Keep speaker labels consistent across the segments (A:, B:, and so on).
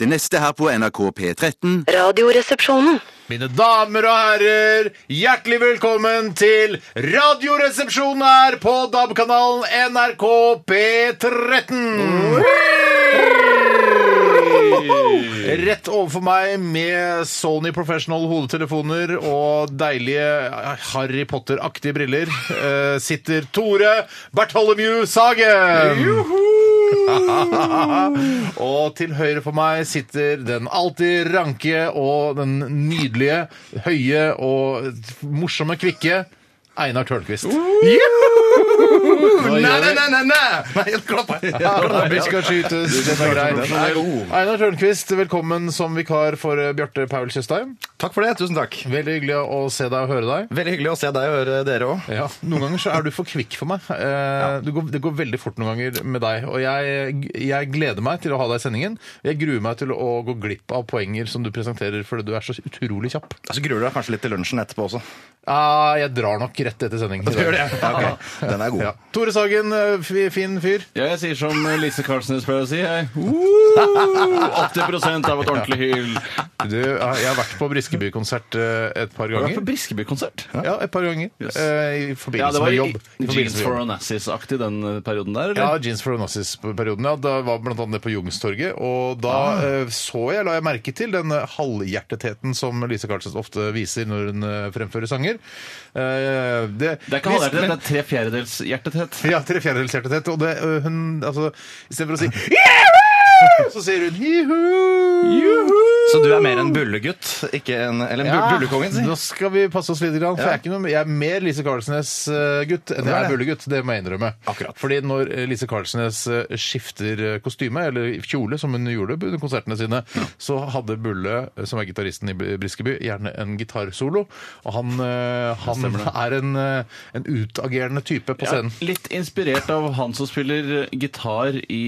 A: Det neste her på NRK P13
B: Radioresepsjonen.
C: Mine damer og herrer, hjertelig velkommen til Radioresepsjonen her på DAB-kanalen NRK P13. Rett overfor meg med Sony Professional hodetelefoner og deilige eh, Harry Potter-aktige briller eh, sitter Tore Bertholomew Sagen. og til høyre for meg sitter den alltid ranke og den nydelige, høye og morsomme kvikke Einar Tørnquist. Nei, nei, nei, nei, Rabbi skal skytes. Det er greit. Einar Tørnquist, velkommen som vikar for eh, Bjarte Paul Tjøstheim.
D: Takk for det. Tusen takk.
C: Veldig hyggelig å se deg og høre deg.
D: Veldig hyggelig å se deg og høre dere òg.
C: Ja, Noen ganger så er du for kvikk for meg. Eh, du går, det går veldig fort noen ganger med deg. Og jeg, jeg gleder meg til å ha deg i sendingen. Jeg gruer meg til å gå glipp av poenger som du presenterer fordi du er så utrolig kjapp.
D: Så gruer du deg kanskje litt til lunsjen etterpå også.
C: Ah, jeg drar nok rett etter sending.
D: Ja, ok. Den er god.
C: Ja. Tore Sagen, eh, fi- fin fyr.
E: Ja, jeg sier som Lise Carlsnes pleier å si. Jeg. Uh, 80 av et ordentlig hyll.
C: Du, eh, jeg har vært på Briskeby-konsert eh, et par
E: Du har vært på
C: ganger.
E: Briskeby-konsert.
C: Ja, et par ganger.
E: Yes.
C: Eh, I forbindelse
E: Ja, det var
C: med
E: i
C: jobb. I forbindelse
E: Jeans
C: med
E: for
C: jobb.
E: Onassis-aktig den eh, perioden der,
C: Ja,
E: eller?
C: Jeans for Onassis-perioden. ja. Da var blant annet det på Jungstorget. Og da
E: Ah.
C: eh, så jeg, la jeg merke til, den eh, halvhjertetheten som Lise Carlsen ofte viser når hun eh, fremfører sanger. Eh, det,
E: Det er ikke
C: hvis-
E: halvhjertet, det er tre fjerdedels hjertethet.
C: Ja, tre fjerdedels hjertetett. Og det, øh, hun, altså, i stedet for å si «Juhu!», så sier hun «Juhu!»
D: Så du er mer en bullegutt, ikke en Eller en bu- bullekongen, si.
C: Ah. Nå skal vi passe oss litt, grann, for jeg, er ikke noe, jeg er mer Lise Karlsnes-gutt enn jeg er
D: det.
C: bullegutt. Det må jeg innrømme.
D: Akkurat.
C: Fordi når eh, Lise Karlsnes eh, skifter eh, kostyme, eller kjole, som hun gjorde under konsertene sine, så hadde Bulle, eh, som er gitaristen i B- Briskeby, gjerne en gitarsolo. Og han, eh, han er en, eh, en utagerende type på
E: Ja,
C: scenen.
E: litt inspirert av han som spiller eh, gitar i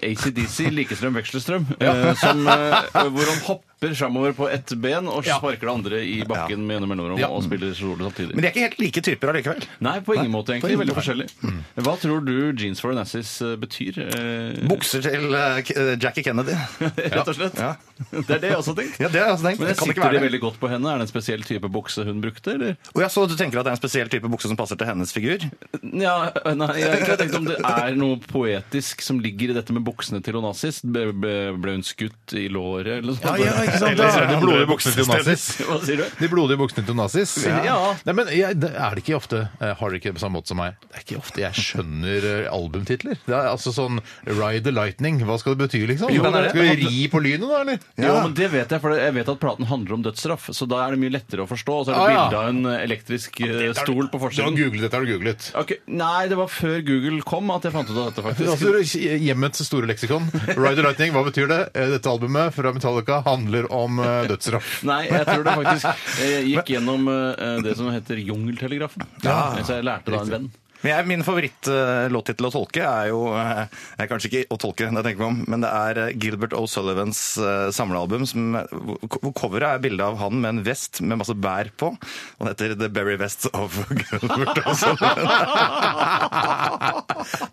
E: ACDC, Likestrøm Vekselstrøm, eh, som, eh, hvor han hopper framover på ett ben og sparker det andre i bakken med gjennom mellomrom
C: Ja.
E: og spiller solo samtidig.
D: Men de er ikke helt like typer allikevel.
E: Nei, på ingen måte,
D: på
E: egentlig.
D: ingen Mm.
E: Veldig forskjellig. Hva tror du Jeans for Onassis eh, betyr? eh,
D: Bukser til eh, K- eh, Jackie Kennedy.
E: Rett og slett.
D: Ja.
E: Det er det jeg også har tenkt.
D: Ja, det har jeg også tenkt. Det
E: Men jeg
D: kan ikke
E: sitter
D: være
E: det
D: det.
E: veldig godt på henne. Er det en spesiell type bukse hun brukte, eller?
D: Og jeg så du tenker at det er en spesiell type bukse som passer til hennes figur.
E: Ja, nei, jeg har ikke tenkt om det er noe poetisk som ligger i dette med buksene til Onassis. Ble, ble, ble hun skutt i låret, eller noe sånt?
C: Eller de blodige buksene til Nazis.
E: Hva sier du?
C: De blodige buksene til nazis?
E: Ja.
C: Nei, men jeg, det er det ikke ofte eh, Har dere ikke det på samme måte som meg? Det er ikke ofte jeg skjønner eh, albumtitler. Det er altså sånn Ride the Lightning. Hva skal det bety, liksom?
E: Jo, men er det-
C: skal vi ri på lynet, da, eller?
E: Jo, men det vet jeg, for jeg vet at platen handler om dødsstraff. Så da er det mye lettere å forstå. Og så er
C: Ah,
E: det
C: ja.
E: bilde av en elektrisk eh, stol på
C: Du har
E: forsiden.
C: googlet dette, har du googlet.
E: Ok, Nei, det var før Google kom at jeg fant ut av dette, faktisk.
C: Altså, hjemmets store leksikon. Ride the Lightning, hva betyr det? Eh, Dette albumet fra Metallica handler om eh, dødsstraff.
E: Nei, jeg tror det faktisk Jeg gikk gjennom eh, det som heter Jungeltelegrafen. Så jeg lærte da en venn.
D: Men jeg, min favorittlåttittel å tolke er jo eh, eh, Kanskje ikke å tolke, det tenker jeg meg om, men det er eh, Gilbert O'Sullivans eh, samlealbum. Som, hvor hvor coveret er bilde av han med en vest med masse bær på. Og den heter The Berry Vest of Gilbert O'Sullivan.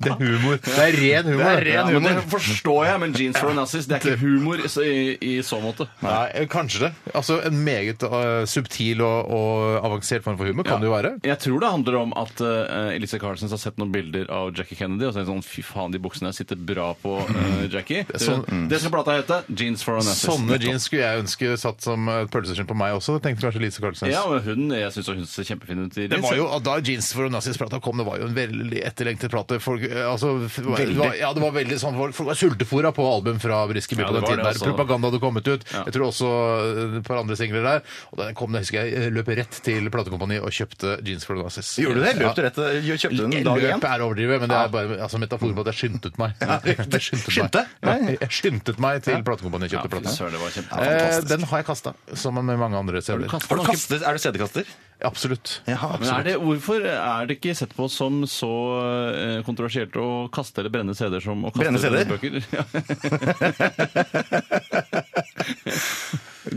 C: Det er humor. Det er ren humor.
D: Det er ren
E: Ja, men
D: humor.
E: det forstår jeg, men Jeans for Nazis det er ikke humor så- i, i så måte.
C: Nei, eh, kanskje det. Altså, En meget eh, subtil og, og avansert form for humor kan det jo være.
E: Jeg tror det handler om at eh, Elise Carlsen har sett noen bilder av Jackie Kennedy og så er det sånn fy faen, de buksene sitter bra på eh, Jackie. Det,
C: Sånn-
E: det skal plata hete. Jeans for Nazis.
C: Sånne jeans skulle jeg ønske satt som et pølseskinn på meg også. tenkte kanskje Lise Karlsnes.
E: Ja, men hun, jeg syns hun ser kjempefin ut i
C: Det
E: jeans.
C: var jo, Da Jeans for Onassis-plata kom, det var jo en veldig etterlengtet plate. Folk, eh, altså, det var, det var, ja, det var veldig sånn, folk, folk var sultefòra på album fra Briskeby
E: Ja,
C: på
E: det
C: den
E: var
C: tiden.
E: det
C: der.
E: også.
C: Propaganda hadde kommet ut.
E: Ja.
C: Jeg tror også eh, et par andre singler der. Og da den kom, da husker jeg eh, løp rett til platekompani og kjøpte Jeans for Onassis.
D: Gjorde du det? Løp du
C: Ja.
D: rett til Kjøpte du den dag
C: Løp
D: én?
C: er å overdrive, men det er bare altså, metaforen på at jeg skyndtet meg. Jeg skyndte
D: Skyndte?
C: meg. Ja, Jeg skyndte meg til platekompaniet
E: ja,
C: kjøpte
E: fy
C: plata.
E: søren, det var kjempe...
C: Eh, den har jeg kasta, som med mange andre steder.
D: Har du kastet, er du CD-kaster?
C: Absolutt.
D: Jaha,
E: Men er det, hvorfor er det ikke sett på som så eh, kontroversielt å kaste eller brenne CD-er som å kaste
D: Brenne CD-er?
E: bøker? Ja.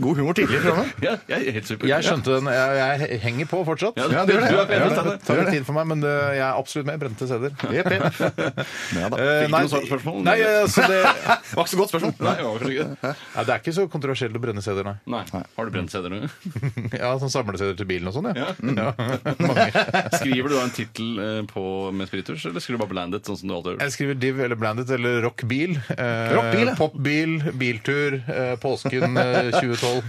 D: God humor tidlig i programmet.
E: Ja, jeg er helt super.
C: Jeg skjønte den. Jeg, jeg henger på fortsatt.
E: Ja, du- du er på
C: Ja,
E: ene
C: det
E: stedet.
C: tar litt tid for meg, men det, jeg er absolutt med. Brente steder.
D: Jepp, jepp. Ja, da.
C: Eh,
E: Fikk
C: nei,
E: du noe svar på spørsmålet?
C: Nei, altså, det,
D: Det var ikke så godt spørsmål.
E: Nei, det var kanskje ikke det.
C: ja, det er ikke så kontroversielt å brenne CD-er, nei.
E: Nei. Har du brent CD-er nå?
C: Ja, sånn samlesteder til bilen og sånn, ja.
E: Ja. Skriver du da en tittel eh, på- med spiritus, eller skriver du bare 'Blanded', sånn som du alltid gjør?
C: Jeg skriver div eller blandet eller rockbil. Eh,
D: Rockbil, ja.
C: Popbil, biltur, eh, påsken eh, 2012.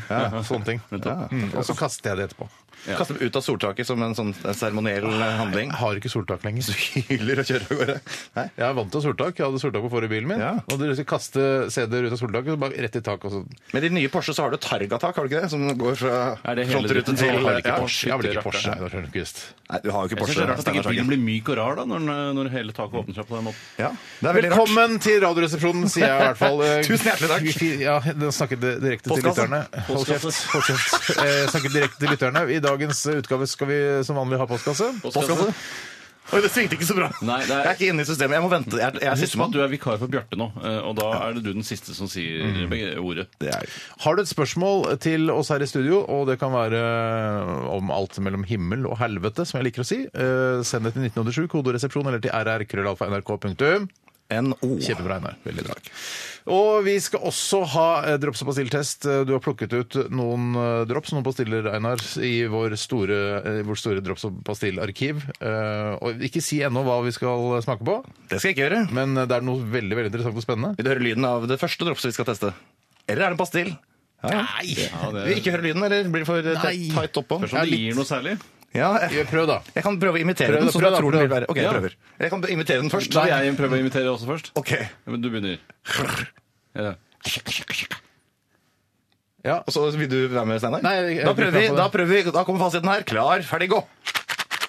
C: Sånne ting.
E: Nettopp.
C: Mm, og så kaster jeg det etterpå.
D: Kaste dem ut av soltaket som en sånn seremoniell eh, handling.
C: Jeg har ikke soltak lenger.
D: Hyler og kjører av gårde. Nei.
C: Jeg er vant til soltak. Jeg hadde soltak på forrige bilen min.
D: Ja.
C: Og liksom dere skal kaste CD-er ut av soltaket, så bare rett i taket og sånn.
D: Med de nye Porsche så har du Targatak, har du ikke det? Som går fra
E: Er det hele
D: frontrute
E: dritten?
D: til
E: Nå har de ikke
D: sånn Ja.
E: Porsche.
C: Jeg har vel ikke
E: Shit,
C: Porsche.
E: det
C: Nei, det er Tørnquist.
D: Nei, du har jo ikke
E: Jeg synes
D: Porsche.
E: det er rart at ikke
D: Steinar
E: bilen
D: Sagen.
E: blir myk og rar da, når, den- når hele taket åpner seg på den måten.
D: Ja, det er veldig rart.
C: Velkommen til Radioresepsjonen, sier jeg i hvert fall. Eh,
D: Tusen hjertelig takk.
C: vi- Ja, den snakket direkte til
D: Postkasse.
C: lytterne. Hold kjeft.
E: Postkasse.
C: Hold kjeft. Eh, snakket direkte til lytterne. I dagens utgave skal vi som vanlig ha postkasse.
D: Postkasse. Oi, det svingte ikke så bra.
E: Nei, det er-
D: Jeg er ikke inne i systemet. Jeg må vente. Jeg, jeg er
E: Husk at
D: sistemann.
E: du er vikar for Bjarte nå, eh, og da er det du den siste som sier begge ordet.
D: Det Mm. er-
C: Har du et spørsmål til oss her i studio, og det kan være om alt mellom himmel og helvete, som jeg liker å si, eh, send det til 1987, kodoresepsjon, eller til rrkrøllalfa.nrk.no.
D: NO.
C: Kjempebra, Einar. Veldig bra. Og vi skal også ha eh, drops og pastilltest. Eh, Du har plukket ut noen eh, drops, noen pastiller, Einar, i vår store, eh, vårt store drops og pastillarkiv. Eh, Og ikke si ennå hva vi skal smake på,
D: Det skal jeg ikke gjøre.
C: men eh, det er noe veldig veldig interessant og spennende.
D: Vil du høre lyden av det første dropset vi skal teste? Eller er det en pastill?
C: Nei!
D: Vil du ikke høre lyden, eller blir det for eh,
C: Nei.
D: tight oppå?
E: Først om det gir noe særlig.
D: Ja, jeg,
C: Gjør- Prøv, da.
D: jeg kan prøve å imitere
C: Prøv
D: den,
C: da,
D: så
C: prøv
D: du
C: da,
D: tror den
C: prøv
D: vil
C: da.
D: være Ok, jeg
E: Ja.
D: prøver. Jeg kan imitere den først.
E: Da vil jeg prøve å imitere også først.
D: Ok.
E: Ja, Men du begynner. Ja.
C: Ja.
D: Og så Altså, vil du være med, Steinar?
C: Nei, jeg- jeg
D: Da
C: blir
D: prøver vi.
C: klar på det.
D: Da prøver vi. Da kommer fasiten her. Klar, ferdig, gå!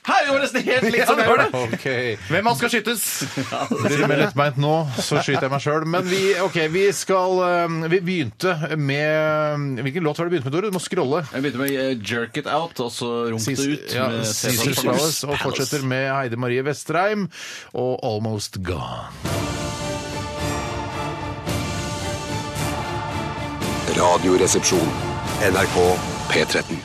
E: Hei, det var nesten helt likt som
D: Ja,
E: jeg
D: det var
E: gjorde!
D: det.
C: OK.
D: Hvem av oss skal skytes?
C: Blir det mer lettbeint nå, så skyter jeg meg sjøl. Men vi, ok, vi skal eh, Vi begynte med Hvilken låt var det vi begynte med, Tore? Du må scrolle.
E: Jeg begynte med eh, 'Jerk It Out', og så rumpe det ut.
C: Ja,
E: med Cæsars
C: Caesar's Palace, og fortsetter med Heide Marie Vestreim og Almost Gone.
B: Radioresepsjon. NRK P13.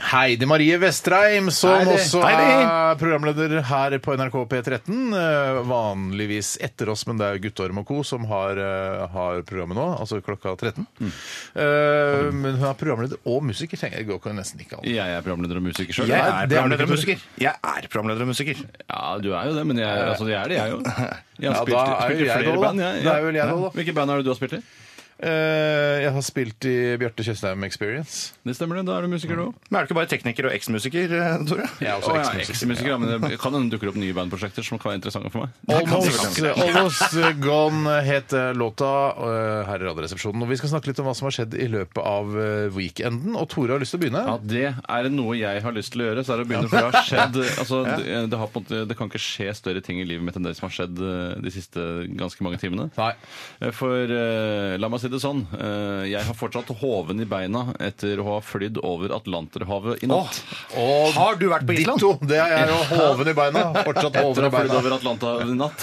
C: Heidi Marie Vestreim, som
E: Heidi.
C: også er
D: Heidi.
C: programleder her på NRK P13. eh, Vanligvis etter oss, men det er Guttorm og co. som har, eh, har programmet nå, altså klokka 13. Eh, Men hun er programleder og musiker. tenker Jeg det går ikke nesten ikke an.
E: Jeg er programleder og musiker sjøl.
D: Jeg
C: Nei,
D: er
C: det er
D: programleder og
C: du.
D: musiker. Jeg er programleder og musiker.
E: Ja, du er jo det, men jeg, altså, jeg er det, jeg òg. Jeg
C: Ja, da
E: har spilt,
C: er
E: spilt
C: jo
E: i
C: jeg
E: flere
C: da, da.
E: band. Ja,
C: Da er vel jeg da, da.
E: Hvilke band er det du har spilt i?
C: Eh, Jeg har spilt i Bjarte Tjøstheim Experience.
E: Det stemmer det, da er du musiker du òg.
D: Men er du ikke bare tekniker og eksmusiker, eh, Tore?
C: Jeg er også
E: Å, ja,
C: eksmusiker.
E: Eksmusiker, ja, men det kan hende dukker opp nye bandprosjekter som kan være interessante for meg.
C: Almost, Almost Gone het låta eh, her i Radioresepsjonen. Og vi skal snakke litt om hva som har skjedd i løpet av eh, weekenden. Og Tore har lyst til å begynne.
E: Ja, det er noe jeg har lyst til å gjøre. Så er det å begynne, for det har skjedd altså, det, det, har på en måte, det kan ikke skje større ting i livet mitt enn det som har skjedd eh, de siste ganske mange timene.
C: Nei.
E: Eh, For eh, la meg si det sånn, eh, jeg har fortsatt hoven i beina etter å ha flydd over Atlanterhavet i natt.
C: Og
D: Har du vært på Island?
C: ditto, det er jo hoven i beina. Fortsatt
E: Etter
C: hoven
E: å
C: i
E: ha flydd
C: beina.
E: over Atlanterhavet i natt.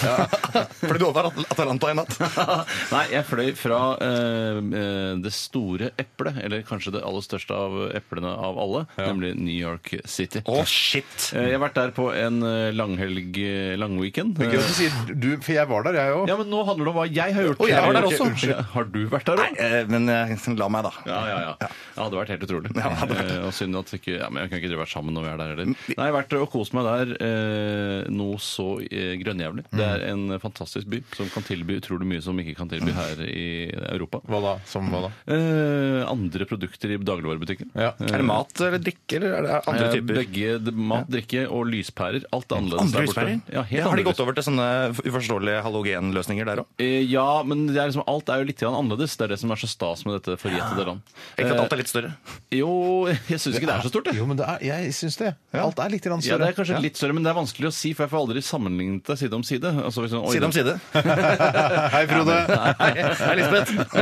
D: Fordi du over At- Atalanta i natt.
E: Nei, jeg fløy fra eh, eh, det store eplet, eller kanskje det aller største av eplene av alle, nemlig New York City.
D: Å, shit!
E: Eh, Jeg har vært der på en eh, langhelg, eh, langweekend.
C: Gøy at du sier du, for jeg var der, jeg òg.
E: Ja, men nå handler det om hva jeg har gjort.
D: Og jeg var der
E: Ok,
D: også.
E: unnskyld. Har du vært der
D: Nei,
E: òg?
D: eh, men eh, la meg, da.
E: Ja, ja, ja. Det hadde vært helt utrolig. Eh, Og synd at ikke, ja, men jeg kan ikke drive vært sammen når vi er der heller. Nei, jeg har vært og kost meg der eh, noe så eh, grønnjævlig. Det er en fantastisk by som kan tilby utrolig mye som ikke kan tilby her i Europa.
C: Hva da? Som hva da?
E: Eh, andre produkter i dagligvarebutikken.
C: Ja.
D: Er det mat eller drikke, eller er det andre
E: Eh,
D: typer?
E: Begge d- mat, drikke og lyspærer. Alt er annerledes
D: Andre lyspærer?
E: Ja,
D: har
E: helt
D: de
E: annerledes.
D: gått over til sånne uforståelige halogenløsninger der òg?
E: Eh, Ja, men det er liksom, alt er jo litt grann annerledes. Det er det som er så stas med dette forjettede land.
D: Ikke at
E: Eh,
D: alt er litt større.
E: Jo, jeg syns ikke det er så stort, jeg.
C: Jo, men det er, jeg syns det. Alt er litt grann
E: Ja, det
C: større.
E: er kanskje litt større, men det er vanskelig å si, for jeg får aldri sammenlignet det side om side. Altså, hvis man- oi,
D: Side om side.
C: Hei, Frode.
D: Hei, hei, Lisbeth.
C: Det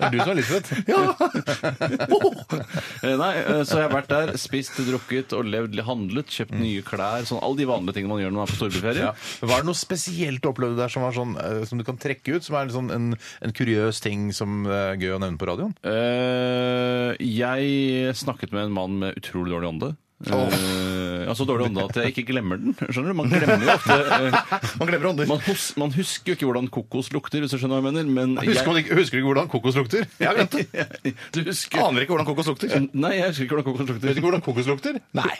C: er du som er Lisbeth.
E: Eh, Nei, eh, så jeg har vært der, spist, drukket og levd, handlet, kjøpt nye klær, sånn alle de vanlige tingene man gjør når man er på storbyferie.
C: Var det noe spesielt du opplevde der som, var sånn, eh, som du kan trekke ut, som er litt sånn en, en kuriøs slags ting som er gøy å nevne på radioen?
E: Eh, jeg snakket med en mann med utrolig dårlig ånde. Eh, altså dårlig ånde at jeg ikke glemmer den. Skjønner du? Man glemmer jo ofte eh,
D: Man glemmer ånder.
E: man, hus man husker jo ikke hvordan kokos lukter, hvis du skjønner hva jeg mener. Men
C: Husker,
E: jeg,
C: du ikke, husker du ikke hvordan kokos lukter? Jeg vet det.
E: du husker
D: Aner ikke hvordan kokos lukter.
E: Nei, jeg husker ikke hvordan kokos
C: Vet du
E: lukter.
C: ikke hvordan kokos lukter?
D: Nei.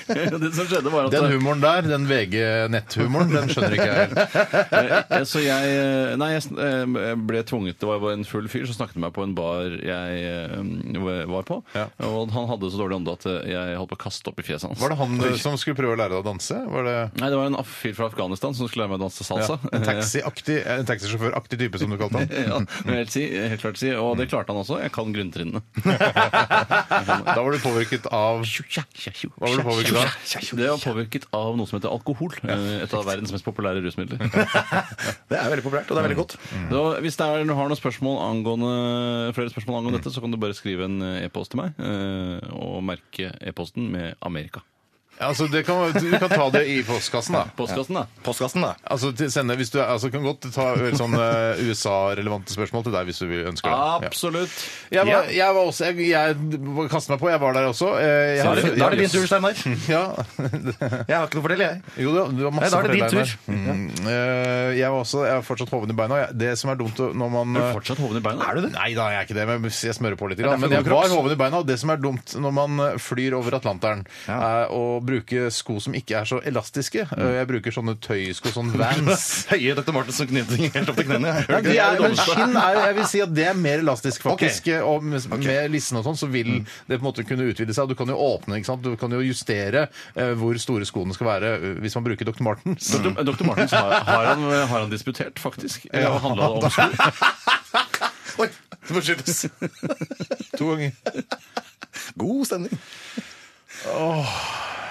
E: Det som skjedde var at
C: Den humoren der, den VG-netthumoren, den skjønner ikke jeg helt.
E: Eh, Så jeg eh, Nei, jeg sn- eh, ble tvunget Det var var en full fyr som snakket med meg på en bar jeg eh, var på.
C: Ja.
E: Og han hadde så dårlig ånde at eh, jeg holdt på å kaste opp i fjeset hans.
C: Var det han som skulle prøve å lære deg å danse? Var det...
E: Nei, det var en af- fyr fra Afghanistan som skulle lære meg å danse
C: Ja,
E: salsa.
C: en taxi-aktig- en taxisjåføraktig type, som du kalte han.
E: Eh, ja, det vil jeg helt, si, helt klart si. Og det klarte han også. Jeg kan grunntrinnene.
C: Da var du påvirket av Hva var du påvirket av?
E: Det var påvirket av noe som heter alkohol. eh, Et av verdens mest populære rusmidler.
D: Det er veldig populært, og det er veldig godt.
E: Så hvis det er, du har noen spørsmål angående, flere spørsmål angående dette, så kan du bare skrive en eh, e-post til meg, eh, og merke e-posten med Amerika.
C: Altså, det kan, du kan ta det i postkassen, da.
E: Postkassen, da.
D: Postkassen, da.
C: Altså, til sende, hvis du altså, kan godt ta sånn eh, USA-relevante spørsmål til deg hvis du vil- ønsker
D: Ah,
C: det. Ja.
E: Absolutt.
C: Jeg, var, jeg var også Jeg, jeg kastet meg på, jeg var der også. Eh, Jeg,
D: Da er det,
C: jeg-
D: da er det din tur, Steinar.
C: Ja.
D: Jeg har ikke noe å fortelle, jeg.
C: Jo da, du har masse
D: Nei, da er det
C: å fortelle
D: din
C: her. Mm. Eh, Jeg, var også, jeg har fortsatt hoven i beina. og jeg- Det som er dumt når man
E: Du er fortsatt hoven i beina.
C: Er du det? Nei da, jeg er ikke det, men jeg smører på litt.
D: er
C: Grann.
D: derfor
C: Men jeg
D: god
C: var
D: kropp.
C: hoven i beina, og det som er dumt når man eh, flyr over Atlanteren, er å bruke sko som ikke er så elastiske.
D: Mm.
C: Eh, Jeg bruker sånne tøysko, sånn Vans.
D: Høye Dr. Martensen knyter ting helt opp til knærne.
C: Ja,
D: Hører du
C: de
D: ikke
C: er,
D: det?
C: men skinn er, jeg vil si at det er mer elastisk, faktisk. eh, Og med, med lissene og sånn, så
D: Mm.
C: vil det på en måte kunne utvide seg. Du kan jo åpne, ikke sant? du kan jo justere eh, hvor store skoene skal være eh, hvis man bruker Dr. Martens.
E: Dr. Dr. Martens har, har, han, eh, har han disputert, faktisk. Eller handla det om sko?
D: Oi, det må skytes.
C: To ganger.
D: God stemning.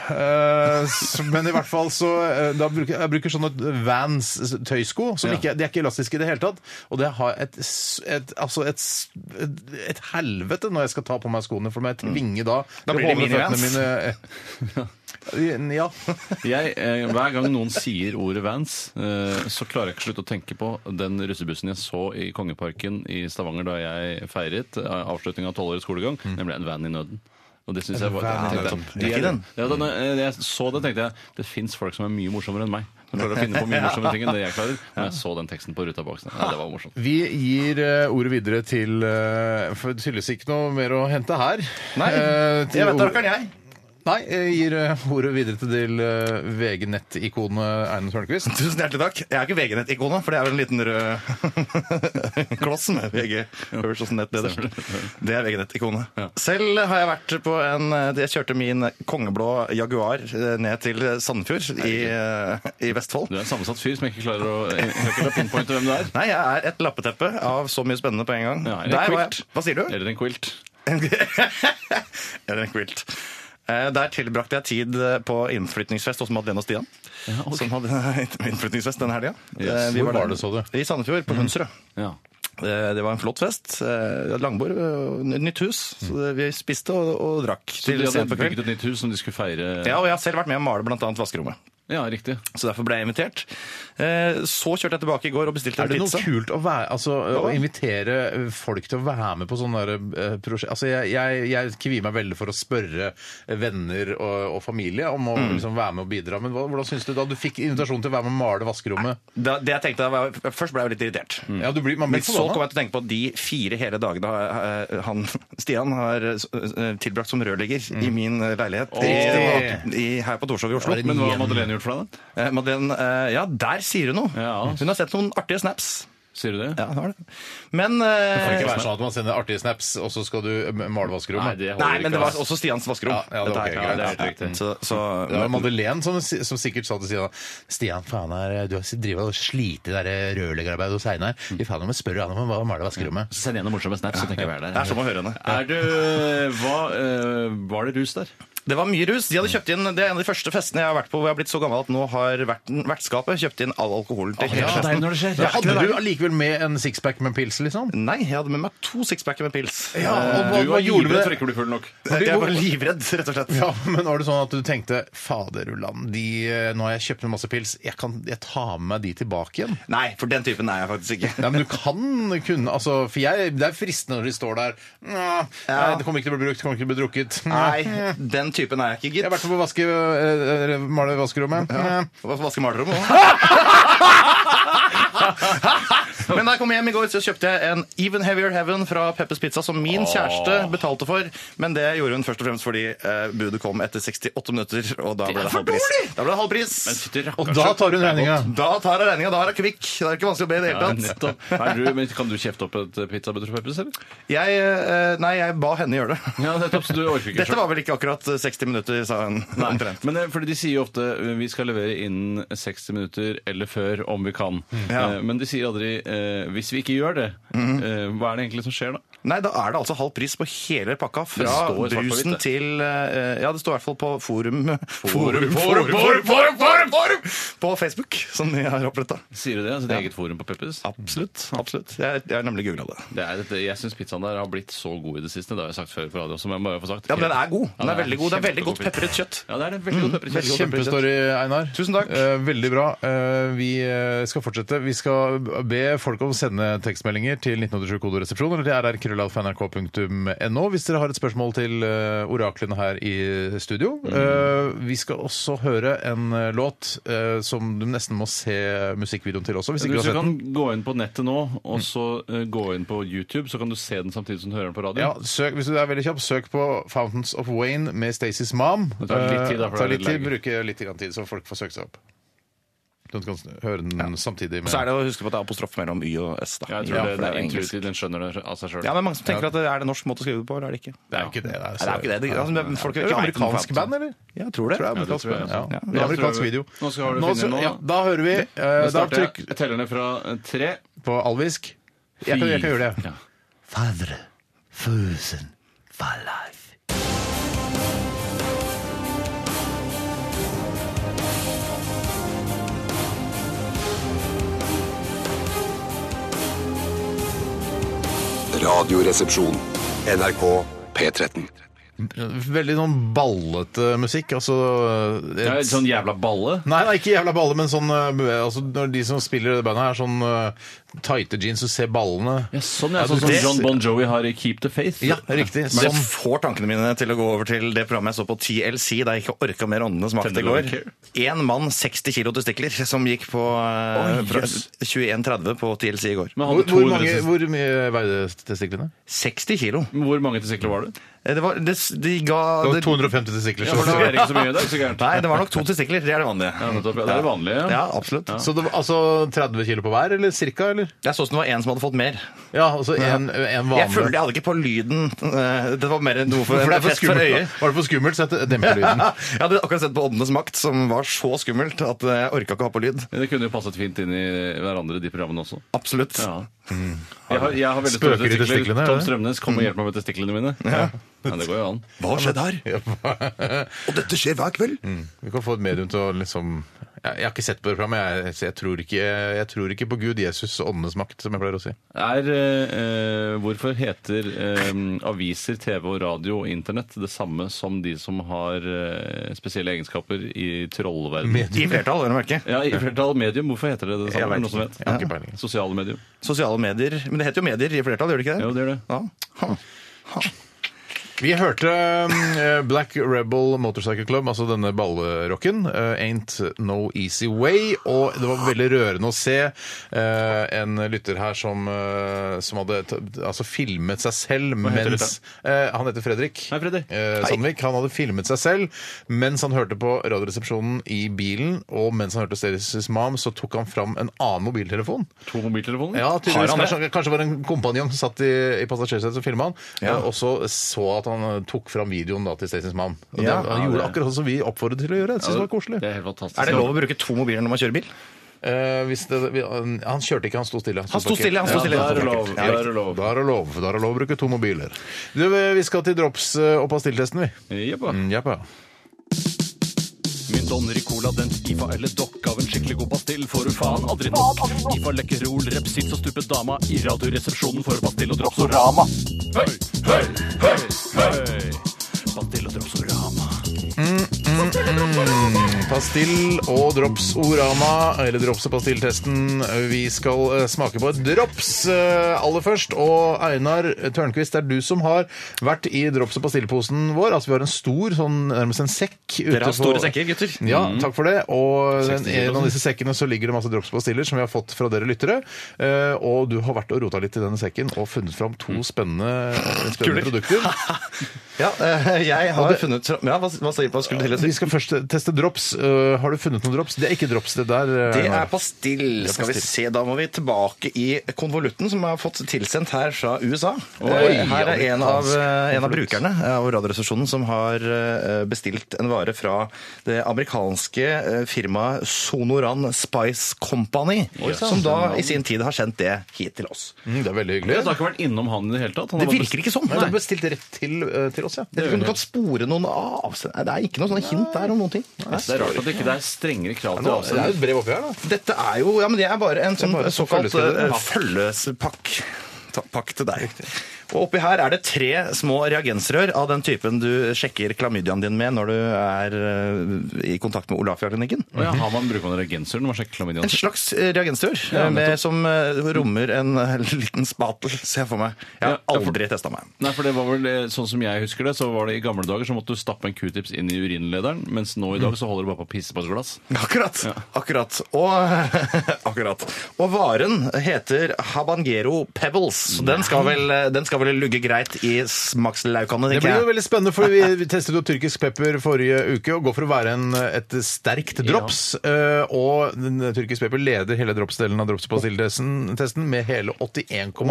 C: Eh, s- men i hvert fall så eh, da bruker, Jeg bruker sånne Vans tøysko. Som
E: Ja.
C: ikke, de er ikke elastiske i det hele tatt. Og det har et, s- et, altså et, s- et, et helvete når jeg skal ta på meg skoene, for meg tvinge da
D: Mm. Da blir det
C: over
D: mini-Vans.
C: mine eh, Ja.
E: Jeg, eh, hver gang noen sier ordet Vans, eh, så klarer jeg ikke slutt å tenke på den russebussen jeg så i Kongeparken i Stavanger da jeg feiret eh, avslutningen av tolv års skolegang, nemlig en van i nøden. Og det synes jeg var
C: van i
E: tenkte jeg,
C: nøden.
E: de
D: Ikke
E: er-
D: den.
E: Ja, da når jeg så det, tenkte jeg det fins folk som er mye morsommere enn meg. Som klarer å finne på mye morsommere ting enn det jeg klarer. Og jeg så den teksten på ruta bak. så- Nei, det var morsomt.
C: Vi gir eh, ordet videre til eh, For det tydeligvis ikke noe mer å hente her.
D: Nei,
C: Eh, til
D: jeg vet
C: ord-
D: da, kan jeg.
C: Nei, jeg gir eh, ordet videre til eh, VG-nett-ikonet Einar Tørnquist.
D: Tusen hjertelig takk. Jeg er ikke VG-nett-ikonet, for det er vel en liten rød kloss med VG. Høres åssen nett det er. Det er VG-nett-ikonet. Selv har jeg vært på en eh, Jeg kjørte min kongeblå Jaguar eh, ned til Sandefjord i, eh, i Vestfold.
E: Du er en sammensatt fyr som jeg ikke klarer å eh, jeg klarer ikke å pinpointe hvem du er.
D: Nei, jeg er et lappeteppe av så mye spennende på en gang.
E: Ja, eller
D: Der var
E: quilt.
D: jeg. Hva sier du?
E: Eller en quilt.
D: Eller en quilt. Eh, Der tilbrakte jeg tid eh, på innflytningsfest hos Madeleine og Stian. Som hadde innflytningsfest Eh, den helga.
E: Yes.
C: Hvor var det, så du?
D: I Sandefjord, på Hunsrud.
E: Ja.
D: Eh, Det var en flott fest. Eh, vi hadde Langbord, eh, n- nytt hus. Så det- vi spiste og, og drakk
E: Så
D: til
E: de hadde
D: sent på
E: bygget
D: kveld.
E: et nytt hus som de skulle feire
D: Ja, og jeg har selv vært med å male bl.a. vaskerommet.
E: Ja, riktig.
D: Så derfor ble jeg invitert. Eh, Så kjørte jeg tilbake i går og bestilte
C: Er
D: en
C: det noe
D: pizza.
C: kult å, være, altså, å
D: da?
C: invitere folk til å være med på sånne der, eh, prosjekt? Altså, jeg, jeg, jeg kvier meg veldig for å spørre venner og, og familie om å liksom, være med og bidra. Men hva, hvordan syns du da du fikk invitasjon til å være med og male vaskerommet?
D: Da- Det jeg tenkte, var, Først ble jeg jo litt irritert.
C: Ja, du blir, man
D: Men
C: blir
D: så kom
C: forbanna.
D: jeg til å tenke på at de fire hele dagene eh, han, Stian har eh, tilbrakt som rørlegger i min eh, leilighet i, i, her på Torshov i Oslo.
C: Var Mm. det
E: Men hva har
C: Igjen.
E: Madeleine gjort for deg, da?
D: Eh, Madeleine, eh, ja, der sier hun noe!
E: Ja.
D: Hun har sett noen artige snaps.
E: Sier du det?
D: Ja, det har det. Men
C: Det kan ikke
D: eh,
C: være sånn at man sender artige snaps, og så skal du eh, male
E: Nei,
C: vaskerommet.
E: det holder
D: Nei,
E: ikke.
D: men det var
E: ass.
D: også Stians vaskerom.
C: Ja, ja, det var
D: Dette
C: ok,
D: her,
C: greit.
D: det er helt riktig. Så, så,
C: Det var Madeleine som, som sikkert sa til Stian Stian, faen her, du har drivet og slitt i det der rørleggerarbeidet hos Einar. Fy faen, om jeg spør han om hva male vaskerommet.
E: Så Send igjen noen morsomme snaps, så tenker jeg vi er
D: det er
E: der.
D: som å høre henne.
E: Er du, hva, eh, var det rus der?
D: Det var mye rus. De hadde kjøpt inn, det er en av de første festene jeg har vært på hvor jeg har blitt så gammel at nå har verten- vertskapet kjøpt inn all alkoholen til hele festen.
E: når det skjer.
C: Ja, hadde du allikevel med en sixpack med pils, liksom? Eh,
D: Nei, jeg hadde med meg to sixpacker med pils.
C: Ja, og hva,
E: Du
C: hva
E: var
C: gjorde
E: livredd for
C: det?
E: ikke å bli full nok.
D: Jeg var livredd, rett og slett.
C: Ja, men var det sånn at du tenkte Faderullan, de, eh, nå har jeg kjøpt en masse pils, jeg kan jeg tar med meg de tilbake igjen?
D: Nei, for den typen er jeg faktisk ikke.
C: Nei, men du kan kunne altså, For jeg, det er fristende når de står der «Nå, nei, Det kommer ikke til å bli brukt, det kommer ikke til å bli drukket. Nå,
D: Nei, den typen er jeg ikke,
C: Jeg har
D: gitt.
C: vært på vaske, eh, eh, male vaskerommet. Nei.
D: Hva- Vaske malerommet òg. Men da jeg kom hjem i går, så kjøpte jeg en Even Heavier Heaven fra Peppers Pizza, som min kjæreste betalte for. Men det gjorde hun først og fremst fordi eh, budet kom etter 68 minutter, og da ble det halv pris. Da ble det halv pris.
E: Men fytti
C: Og
E: rakkeren,
C: da
E: så-
C: tar hun
E: Det er
C: regninga.
E: godt.
D: Da tar jeg regninga. Da er jeg kvikk. Det er ikke vanskelig å be i det
E: Ja,
D: hele tatt.
E: nettopp. Er du, men kan du kjefte opp et eh, pizzabutter og peppers, eller?
D: Jeg, eh, nei, jeg ba henne gjøre det.
E: Ja, nettopp, så du orker ikke
D: Dette var vel ikke akkurat 60 minutter, sa hun
E: Nei,
D: omtrent.
E: men det, er fordi De sier jo ofte eh, vi skal levere innen 60 minutter eller før om vi kan.
D: Mm. Ja. Mm.
E: Eh, Men de sier aldri eh, hvis vi ikke gjør det, eh, hva er det egentlig som skjer da?
D: Nei, da er det altså halv pris på hele pakka. Fra
E: står svart på
D: brusen
E: hvitt, det.
D: til eh, Ja, det står i hvert fall på forum
E: Forum,
D: forum,
E: forum,
D: forum, forum, forum, forum! På Facebook, som vi har oppretta.
E: Sier de det? Altså, et eget forum på Peppers?
D: Absolutt. absolutt. Jeg, jeg har nemlig googla det.
E: Det er, et- jeg syns pizzaen der har blitt så god i det siste. Det har jeg sagt før på radio. Som jeg bare får sagt.
D: Ja, men den er god.
E: Ja,
D: Den er veldig god. Det er veldig godt Mm.
E: kjempegod
D: pepret kjøtt.
E: pizza. Ja, det er det. Veldig godt pepret kjøtt.
C: Kjempestory, Einar.
D: Tusen takk.
C: Eh, veldig bra. Eh, vi eh, skal fortsette. Vi skal be folk om å sende tekstmeldinger til 1987 kodoresepsjon, eller det er rkrøllalfa.nrk.no hvis dere har et spørsmål til eh, oraklene her i studio.
E: Mm.
C: Eh, vi skal også høre en eh, låt eh, som du nesten må se musikkvideoen til også, hvis ikke du
E: Hvis
C: har sett
E: du kan
C: den.
E: gå inn på nettet nå,
D: Mm.
E: og så eh, gå inn på YouTube, så kan du se den samtidig som du hører den på
C: Ja,
E: radioen.
C: søk, hvis du er veldig kjapp, søk på 'Fountains of Wayne' med Stacey's Mom.
E: Det tar litt tid, da,
C: Eh,
E: for
C: tar
E: det er
C: litt tid,
E: litt lenge.
C: Bruke litt grann tid, så folk får søkt seg opp. Du kan høre den samtidig med
D: Så er det å huske på at det er apostrof mellom Y og S. da.
E: Jeg tror
D: Ja,
E: det,
D: for
E: det er
D: engelsk.
E: intuitivt. Den skjønner det av seg sjøl.
D: Ja, men Mange som tenker at det er det norsk måte å skrive det på, eller er det ikke?
C: Det er jo ikke det.
D: Nei, det er jo ikke det. det altså, men folk
C: Er det amerikansk band, eller?
D: Ja, jeg tror det.
C: Tror det er amerikansk
E: Ja, det tror
C: band.
E: jeg
C: Ja.
E: også.
C: Det er amerikansk
E: tror jeg.
C: video.
E: Nå skal du finne
C: så-
E: nå, da.
C: ja, Da hører vi. eh,
E: Da
C: Da
E: starter
C: trykk
E: jeg tellerne fra eh, tre.
C: på alvisk. Jeg kan, jeg kan gjøre det.
E: Ja.
B: Radioresepsjon. NRK P13.
C: Veldig sånn ballete musikk. Altså eh,
E: Det er litt sånn jævla balle.
C: Nei, nei, ikke jævla balle, men sånn eh, altså, når de som spiller i det bandet, her, sånn eh, tighte jeans og ser ballene
E: Ja, sånn, ja.
C: Ja,
E: Sånn som
C: det-
E: John Bon Jovi har i Keep the Faith.
C: Ja, riktig.
D: Men
C: Sånn.
D: det får tankene mine til å gå over til det programmet jeg så på TLC, da jeg ikke orka mer åndenes makt i
E: Tender
D: går.
E: Loving Care.
D: Én mann, 60 kilo testikler, som gikk på eh, fra 21.30 på TLC i går.
E: Men
C: Hvor,
E: hadde
C: hvor,
E: 200
C: mange, hvor mye veide testiklene?
D: 60 kilo!
E: Hvor mange testikler var det?
D: Eh, Det var, det, s- de ga
C: Det var
D: det,
C: 250 testikler.
E: Ja, for det
C: så-
E: var ikke så mye i dag, så gærent.
D: Nei, det var nok to testikler. Det er det vanlige.
E: Ja, nettopp, ja, det er det vanlige, ja.
D: Ja, absolutt.
C: Så det var, altså 30 kilo på hver, eller cirka? Eller?
D: Jeg så ut som det var en som hadde fått mer.
C: Ja, altså en, en vanlig
D: Jeg følte jeg hadde ikke på lyden. eh, Det var mer noe for,
C: For det er for
D: fest for
C: skummelt. da.
D: øyet.
C: Var det for skummelt, så jeg demper lyden.
D: Jeg hadde akkurat sett på Åndenes makt, som var så skummelt at eh, jeg orka ikke å ha på lyd.
E: Det kunne jo passet fint inn i hverandre, de programmene også.
D: Absolutt.
E: Ja. Jeg har, jeg har veldig
C: Spøker
E: store
C: i testiklene,
E: Tom
C: er det? Mm.
E: Strømnes, kom og hjelp meg med testiklene mine. Ja. Men det går jo an.
B: Hva har skjedd her? Og dette skjer hver kveld.
C: Vi kan få et medium til å liksom jeg, jeg har ikke sett på det programmet. Jeg, så jeg, tror ikke, jeg tror ikke på Gud, Jesus og åndenes makt, som jeg pleier å si.
E: Er, eh, hvorfor heter eh, aviser, TV og radio og internett det samme som de som har eh, spesielle egenskaper i trollverden?
C: Medium.
D: I flertall, vil du merke.
E: Ja, i flertall medium. Hvorfor heter det det
D: Jeg
E: samme?
D: vet
E: Er det Noen som vet?
C: Jeg har ikke peiling.
E: Sosiale medium.
D: Sosiale medier. Men det heter jo medier i flertall, gjør det ikke det?
E: Jo, det gjør det.
D: Ja. Ha.
C: Vi hørte eh, Black Rebel Motorcycle Club, altså denne ballerocken. eh, Ain't No Easy Way. Og det var veldig rørende å se eh, en lytter her som, eh, som hadde t altså filmet seg selv
E: heter
C: mens Eh, Han heter Fredrik.
E: Hei, Fredrik.
C: Eh, Sandvik. Han hadde filmet seg selv mens han hørte på Radioresepsjonen i bilen, og mens han hørte Stasis Mom, så tok han fram en annen mobiltelefon.
E: To mobiltelefoner?
C: Ja, tydeligvis.
D: Har han det?
C: Kanskje, kanskje var det en kompanjong som satt i, i passasjersetet og filma han,
D: Ja.
C: eh, og så så at han eh, tok fram videoen da, til Stasis Mom. Og
D: Ja.
C: det, han gjorde akkurat som vi oppfordret til å gjøre. Jeg synes det var koselig.
E: Det er helt fantastisk.
D: Er det lov å bruke to mobiler når man kjører bil?
C: Eh, hvis det, vi- han kjørte ikke, han sto stille.
D: Han sto stille, han sto stille.
E: da er det lov. Da er det lov.
C: Da er det lov. Da er det lov å bruke to mobiler. Du, vi skal til drops eh, og pastilltesten, vi.
E: Jeppa.
C: Mm, jappa.
E: Min Donner i cola, den IFA eller dokk av en skikkelig god pastill får du faen aldri nok. IFA lekkerol, repsits og stupet dama i radioresepsjonen for pastill og dropsorama. Høy, høy, høy, høy. Pastill og dropsorama.
C: Pastill og drops-orama, eller drops- og pastilltesten. Vi skal eh, smake på et drops eh, aller først. Og Einar Tørnquist, det er du som har vært i drops- og pastillposen vår. Altså Vi har en stor, sånn nærmest en sekk. ute
D: Dere har store
C: på-
D: sekker, gutter. Mm.
C: Ja, takk for det. Og den,
E: 60 kilo.
C: en av disse sekkene så ligger det masse drops og pastiller som vi har fått fra dere lyttere. Eh, Og du har vært og rota litt i denne sekken og funnet fram
D: Mm.
C: to spennende, spennende produkter.
D: Ja, eh, jeg har funnet tra- Ja, hva, hva, sier- hva skulle du til å si?
C: Vi skal først teste drops. Eh, Har du funnet noen drops? Det er ikke drops, det der. eh,
D: Det
C: Einar.
D: er pastill. Skal vi se, da må vi tilbake i konvolutten som har fått tilsendt her fra USA. Og
C: Oi,
D: her er en av,
C: amerikansk
D: eh, en av brukerne av Radioresepsjonen som har eh, bestilt en vare fra det amerikanske eh, firmaet Sonoran Spice Company, som da i sin tid har sendt det hit til oss.
C: Mm, det er veldig hyggelig.
E: Jeg har ikke vært innom han i det hele tatt. Han
D: Det
E: har bare
D: virker ikke sånn.
C: Nei, det er
D: Nei.
C: bestilt rett til, eh, til oss, ja.
D: Jeg tror ikke du kan spore noen avsend... Nei, Det er ikke noe sånne hint der om noen ting. Nei.
E: best- Det er rart at det ikke er strengere krav til
C: Det er
E: avsender.
C: jo et brev oppi her, da.
D: Dette er jo Ja, men det er bare en sånn
C: bare
D: såkalt
C: følgeskrive.
D: eh, følgespakk. Ta- Pakk til deg. Og oppi her er det tre små reagensrør av den typen du sjekker klamydiaen din med når du er eh, i kontakt med Olafia-klinikken.
E: Å ja, har man bruker man reagenser når man sjekker klamydiaen
D: En
E: sin?
D: slags eh, reagensrør eh, med, som eh, rommer en eh, liten spatel, ser jeg for meg. Jeg har
E: Ja, ja, for-
D: aldri testa meg.
E: Nei, for det var vel eh, sånn som jeg husker det, så var det i gamle dager så måtte du stappe en q-tips inn i urinlederen, mens nå i dag så holder du bare på å pisse på et glass.
D: Akkurat. akkurat. Og, akkurat. Og varen heter Habanero Pebbles. Så Den skal, vel, den skal vel lugge greit i smakslaukene,
C: Det blir jo
D: tenker jeg.
C: veldig spennende, for vi vi testet jo tyrkisk pepper forrige uke, og går for å være en, et sterkt drops. eh, Og den, tyrkisk pepper leder hele dropsdelen av dropspastilltesten med hele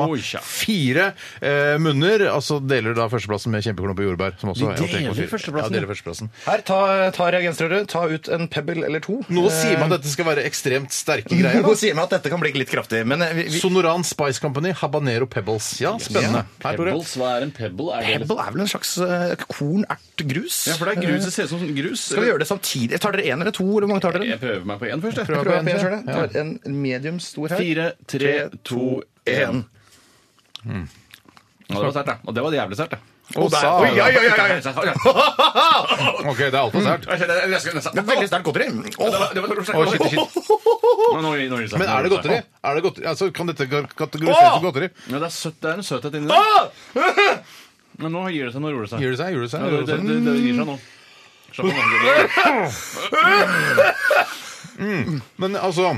C: 81,4 eh, munner. Altså deler da førsteplassen med kjempeklump og jordbær. Som også
E: De
C: er 81,4.
E: deler førsteplassen,
C: Ja, deler
E: ja.
C: førsteplassen.
D: Her, ta, ta reagensrøret. Ta ut en pebble eller to. Eh,
C: Nå sier man at dette skal være ekstremt sterke greier.
D: Nå
C: da.
D: sier meg at dette kan bli litt kraftig, men eh, vi, vi,
C: Sonoran Spice Company, Habanero Pebbles. Ja, spennende. Her, Tore.
E: Pebbles, hva er en pebble? Er det- liksom-
D: pebble er vel en slags eh, kornertgrus?
E: Ja, for det er grus. Det ser ut som sånn grus.
D: Skal vi gjøre det samtidig? Tar dere én eller to? Hvor mange tar dere?
E: Jeg prøver meg på én først, jeg.
C: Prøv.
D: Prøv
C: på en
D: jeg
C: til.
D: selv, jeg. Tar en medium stor her.
E: Fire, tre, to, én. Ja, det var sterkt, da. Og det var jævlig sterkt, da.
C: Og der-
D: Oi,
C: Oi,
D: oi, oi, oi, oi.
C: OK, det er altfor
D: Mm.
C: sterkt.
D: Det er Veldig sterkt godteri. Åh.
C: Å, shit, shit. Men er det godteri? Er det godteri? Altså, kan dette ka- kategoriseres som godteri?
E: Ja, det er, søtt, det er en søthet inni
D: Ah!
E: der. Men nå gir det seg. Nå roer det seg.
C: Gjør det seg? Gjør det seg?
E: Ja, det,
C: Gjør
E: det,
C: det seg?
E: det, det gir seg nå. Slapp av.
C: Men altså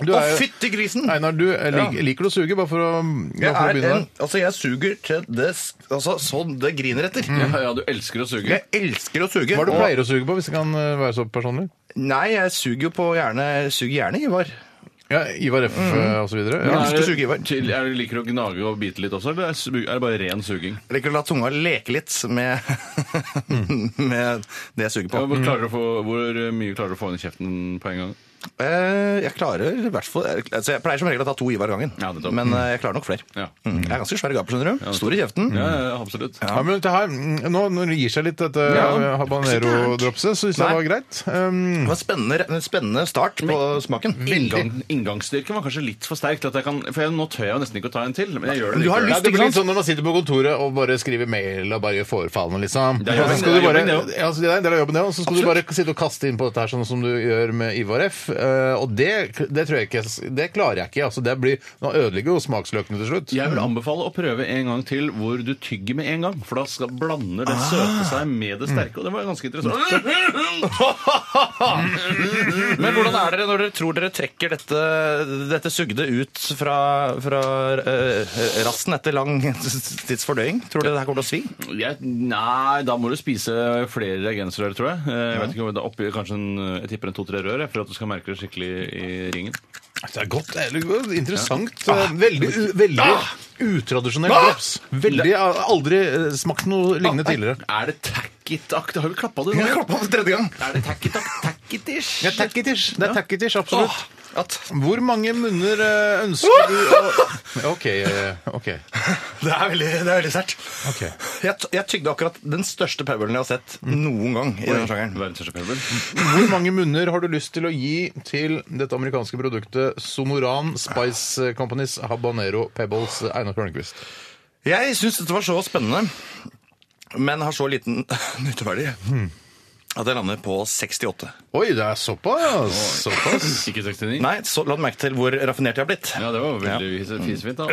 C: du
D: Å,
C: er, jo-
D: fytti grisen!
C: Einar, du eh, lik,
D: Ja.
C: liker du å suge, bare for å, bare
D: Jeg,
C: for å
D: er
C: begynne
D: en,
C: der.
D: altså jeg suger til det s- altså, sånn det griner etter.
E: Ja, ja, du elsker å suge.
D: Jeg elsker å suge.
C: Hva er det du
D: og-
C: pleier å suge på, hvis det kan eh, være så personlig?
D: Nei, jeg suger jo på gjerne jeg Suger gjerne, Ivar.
C: Ja, Ivar F.
D: Mm.
C: eh, og så videre.
E: Men
C: Ja.
E: er
D: elsker å
E: det-
D: suge, Ivar.
E: til- Er du liker å gnage og bite litt også, eller er su- er det bare ren suging?
D: Jeg liker å la tunga leke litt med, med det jeg suger
E: Ja,
D: på.
E: Hvor, klarer du å få, hvor eh, mye klarer du å få inn i kjeften på en gang?
D: Eh, Jeg klarer i hvert fall altså Jeg pleier som regel å ta to Ivar gangen,
E: Ja, nettopp.
D: men eh, jeg klarer nok flere.
E: Ja.
D: Mm. Jeg er ganske svær i gapet, skjønner du. Stor i kjeften.
E: Ja, ja, absolutt.
C: Ja, men det her, mm, nå, når det gir seg litt, dette eh,
D: Ja.
C: habanero-dropset, så syns jeg det var greit. Um,
D: Det var en spennende, en spennende start på smaken.
E: Inngang, inngangsstyrken var kanskje litt for sterk. til At jeg kan, for jeg, nå tør jeg jo nesten ikke å ta en til. Men jeg gjør det
D: Men du har
C: ja,
E: likevel.
D: lyst,
C: det blir
D: ikke
C: litt sånn når man sitter på kontoret og bare skriver mail og bare gjør forfallene, liksom.
E: Det er
C: Og
E: jobben,
C: så skal du
E: det er
C: bare,
E: jobben, det
C: ja, altså, det er en del av jobben, det også. Så skal du bare sitte og kaste inn på dette her, sånn som du gjør med Ivar F. Eh, Og det, det tror jeg ikke Det klarer jeg ikke. Altså, det blir, nå ødelegger jo smaksløkene til slutt.
E: Jeg vil anbefale å prøve en gang til hvor du tygger med en gang. For da skal blander det
D: Ah.
E: søte seg med det sterke. Og det var ganske
D: Mm.
E: interessant.
D: Men hvordan er dere når dere tror dere trekker dette, eh, dette sugde ut fra, fra eh, rassen etter lang tids fordøying? Tror dere det her kommer til å svi?
E: Jeg, nei, da må du spise flere reagensrør, tror jeg. Eh, Jeg vet ikke om det er oppi kanskje en, eh, jeg tipper en to-tre rør jeg, for at du skal merke det skikkelig i ringen.
C: Det er godt. Det er interessant. Eh, Veldig, u- veldig
E: Ah!
C: utradisjonell drops. Veldig, jeg har aldri eh, smakt noe lignende
E: Ah!
C: tidligere.
E: Er det tackit-aktig? Har vi klappa det?
D: klappa for tredje gang.
E: Er det tackit-aktig? Tackit-ish?
C: Ja, takketish. Det er takketish, absolutt.
D: At
C: Hvor mange munner eh, ønsker du å OK. eh, ok.
D: Det er veldig, det er veldig sært.
C: Ok.
D: Jeg, t- jeg tygde akkurat den største pebelen jeg har sett noen gang i denne sjangeren.
E: Verdens største pebel.
C: Hvor mange munner har du lyst til å gi til dette amerikanske produktet Sonoran Spice Companies Habanero Pebbles Einar Hørnquist?
D: Jeg syns dette var så spennende, men har så liten nytteverdi at jeg lander på 68.
C: Oi, det er såpass! såpass.
E: Ikke 69?
D: Nei, så la du merke til hvor raffinert jeg har blitt.
E: Ja, det var veldig fis- fisefint, da.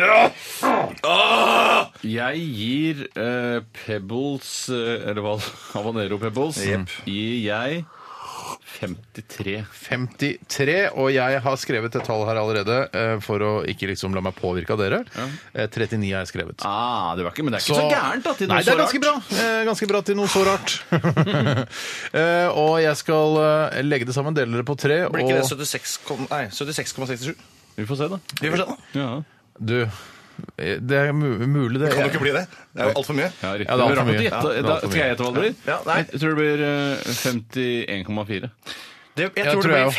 E: Jeg gir eh, Pebbles, eh, eller hva, Habanero Pebbles, gir jeg 53.
C: 53, og jeg har skrevet et tall her allerede eh, for å ikke liksom la meg påvirke av dere. Eh, 39 har jeg skrevet.
E: Ah, det var ikke, men det er ikke så, gærent, da. Til
C: Nei,
E: noe
C: det
E: så
C: er ganske bra.
E: rart.
C: Eh, ganske bra til noe så rart. eh, og jeg skal eh, legge det sammen, dele det på tre.
D: Blir ikke det
C: Og
D: 76, kom- nei, 76,67?
E: Vi får se, da.
D: Vi får se, da.
E: Ja,
C: du, eh, det er mu- mulig det.
D: Kan det ikke bli det? Det er jo altfor mye.
E: ja riktig.
C: Ja, det er
E: Men
C: for
E: rart at
C: mye.
E: du gjetta-
C: Ja, det er
E: da,
C: for
E: skal jeg gjette hva det blir?
D: Ja, nei.
E: Jeg tror det blir eh, 51,4.
D: Det, jeg,
C: Ja,
D: tror
C: tror
D: det
C: jeg
D: blir
C: også.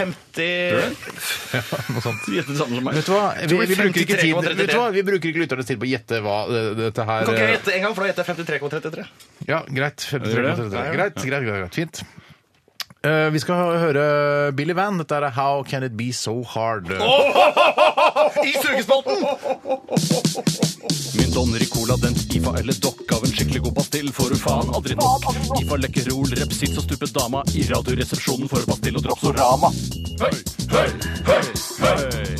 D: 50
C: Noe sånt.
E: Du gjettet det samme som meg.
C: Vet du hva? Vi, vi, bruker ikke tid,
D: 53,33.
C: vet du hva? vi bruker ikke lytternes tid på å gjette hva eh, dette her
D: Kan ikke jeg
C: eh,
D: gjette en gang, for da gjetter jeg 53,33.
C: Ja, greit. 53,
E: Gjør det?
C: 53, Greit, greit, greit, greit. Fint. Eh, vi skal høre Billy Van. Dette er How Can It Be So Hard.
D: I sugespalten!
E: Min donner i cola, den IFA eller dokk av en skikkelig god pastill får du faen aldri nok. IFA lekkerol, repsits og stupet dama i radioresepsjonen for pastill og dropsorama. Høy, høy, høy, høy.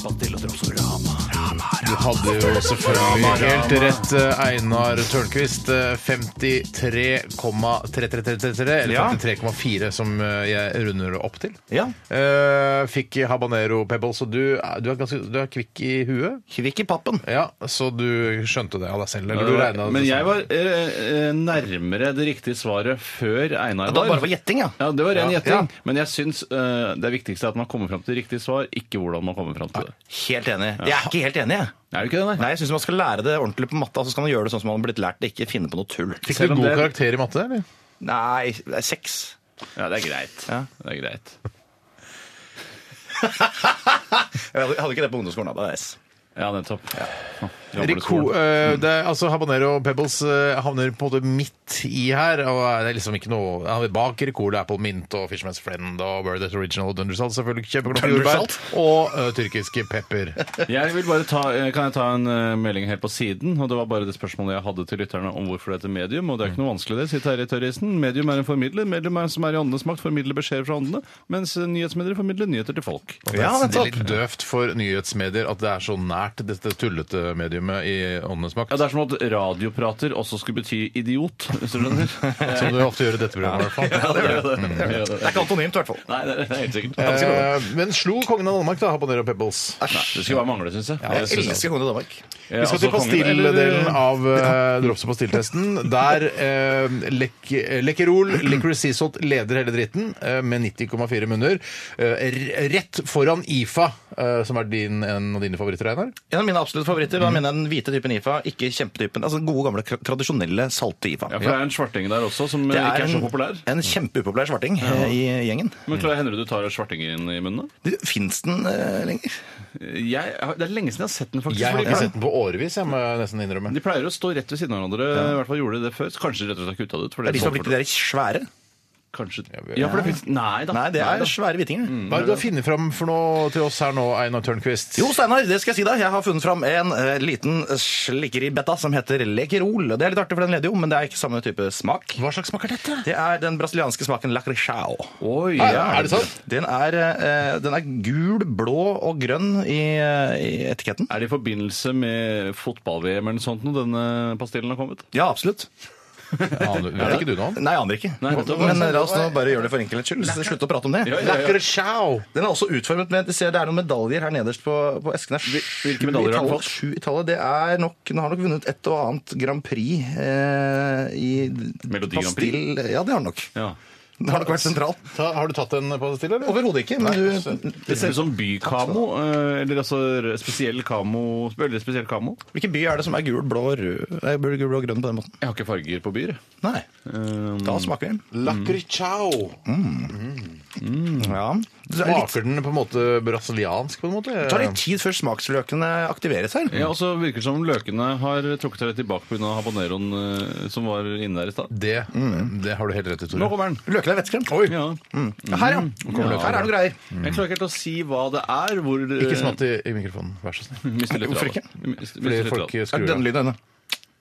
E: Pastill og dropsorama. Rama,
C: Du hadde jo selvfølgelig helt rett, eh, Einar Tørnquist. Eh, 53,33333, eller
D: Ja.
C: 53,4 som eh, jeg runder opp til.
D: Ja.
C: Eh, fikk habanero pebbles, og du, er- du, er ganske, du er kvikk i huet.
D: Kvikk i pappen.
C: Ja, Så du skjønte det av deg selv? Eller du regnet det
E: Men
C: selv?
E: jeg var eh, eh, nærmere det riktige svaret før Einar
D: Det var
E: var.
D: bare for gjetting, ja.
E: Ja, det var ren
C: Ja.
E: gjetting. Men jeg syns eh, det viktigste er at man kommer fram til riktig svar, ikke hvordan man kommer fram til det.
D: Helt enig. Jeg er ikke helt enig, jeg.
E: Er du ikke det, nei?
D: Nei, jeg syns man skal lære det ordentlig på matte. Altså skal man gjøre det sånn som man har blitt lært det, ikke finne på noe tull.
C: Fikk
E: Selv
C: du
E: om
C: god
E: det-
C: karakter i matte, eller?
D: Nei, det er seks.
E: Ja, det er greit.
D: Ja.
E: Det er greit.
D: Jeg hadde ikke det på ungdomsskolen. da, det er S.
E: Ja, nettopp.
C: Rico, eh,
E: Mm.
C: det, er- altså Habanero og Pebbles eh, havner på en måte midt i her. og det er liksom ikke noe han er Bak Ricole, Apple Mint og Fishman's Friend og Bird That Original og Dundersalt. Selvfølgelig kjempeglad for jordbær.
D: Dundersalt?
C: Og eh, tyrkiske pepper.
E: Jeg vil bare ta, eh, Kan jeg ta en eh, melding helt på siden? Og Det var bare det spørsmålet jeg hadde til lytterne om hvorfor det heter medium. Og det er ikke noe vanskelig, det, sier Terje Tørrisen. Medium er en formidler. Medium er, som er i åndenes makt, formidler beskjeder fra åndene. Mens eh, nyhetsmedier formidler nyheter til folk.
D: Ja,
C: det er
D: nettopp.
C: litt døvt for nyhetsmedier at det er så nært dette tullete mediumet i Åndenes makt.
E: Ja, Det er som at radioprater også skulle bety idiot, hvis du skjønner.
C: Som du ofte gjør i dette programmet. i hvert fall.
E: Ja, det gjør det. Det gjør
D: Det er
E: det.
D: ikke antonymt, i hvert fall.
E: Nei, det er det er helt sikkert.
C: Eh, men slo kongen av Danmark, da, Habanero Pebbles?
E: Nei, det skulle bare mangle, syns jeg.
D: Jeg elsker kongen i Danmark.
C: Vi
E: altså,
C: skal til
D: altså,
C: pastilldelen
D: eh,
C: av uh, drops- og pastilltesten. Der uh, lek, Lekkerol, Licorice Sea Salt leder hele dritten eh, med 90,4 munner. Eh, r- rett foran IFA, eh, som er din, en av dine favoritter, Einar.
D: En av mine absolutte favoritter
E: Mm.
D: var den hvite typen IFA, ikke kjempetypen. Altså den gode, gamle, tra- tradisjonelle, salte IFA.
E: Ja, for det er en svarting der også som eh, ikke er så populær.
D: en kjempeupopulær svarting eh, i gjengen.
E: Men Klarer hender du du tar svartingen i munnen? da?
D: Fins den eh, lenger?
E: Jeg, det er lenge siden jeg har sett den, faktisk.
C: Jeg har
E: fordi
C: ikke sett den på årevis, jeg må jeg nesten innrømme.
E: De pleier å stå rett ved siden av hverandre. I hvert fall gjorde de det før. Så kanskje de rett og slett har kutta det ut. For
D: Det
E: det
D: er de som har blitt de der svære?
E: Kanskje...
C: vet-
E: Ja, for det finnes Nei da.
D: Nei, det er
E: da.
D: svære hvitinger.
C: Hva er det du har funnet fram for noe til oss her nå, Einar Tørnquist?
D: Mm. Jo, Steinar, det skal jeg si deg. Jeg har funnet fram en eh, liten slikkeribetta som heter Lekerol. Det er litt artig, for den leder jo, men det er ikke samme type smak.
C: Hva slags smak er dette?
D: Det er den brasilianske smaken lacrichao.
E: Oi,
C: Nei,
E: ja.
C: er det sant?
D: Den er, eh, den er gul, blå og grønn i, eh, i etiketten.
E: Er det i forbindelse med fotball-VM eller noe sånt når denne pastillen har kommet?
D: Ja, absolutt.
C: Aner- Vet ikke du noe om?
D: Nei, jeg aner ikke.
E: Nei, nettopp.
D: Men eh, la oss nå bare gjøre det for enkelhets skyld. så Slutt å prate om det.
E: Ja, ja, ja.
C: Lekker sjau!
D: Den er også utformet med, du ser Det er noen medaljer her nederst på, på esken. her. Sju
E: hvilke medaljer
D: i
E: har den
D: tallet-
E: fått?
D: Sju i tallet. Det er nok, den har nok vunnet et og annet Grand Prix eh, i
E: Melodi Grand
D: pastill- Ja, det har den nok.
E: Ja.
D: Den har nok vært sentral.
C: Ta, har du tatt en på det stille, eller?
D: Overhodet ikke, men
C: søren.
D: du
E: Det ser ut som bykamo, eh, eller altså r- spesiell kamo Veldig spesiell kamo.
D: Hvilken by er det som er gul, blå og rød? Nei, gul, blå og grønn på den måten?
E: Jeg har ikke farger på byer. jeg.
D: Nei.
E: Um,
D: Da smaker den. Mm.
C: Lakrichau.
E: Mm.
D: Ja. Det er litt,
C: Smaker den på en måte brasiliansk, på en måte?
D: tar litt tid før smaksløkene aktiveres her.
E: ja, og så virker det som løkene har trukket seg litt tilbake pga. habaneroen eh, som var inne der i stad.
C: Det, det har du helt rett i, Tore.
E: Nå kommer den!
D: Løkene er vettskremt.
E: Ja.
D: Ja, Her, ja.
E: løkene.
D: Her er det noe greier.
E: Jeg klarer ikke helt å si hva det er. Hvor, eh,
C: Ikke snatt i, i mikrofonen, vær så snill.
E: mister litt
D: Hvorfor
E: av det.
D: ikke?
E: Mister-
C: Fordi
E: mister litt av
C: folk
E: det.
D: Er
C: skrur
D: det
C: av.
D: denne lyden denne?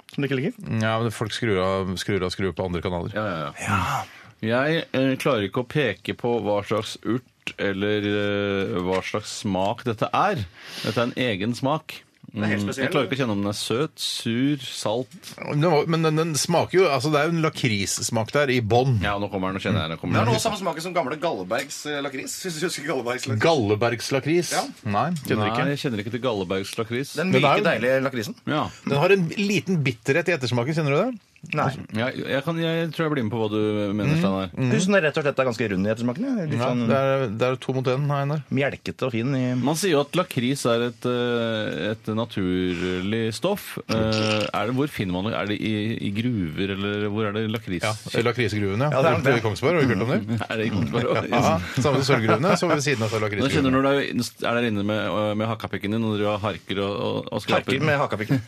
D: Som du ikke liker?
C: Ja, men folk skrur av, skrur av, skrur på andre kanaler.
E: Ja, ja, ja. Jeg eh, klarer ikke å peke på hva slags urt eller eh, hva slags smak dette er. Dette er en egen smak.
D: er helt
E: Mm,
D: spesiell.
E: Jeg klarer ikke å kjenne om den er søt, sur, salt
C: Men den var- Men den, den smaker jo altså Det er jo en lakrissmak der i bånn.
E: Ja, nå kommer den. Nå kjenner jeg den.
D: Det
E: Kommer
D: er noe
E: den.
D: samme smaken som gamle Gallebergs eh, lakris. Hvis du husker Gallebergs lakris.
C: Gallebergslakris.
D: Ja.
C: Nei, kjenner
E: Nei,
C: ikke.
E: jeg kjenner ikke til Gallebergs lakris.
D: Den
C: Men det er
D: myke,
C: jo-
D: deilige lakrisen.
E: Ja.
C: Den har en liten bitterhet i ettersmaken, kjenner du det?
D: Nei.
E: Jeg, jeg, kan, jeg tror jeg blir med på hva du mener, Steinar.
D: Jeg synes den er rett og slett er ganske rund i ettersmaken. ja. Litt
C: Ja,
D: sånn
C: det, er, det er to mot én, Einar.
D: mjelkete og fin i
E: Man sier jo at lakris er et, eh, et naturlig stoff. Eh, Er det, hvor finner man det? Er det i, i gruver, eller hvor er det lakris?
C: Ja, Lakrisgruven, ja.
D: Ja, det er
C: Borte
D: det.
C: i Kongsberg, har vi hørt om det?
E: Er det i Kongsberg?
C: Ja, Samme som sølvgruvene, så ved siden av
E: Nå kjenner
C: lakrisgruven.
E: du når du er- er der inne med, med hakkapikken din og du harker og, og, og skraper
D: Harker med hakapikken.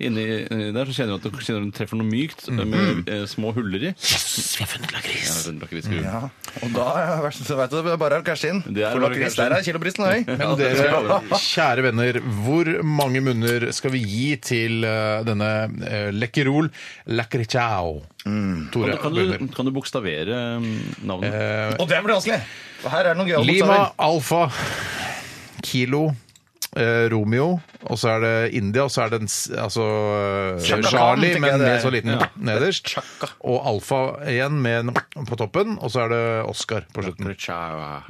E: inni der, så kjenner du at du, kjenner du den treffer noe mykt med eh, små huller i. Yes, vi har funnet lakris!
D: Ja. Og da eh, vær så- så vet du, det er bare å cashe inn.
E: Det er
D: For
E: bare å
D: lakris
E: cashe inn.
D: der er kiloprisen høy.
C: Men dere, kjære venner, hvor mange munner skal vi gi til eh, denne uh, lekkerol lacrichao?
D: Mm.
C: Tore,
E: Kan
C: begynner.
E: du, kan du bokstavere eh, navnet?
C: Eh,
D: Og det blir vanskelig! Og Her er det noen gøyale
C: Lima,
D: bokstaver.
C: Alfa, Kilo, eh, Romeo, og så er det India, og så er det en, s- altså, eh,
D: Chaka Khan,
C: Charlie,
D: tenker
C: men
D: jeg det
C: med
D: er.
C: så liten nederst. Og Alfa igjen med en på toppen, og så er det Oscar på slutten.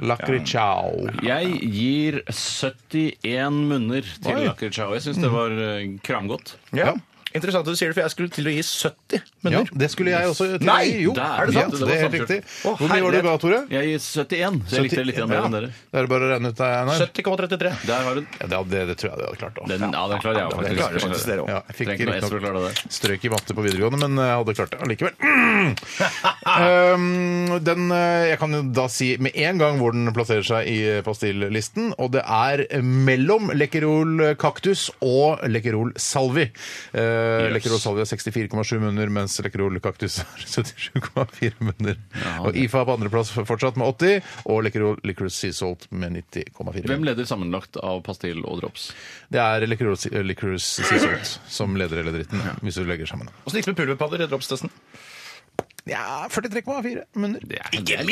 C: Lacrichao.
E: Jeg gir 71 munner til
C: Oi.
E: lakrichao. Jeg syns det var eh, kramgodt.
D: Ja. Interessant at du sier det, for jeg skulle til å gi 70
C: Ja,
D: munner.
C: det skulle jeg også. til
D: Nei!
C: deg. Jo,
E: Der,
C: er det sant?
E: ja,
C: det,
E: det var
C: er helt
E: sant,
C: riktig.
D: Å,
C: Hvor mye var det du
D: herlighet.
C: ga, Tore?
E: Jeg gir 71, så jeg likte det litt grann bedre enn dere.
C: Da er det bare å regne ut deg, Einar.
D: 70,33.
E: Der har du den.
C: Ja, det, det, det tror jeg du hadde klart. da.
E: den. Ja, den klarer jeg
D: Det klarer
E: faktisk.
D: faktisk dere også.
C: Ja, jeg fikk
E: Trenger ikke noe S for å
C: riktignok
E: klare det.
C: strøk i matte på videregående, men jeg hadde klart det allikevel. Mm! um, den, eh, jeg kan jo da si med en gang hvor den plasserer seg i eh, pastillisten, og det er mellom Lekkerol kaktus og Lekkerol salvi. Eh, Lekkerol salvi har 64,7 munner, mens Lekkerol kaktus har 77,4 munner. Og IFA på andreplass fortsatt med 80, og Lekkerol licorice sea salt med 90,4.
E: Hvem leder sammenlagt av pastill og drops?
C: Det er eh, Licorice Licorice Sisalt som leder hele dritten, hvis du legger sammen.
D: Åssen gikk det med pulverpadder i dropstesten?
C: Ja, 43,4 munner.
E: Det er,
D: Det er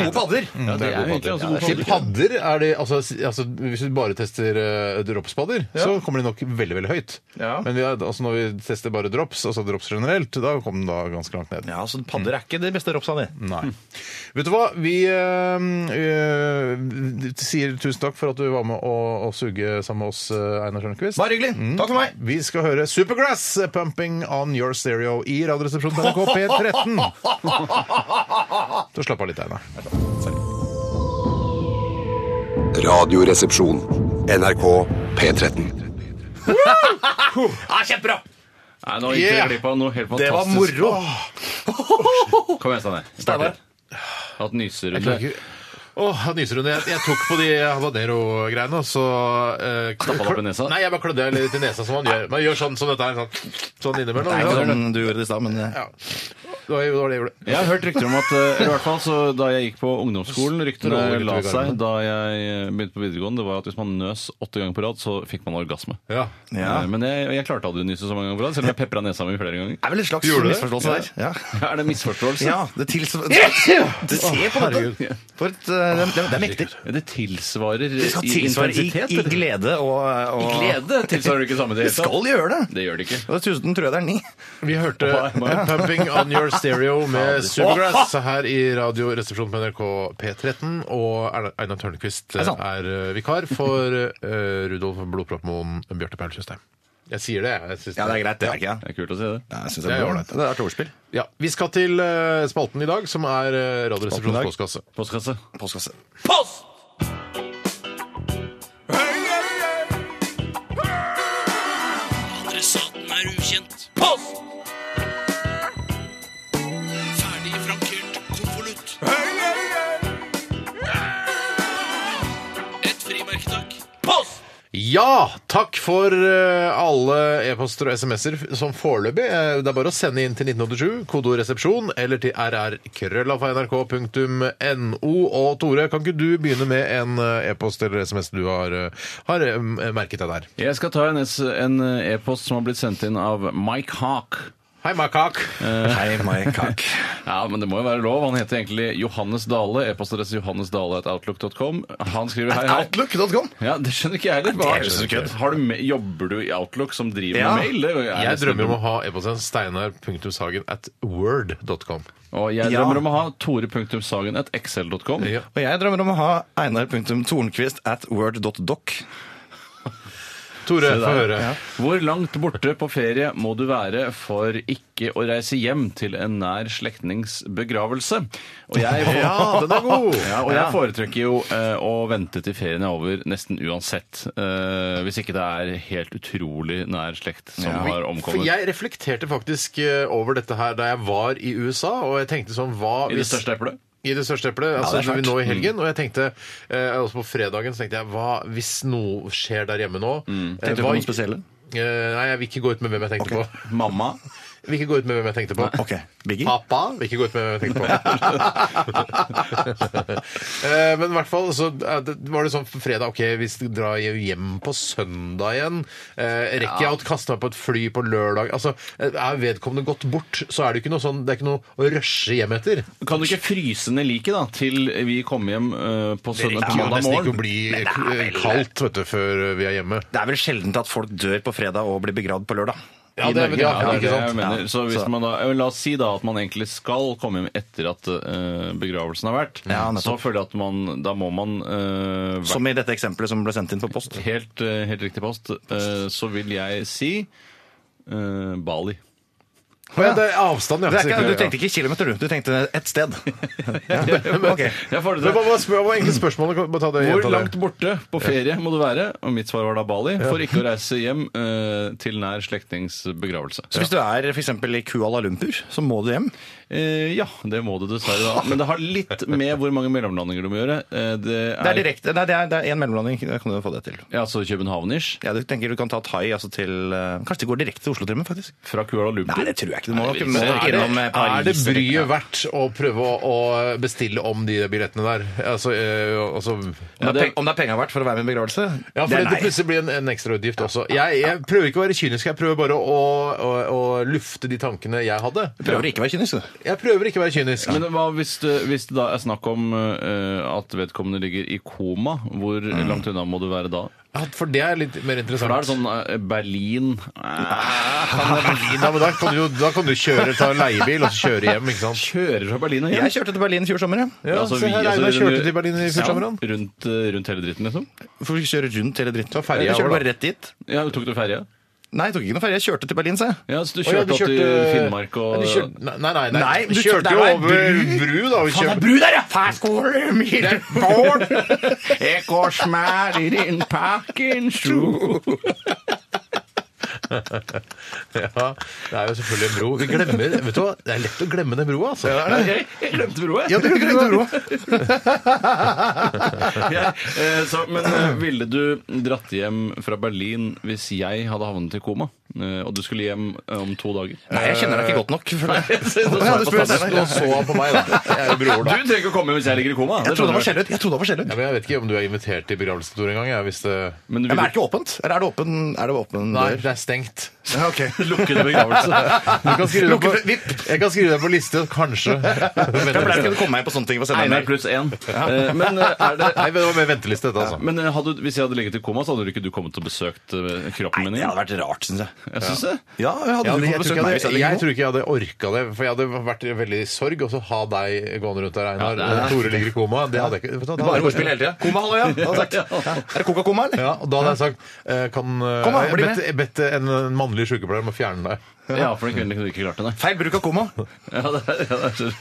D: gode padder!
E: Ja, det er egentlig ganske gode
C: Til
E: padder.
C: padder er det altså, si- altså Hvis du bare tester eh, dropspadder, så kommer de nok veldig veldig høyt.
D: Ja.
C: Men vi er, altså, når vi tester bare drops, altså drops generelt, da kom den da ganske langt ned.
D: Ja, så padder er ikke det beste dropsa, det.
C: Nei. Vet du hva? Vi eh, eh, sier tusen takk for at du var med å, å suge sammen med oss, eh, Einar Tørnquist.
D: Bare hyggelig. Takk for meg.
C: Vi skal høre Supergrass pumping on your stereo i Radioresepsjonen på NRK P13. Så slapp av litt, Einar.
F: Radioresepsjon. NRK P13.
D: Ja, Kjempebra!
E: Nei, nå gikk
C: Yeah!
E: dere glipp av noe helt
D: Det var
E: fantastisk.
D: moro.
E: Kom igjen, Steinar.
D: Steinar.
E: Hatt nyserunde.
C: Åh, han nyser under. Jeg, jeg tok på de habanero-greiene, og så eh,
E: Stappa det opp i nesa?
C: Nei, jeg bare klødde litt i nesa, som man gjør. Man gjør sånn som dette her. Sånn, sånn innimellom.
D: Det er
C: Ja,
D: ikke sånn du gjorde det i stad, men eh,
C: ja. Det var det var det jeg gjorde.
E: Jeg har hørt rykter om at eh, eller i hvert fall så da jeg gikk på ungdomsskolen Ryktene
C: Stråler
E: la
C: ut i
E: seg
C: garden.
E: da jeg eh, begynte på videregående, det var at hvis man nøs åtte ganger på rad, så fikk man orgasme.
C: Ja.
D: Ja.
E: Eh, Men jeg, jeg klarte aldri å nyse så mange ganger på rad, selv om jeg pepra nesa mi flere ganger.
D: Det er vel en slags
C: Gjorde du det?
D: misforståelse der. Ja.
E: Er det misforståelse?
D: Ja, det tilsvarer Det ser på
C: herregud.
D: dette! For et, eh, det, det, det er mektig.
E: Det tilsvarer
D: Det skal tilsvare i,
E: intensitet,
D: i
E: eller?
D: glede og, eh, og
E: I glede tilsvarer det ikke samme i det
D: Det
E: hele tatt.
D: skal gjøre det!
E: Det gjør det ikke.
D: Og dessuten tror jeg det er ni.
C: Vi hørte Pumping on Your Stereo med Supergrass her i Radioresepsjonen på NRK P13. Og Erna- Einar Tørnquist eh, er eh, vikar for eh, Rudolf Blodproppmoen Bjarte Paul Tjøstheim. Jeg sier det, jeg. synes
D: Ja, det er greit, det er ikke jeg.
E: Det er kult å si det.
D: Ja, jeg
C: Det
D: synes
C: er
D: det er
C: jo
D: ålreit. Det er et ordspill.
C: Ja, Vi skal til eh, spalten i dag, som er eh, Radioresepsjonens
D: Spalten i dag.
C: postkasse.
E: Postkasse.
D: Postkasse.
C: Ja! Takk for eh, alle e-poster og SMS-er som foreløpig. eh, Det er bare å sende inn til 1987, kodeord 'resepsjon', eller til rrkrøllafnrk.no. Og Tore, kan ikke du begynne med en eh, e-post eller SMS du har, eh, har eh, merket deg der?
E: Jeg skal ta en S- en eh, e-post som har blitt sendt inn av Mike Hawk.
C: Hei, makak!
E: Eh,
D: Hei, Mike Kakk.
E: Ja, men det må jo være lov. Han heter egentlig Johannes Dale. E-postadresse johannesdale.outlook.com. Han skriver hei, hei.
D: Outlook.com.
E: Ja, Det skjønner ikke jeg heller. Hva-
D: det er jo så kødd.
E: Har du me- Jobber du i Outlook som driver
D: Ja.
E: med mail? Det er
C: Jeg
E: nesten-
C: drømmer om å ha e-posten steinar.sagen at word.com.
E: Og jeg
D: Ja.
E: drømmer om å ha tore.sagen.xl.com.
C: Ja.
D: Og jeg drømmer om å ha einar.tornquist at word.doc.
C: Tore,
E: Se
C: få
E: der.
C: høre.
E: Hvor langt borte på ferie må du være for ikke å reise hjem til en nær slektnings begravelse? Og jeg,
C: Ja, den er god.
E: Ja, og jeg foretrekker jo eh, å vente til ferien er over nesten uansett. Eh, hvis ikke det er helt utrolig nær slekt som har
C: For
E: omkommet.
C: jeg reflekterte faktisk eh, over dette her da jeg var i USA, og jeg tenkte sånn hva
E: I det største eplet.
C: I det største eplet, altså
D: det er
C: når vi
D: svært.
C: nå i
E: Mm.
C: helgen. Og jeg tenkte, eh, også på fredagen, så tenkte jeg hva hvis noe skjer der hjemme nå?
E: Mm.
C: Eh,
D: Tenkte du
C: hva-
D: på noe spesielle?
C: Eh, nei, jeg vil ikke gå ut med hvem jeg tenkte på.
E: Mamma.
C: Jeg Vil ikke gå ut med hvem jeg tenkte på.
D: Ok, Biggie.
C: Pappa vil ikke gå ut med hvem jeg tenkte på. Eh, Men i hvert fall så eh, det var det sånn på fredag Ok, hvis jeg drar hjem på søndag igjen, eh, rekker jeg å kaste meg på et fly på lørdag? Altså, eh, Er vedkommende gått bort, så er det jo ikke noe sånn Det er ikke noe å rushe hjem etter.
E: Kan du ikke fryse ned liket da, til vi kommer hjem eh, på
C: Det
E: søndag
C: er
E: på
C: jo
E: mandag
C: nesten ikke å
E: morgen?
C: bli eh, kaldt vet du, før vi er hjemme.
D: Det er vel sjelden at folk dør på fredag og blir begravd på lørdag.
C: Ja, det er, ja,
E: Ja, det
C: ikke
E: er det jeg
C: sant?
E: mener.
D: Ja,
E: Så hvis
D: så-
E: man da, eh, la oss si da at man egentlig skal komme hjem etter at eh, begravelsen har vært,
D: Ja, nettopp.
E: så føler jeg at man, da må man eh, vært
D: Som i dette eksempelet som ble sendt inn på post.
E: helt, eh, helt riktig post, eh, så vil jeg si eh, Bali.
C: Å ja, det er avstand, ja.
D: Det er ikke, du
C: sikkert, ja.
D: tenkte ikke kilometer, du. Du tenkte et sted. Ja, ok.
E: Jeg får
C: Men
E: det til.
C: hva var, spør, hva var egentlig spørsmålet? Kan vi bare ta det-
E: Hvor
C: ta det.
E: langt borte på ferie må du være? Og mitt svar var da Bali. For ikke å reise hjem eh, til nær slektnings begravelse.
D: Så hvis du er for eksempel i Kuala Lumpur, så må du hjem.
E: Eh, ja, det må du dessverre. da Men det har litt med hvor mange mellomlandinger du må gjøre. Eh, det
D: Det er direkte, nei, det er- det er én mellomlanding. Da kan du få det til.
E: Ja, så København-ish.
D: Ja, du tenker du kan ta thai altså til eh, Kanskje det går direkte til Oslo-trimmen, faktisk?
E: Fra Kuala Lumpur.
D: Nei, det tror jeg ikke. Du må
E: Nei,
D: nok
E: det
D: må
E: virker-
D: nok innom eh, Paris.
C: Er det
D: eller-
C: bryet verdt å prøve å, å bestille om de billettene der? Altså, eh, altså
D: Om det er pe- Om det er penger verdt for å være med i begravelse?
C: ja, for
D: det
C: det,
D: er nei.
C: plutselig blir en, en ekstrautgift også. Jeg, jeg prøver ikke å være kynisk, jeg prøver bare å, å, å lufte de tankene jeg hadde.
D: Prøver å ikke være kynisk, du.
C: Jeg prøver ikke å være kynisk.
E: Men hva hvis det, hvis det da er snakk om eh, at vedkommende ligger i koma? Hvor
C: Mm.
E: langt unna må du være da?
C: Ja, For det er litt mer
E: For da er det
C: interessant.
E: sånn eh, Berlin eh,
C: Ja, men da kan du jo da kan du kjøre, ta en leiebil og så kjøre hjem, ikke sant?
E: Kjører fra Berlin og hjem?
D: Jeg kjørte til Berlin i fjor sommer, ja.
C: Ja,
E: Altså,
C: se
E: vi-
C: her,
E: altså,
C: Einar kjørte
E: rundt-
C: til Berlin i fjor sommer, han.
E: Ja, rundt, eh, rundt hele dritten, liksom?
D: For vi kjører rundt hele dritten.
C: Ta ferja
D: jeg kjørte
C: over,
D: bare rett dit.
E: Ja, du Tok du ferje?
D: Nei, jeg tok ikke noen ferje. Jeg kjørte til Berlin, sa jeg.
E: Ja, så du
C: Å, ja,
E: kjørte
C: du
E: opp til
C: kjørte-
E: Finnmark og
C: Ja, du kjørte- Nei, nei, nei. nei.
D: Nei,
C: Du
D: du kjørte-
C: kjørte jo
D: der var
C: over bru, da. og kjørte-
D: bru der, ja! Færskåler, Myhrvold, jeg går smær i din pakken,
C: Ja, det er jo selvfølgelig en bro. Vi glemmer, vet du hva, Det er lett å glemme den broa, altså. Ja,
E: Jeg, jeg glemte broa, jeg. Jeg, eh, så, men eh, ville du dratt hjem fra Berlin hvis jeg hadde havnet i koma, eh, og du skulle hjem eh, om to dager?
D: Nei, jeg kjenner deg ikke godt nok. For det.
E: Ja,
D: du spør Steinar.
C: Nå så han på meg, da. Jeg er jo bror,
E: Eh, Du
C: da.
E: trenger ikke å komme hjem hvis jeg ligger i koma.
D: Jeg trodde det var skjellhøyt. Jeg trodde det var skjellhøyt.
C: Ja, men jeg vet ikke om du er invitert til begravelse Tor, engang. jeg, Hvis det
E: Men du
D: Men er det
E: ville
D: ikke åpent? Eller er det åpen, er det åpen
C: Nei,
D: dør?
C: det er stengt.
D: Ja, ok.
E: lukkede
C: Du
E: begravelse.
C: kan skrive deg på,
D: Lukke-
C: jeg kan skrive deg på liste, kanskje.
D: Jeg pleier ikke
C: Venteliste.
D: å komme meg på sånne ting. på senderen.
E: Einar pluss én. Eh, Men, eh, er det,
C: Nei, det var mer venteliste, dette, altså.
E: men eh, hadde, du- hvis jeg hadde ligget i koma, så hadde du ikke du kommet og besøkt eh, kroppen min
D: Nei, det
E: igjen?
D: hadde vært rart, syns jeg.
E: Jeg synes det.
D: Ja, jeg
C: Ja,
D: hadde du
C: det, jeg,
D: fått
C: tror
D: besøk
C: ikke jeg,
D: meg hvis jeg
C: hadde,
D: ligger
C: jeg
D: nå?
C: tror ikke jeg hadde orka det. For jeg hadde vært i veldig sorg, og så ha deg gående rundt der, Einar.
E: Ja, det er-
C: Tore ligger i koma. Det hadde jeg ikke. vet du hva, da
D: Bare
C: hadde jeg-
D: ordspill hele tida. Koma, hallo, ja. hadde jeg sagt. Ja. Er det Coca-Coma, eller?
C: Ja, og da hadde jeg sagt eh, Kan eh,
D: Kom da,
C: jeg
D: bli
C: bedt,
D: med.
C: jeg bedt en, en mannlig sykepleier om å fjerne deg?
E: Ja, for den kvelden kunne du ikke klart det, nei.
D: Feil bruk av koma.
E: Ja, det, er- ja, det er så-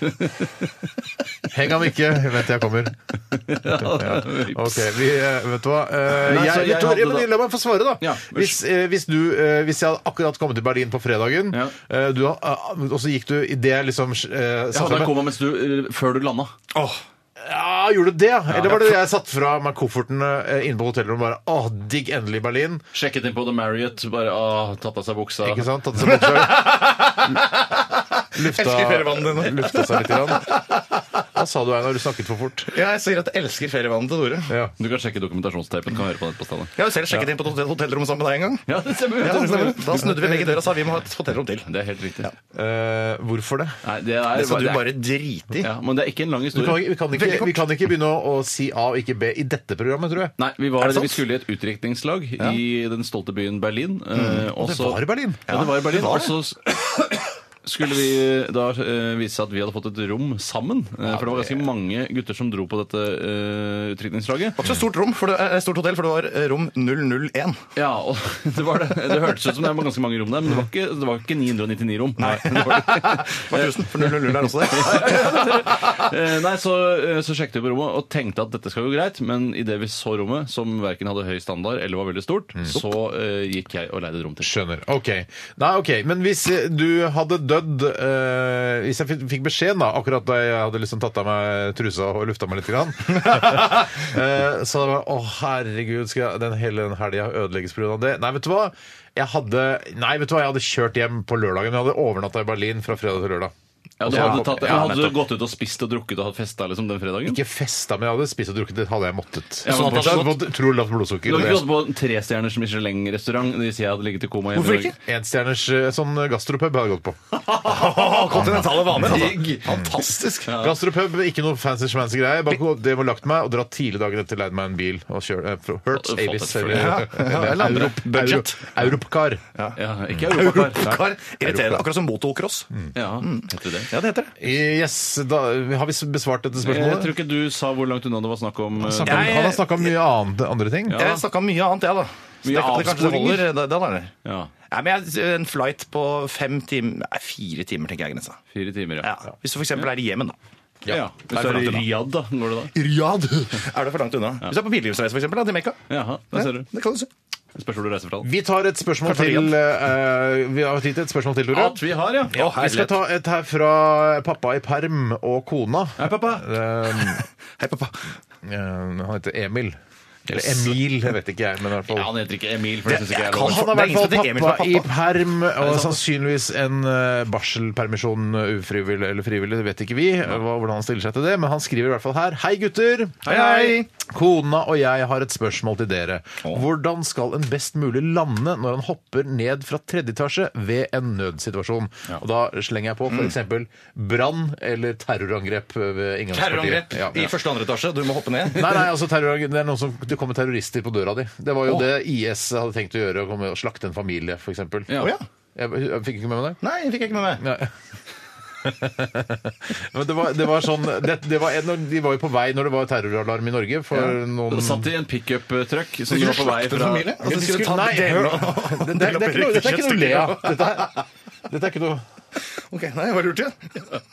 C: Heng ham ikke, jeg vet jeg kommer.
E: ja, det er-
C: Ok, vi, eh, vet du hva Eh,
E: Nei, så
C: jeg,
E: jeg
C: Tor,
E: hadde
C: ja, men
E: da-
C: La meg få svare, da.
E: Ja,
C: hvis, eh, hvis, du, eh, hvis jeg hadde akkurat kommet til Berlin på fredagen,
E: Ja.
C: eh, du, har- ah, og så gikk du i det liksom eh,
E: Jeg
C: satte
E: hadde
C: deg
E: en
C: med-
E: koma mens du, eh, før du landa.
D: Åh,
C: ja, Ja, gjorde du det? ja? Eller var det jeg satt fra meg kofferten eh, inne på hotellrommet og bare Åh, digg, endelig Berlin.
E: Sjekket inn på The Marriott, bare ah, tatt av seg buksa.
C: Ikke sant? Tatt seg buksa.
D: Elsker ferievannet
C: sånn Lufta,
D: dine.
C: lufta seg litt. Grann. Hva sa du, Einar? Du snakket for fort.
D: Ja, jeg sier at jeg elsker ferievannet til Tore.
C: Ja.
E: Du kan sjekke dokumentasjonsteipen. Kan høre på den på stedet.
D: Jeg har jo selv sjekket inn på et hotell, hotellrom sammen med deg en gang.
E: Ja, det stemmer.
D: Ja, da snudde vi begge døra og sa vi må ha et hotellrom til.
E: Det er helt riktig.
C: Eh, hvorfor det?
E: Nei, det er,
D: Det skal du
E: er-
D: bare drite i.
E: ja, Men det er ikke en lang
C: Du kan,
E: historie.
C: vi, kan ikke, vi kan ikke begynne å, å si A og ikke B i dette programmet, tror jeg.
E: Nei, vi, var,
D: Er det sant?
E: vi skulle i et utdrikningslag i den stolte byen Berlin. eh, og
C: Det
E: så-
C: var i Berlin.
E: Ja, det var i Berlin. Og så s- skulle vi da eh, vise seg at vi hadde fått et rom sammen. eh, for det var ganske mange gutter som dro på dette uh, utdrikningslaget.
D: Det var ikke så stort rom, for det, eh, stort hotell, for det var eh, rom 001.
E: Ja, og det var det. Det hørtes ut som det var ganske mange rom der, men det var ikke, det var ikke 999 rom. Nei. Det var
D: Det var 1000, for 000 er også det.
E: Eh, Nei, så, eh, så sjekket vi på rommet og tenkte at dette skal gå greit, men idet vi så rommet, som verken hadde høy standard eller var veldig stort,
D: Mm.
E: så eh, gikk jeg og leide et rom til.
C: Skjønner. OK. Nei, ok, Men hvis eh, du hadde dødd eh, Hvis jeg fikk- fikk beskjeden da, akkurat da jeg hadde liksom tatt av meg trusa og lufta meg litt, grann, eh, så hadde jeg bare Å, herregud, skal jeg, den hele den helga ødelegges pga. det? Nei, vet du hva? Jeg hadde Nei, vet du hva, jeg hadde kjørt hjem på lørdagen. Jeg hadde overnatta i Berlin fra fredag til lørdag.
E: Ja, du
C: Ja,
E: Altså, hadde, tatt,
C: ja,
E: men hadde du gått ut og spist og drukket og hatt festa liksom, den fredagen?
C: Ikke festa, men jeg hadde spist og drukket. Det hadde jeg måttet.
E: Ja, men
C: sånn at jeg hadde fått utrolig lavt
E: Du
C: blodsukker.
E: hadde ikke gått på en trestjerners Michelin-restaurant hvis jeg hadde ligget i koma hjemme.
D: Hvorfor ikke?
C: Enstjerners eh, sånn gastropub hadde jeg gått på.
D: Kontinentale vaner, altså.
E: Digg.
D: Fantastisk.
C: Gastropub, ikke noe fancy schmancy greier. Bare gå- det var lagt meg og dra tidlig dagen etter, leid meg en bil og kjørte eh, fra Hertz,
E: Fått et
C: Avis
E: fly.
C: eller,
D: ja, eller andre. Budget.
C: Europcar.
E: Ja, ikke europakar.
D: Kar, irriterende. Akkurat som motocross.
C: Mm.
E: Ja, heter det det?
D: Mm. Ja, det heter det.
C: Yes, da har vi besvart dette
E: Eh, Jeg tror
C: spørsmålet?
E: ikke du sa hvor langt unna det var snakk om. eh,
C: Snakket om-
D: Jeg-
C: Han har snakka om mye annet, andre ting.
E: Ja.
D: Jeg snakka mye annet, jeg, da. Så det,
E: Mye
D: det kanskje det
E: avsporinger.
D: holder. Det, det, det.
E: Ja,
D: Nei, men jeg, En flight på fem timer Nei, fire timer, tenker jeg. grensa.
E: Fire timer, ja.
D: Ja. Hvis du f.eks. er i Jemen, da.
E: ja. Hvis du er i Riyadh, da, går det da?
B: Riyad.
D: Er det for langt unna? Hvis du er på pilegrimsreise, for eksempel, da, til Mekka.
E: Jaha, der ser du.
D: Det kan du se.
E: Spørs hvor du reiser fra. da.
C: Vi tar et spørsmål
D: Kanskje
C: til. eh, vi har tid til et spørsmål til, Tore.
E: At vi har, ja!
D: Å,
C: Vi skal
D: herlighet.
C: ta et her fra pappa i perm og kona.
E: Hei, pappa!
C: Eh,
D: Hei, pappa.
C: eh, han heter Emil. Eller Emil, jeg vet ikke jeg. Men i hvert fall
E: Ja, han heter ikke Emil, for det syns
D: jeg
E: ikke jeg er
D: kan
E: lov.
C: Han har i
D: Det er ingen
C: hvert
D: som heter
C: fall
D: Emil som er
C: pappa i perm og
E: sant?
C: sannsynligvis en eh, barselpermisjon eh, ufrivillig eller frivillig, det vet ikke vi eh, hva, hvordan han stiller seg til det, men han skriver i hvert fall her Hei gutter!
D: Hei, hei!
C: Kona og jeg har et spørsmål til dere. Hvordan skal en best mulig lande når han hopper ned fra tredje etasje ved en nødsituasjon? Og da slenger jeg på
D: Mm.
C: f.eks. brann eller terrorangrep eh, ved inngangspartiet.
D: Terrorangrep
C: Ja.
D: i første og andre etasje. Du må hoppe ned.
C: Nei, nei, altså terror, det er noen som Det kommer terrorister på døra di. Det var jo det IS hadde tenkt å gjøre. Å komme og slakte en familie, f.eks.
E: Ja.
D: Å, ja.
C: Jeg, jeg fikk ikke med meg det?
D: Nei, det fikk jeg ikke med meg.
C: Nei. Men det var, det var sånn det, det var en, De var jo på vei når det var terroralarm i Norge for noen
E: Og satt i en pickup-truck som
D: Skulle
E: var på vei
D: slakte en
E: fra
D: familie? Altså,
C: De
D: skulle ta
C: nei,
D: deler
C: hør- det,
D: og-
C: det, det, er ikke noe- dette er ikke noe å le av. Dette, er- dette er ikke noe
D: Ok, nei, hva lurte jeg?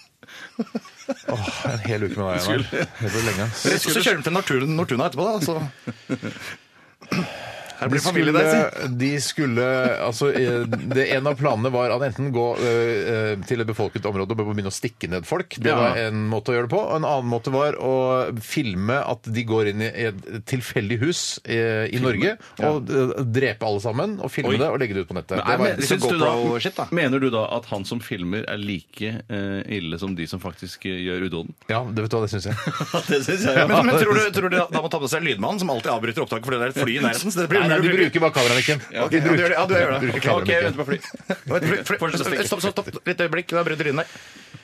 C: Åh, En hel uke med deg, Einar. Det blir lenge. ass.
D: Så kjører de til Nortuna, Nortuna etterpå, da. Så. Her
C: De
D: blir familie
C: skulle,
D: der, si.
C: de skulle altså, eh, det, En av planene var at enten gå eh, eh, til et befolket område og begynne å stikke ned folk. Det
E: Ja.
C: var en måte å gjøre det på. Og en annen måte var å filme at de går inn i et tilfeldig hus eh, i Norge og eh, drepe alle sammen. Og filme
E: Oi.
C: det og legge det ut på nettet. det
E: Nei,
C: var,
E: men
D: liksom
E: syns du da,
D: GoPro-shit, da.
E: Mener du da at han som filmer, er like eh, ille som de som faktisk eh, gjør udåden?
C: ja, det vet du hva, det syns jeg.
E: det syns jeg. Ja.
D: Men, men tror du, tror du da må ta med seg lydmannen, som alltid avbryter opptaket fordi det er et fly i nærheten? Så det blir
C: Nei, nei,
D: umulig
C: de
D: å bli-
C: bruker bare kameramikken.
D: Ok, ja, du gjør det. Ja, du gjør det.
C: Bruker
E: Ok, jeg
C: kameramikken.
E: venter på fly.
D: Vent, fly- fly- Stopp, stopp, stopp. Litt øyeblikk, da bryter lyden der.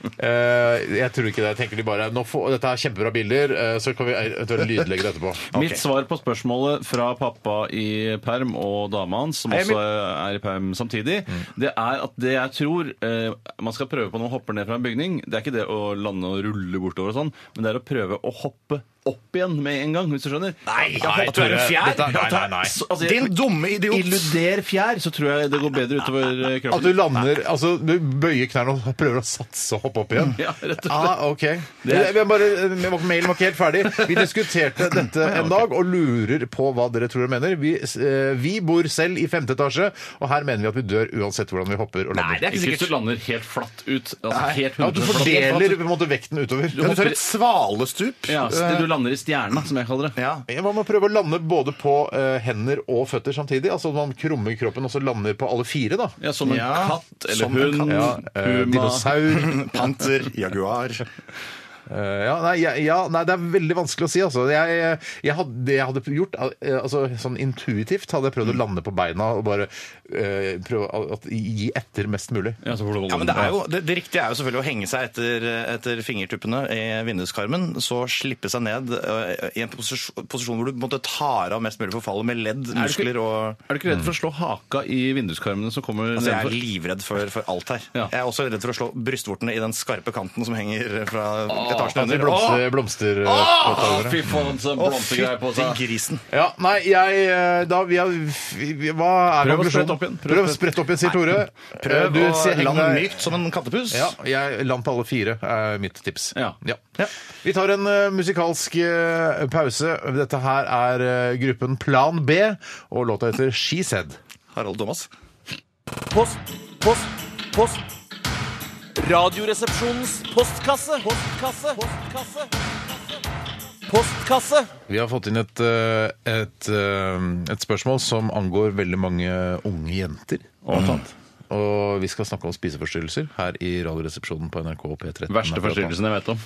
C: Eh, jeg tror ikke det. Jeg tenker de bare nå får, Dette er kjempebra bilder, eh, så kan vi eventuelt lydlegge det etterpå.
E: Mitt svar på spørsmålet fra pappa i perm og dama hans, som
D: Hei, Emil.
E: også er i perm samtidig, det er at det jeg tror eh, man skal prøve på når man hopper ned fra en bygning Det er ikke det å lande og rulle bortover og sånn, men det er å prøve å hoppe opp igjen med en gang, hvis du skjønner.
D: Nei,
C: Nei,
D: at du er en
C: Tore,
D: fjær?
C: dette er- nei, nei, nei.
E: Så, altså,
D: Din
E: jeg,
D: dumme idiot!
E: illuder fjær, så tror jeg det går bedre utover eh,
C: At du
E: kroppen.
C: lander, altså du bøyer knærne og prøver å satse og hoppe opp igjen?
E: Ja, rett og slett.
C: Ah, ok. Det er... vi bare, vi var, mailen var ikke helt ferdig. Vi diskuterte dette en dag og lurer på hva dere tror og mener. Vi, eh, vi bor selv i femte etasje, og her mener vi at vi dør uansett hvordan vi hopper og
D: Nei,
C: lander.
D: det er ikke
E: Ikke hvis du
D: sikkert.
E: lander helt flatt ut. Altså, helt
C: ja, du
E: 100% flatt.
C: fordeler på en måte vekten utover.
D: Ja, du tar et svalestup.
E: Ja, så det du lander i stjerna, som jeg kaller det.
D: Ja.
C: Ja, Man må prøve å lande både på eh, hender og føtter samtidig. Altså at man krummer kroppen og så lander på alle fire, da.
E: Ja, som en
D: Ja,
E: katt eller
D: som en
E: hund.
D: katt.
C: Ja, eh,
E: puma.
C: dinosaur.
D: Panter, jaguar
C: Eh, ja, nei, ja, ja, nei, det er veldig vanskelig å si, altså. Jeg, jeg hadde, det jeg hadde gjort, eh, altså sånn intuitivt hadde jeg prøvd å lande på beina og bare eh, prøve å at- gi etter mest mulig.
E: Ja, så får du holde
D: Ja, men
E: den.
D: det, er jo, det, det riktige er jo selvfølgelig å henge seg etter, etter fingertuppene i vinduskarmen, så slippe seg ned øh, i en posisjon, posisjon hvor du på en måte tar av mest mulig for fallet med ledd,
E: Er du ikke-
D: muskler og
E: Er du ikke redd for å slå haka i vinduskarmene som kommer
D: Altså, jeg er
E: nedenfor?
D: livredd for, for alt her.
E: Ja.
D: Jeg er også redd for å slå brystvortene i den skarpe kanten som henger fra
C: Altså,
D: etasjen under.
C: blomster, blomster, eh,
E: Å,
C: påtagere.
E: fy faen, så
D: Å,
E: blomstergreier på
D: fytti
E: seg.
D: grisen.
C: Ja, nei, jeg eh, da, vi har, vi- vi- Hva er
E: Prøv å
C: konklusjonen?
E: sprette opp igjen.
C: Prøv, å sprette opp igjen, sier Tore. Eh,
D: Prøv
C: du,
D: å
C: sier, heng
D: lande
C: deg-
D: mykt som en kattepus.
C: Ja, jeg land på alle fire er mitt tips.
E: Ja.
D: Ja.
C: Vi tar en eh, musikalsk eh, pause. Dette her er eh, gruppen Plan B, og låta heter She Said.
D: Harald Thomas.
G: Post, post, post. Radioresepsjonens postkasse. Postkasse. Postkasse. Postkasse.
C: Vi har fått inn et, eh, et, eh, et spørsmål som angår veldig mange unge jenter. Og, og vi skal snakke om spiseforstyrrelser her i Radioresepsjonen på NRK P13.
E: Verste forstyrrelsen jeg vet om.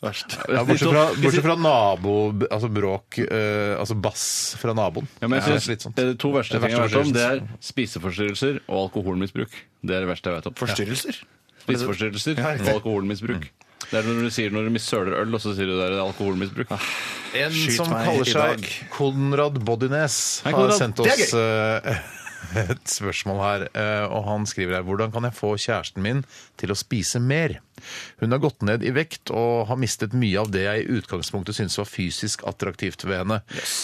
D: Verst.
C: Ja, bortsett fra, bortsett fra nabo... Altså bråk eh, Altså bass fra naboen.
E: Ja,
C: Det
E: men jeg
C: er
E: synes,
C: slitsomt.
E: det er to verste
C: Det er
E: ting jeg har
C: verste
E: hørt om, det er spiseforstyrrelser og alkoholmisbruk. Det er det verste jeg vet om.
D: Forstyrrelser.
E: Ja. Spiseforstyrrelser
D: Ja,
E: og
D: riktig.
C: Mm.
E: alkoholmisbruk. Det er når du sier når du missøler øl, og så sier du det er alkoholmisbruk.
C: Ah. En
D: Skyt
C: som
D: meg
C: kaller
D: i
C: seg
D: dag.
C: Konrad Bodines,
E: Hei,
C: har
E: Konrad.
C: sendt
D: Det er
C: oss eh, et spørsmål her. eh, Og han skriver her Hvordan kan jeg få kjæresten min til å spise mer? Hun har gått ned i vekt og har mistet mye av det jeg i utgangspunktet syntes var fysisk attraktivt ved henne.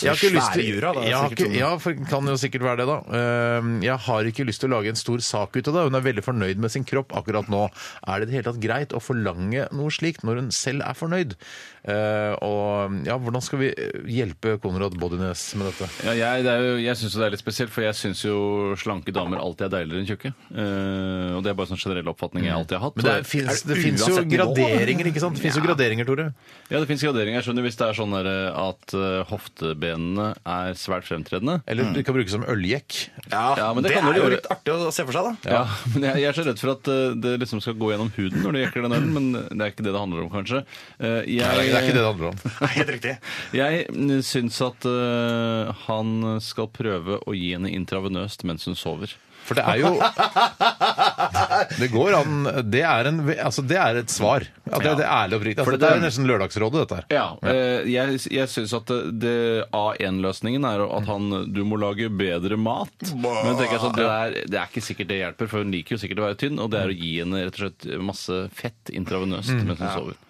C: jeg har ikke
D: svære
C: lyst til,
D: jura, da,
C: jeg har
D: sikkert
C: ikke,
D: sånn.
C: ja, for, kan jo sikkert være det, da. Eh, Jeg har ikke lyst til å lage en stor sak ut av det. Hun er veldig fornøyd med sin kropp akkurat nå. Er det i det hele tatt greit å forlange noe slikt når hun selv er fornøyd? Eh, Og ja, hvordan skal vi eh, hjelpe Konrad Bodines med dette?
E: Ja, jeg det er jo- jeg syns jo det er litt spesielt, for jeg syns jo slanke damer alltid er deiligere enn tjukke. Eh, og det er bare sånn generell oppfatning jeg alltid har hatt.
C: Mm. Men det,
E: Og-
C: finnes,
D: det
C: det fins jo
D: uansett nivå?
C: graderinger, ikke sant? Det finnes jo graderinger, Tore.
E: Ja, det fins graderinger. Jeg skjønner hvis det er sånn der, eh, at eh, hoftebenene er svært fremtredende.
D: Mm.
C: Eller du kan bruke som øljekk.
E: Ja, men det
D: det, er
E: kan dere
D: jo
E: gjøre.
D: litt artig å se for seg, da.
E: Ja, men jeg, jeg er så redd for at eh, det liksom skal gå gjennom huden når du jekker den ølen, men det er ikke det det handler om, kanskje. Eh,
C: Det
E: Jeg,
C: er ikke det det handler om.
D: Nei, Helt riktig.
E: jeg mm, syns at eh, han skal prøve å gi henne intravenøst mens hun sover.
C: For det er jo Det går an Det er, en, altså det er et svar. Ja, det, det er ærlig og oppriktig.
E: For
C: Altså,
E: det
C: det er
E: er-
C: jo nesten Lørdagsrådet, dette her.
E: Ja, eh, jeg, jeg syns at det, det A1-løsningen er at han, du må lage bedre mat. Men jeg tenker at det, er, det er ikke sikkert det hjelper, for hun liker jo sikkert å være tynn. Og det er å gi henne rett og slett masse fett intravenøst mens hun sover.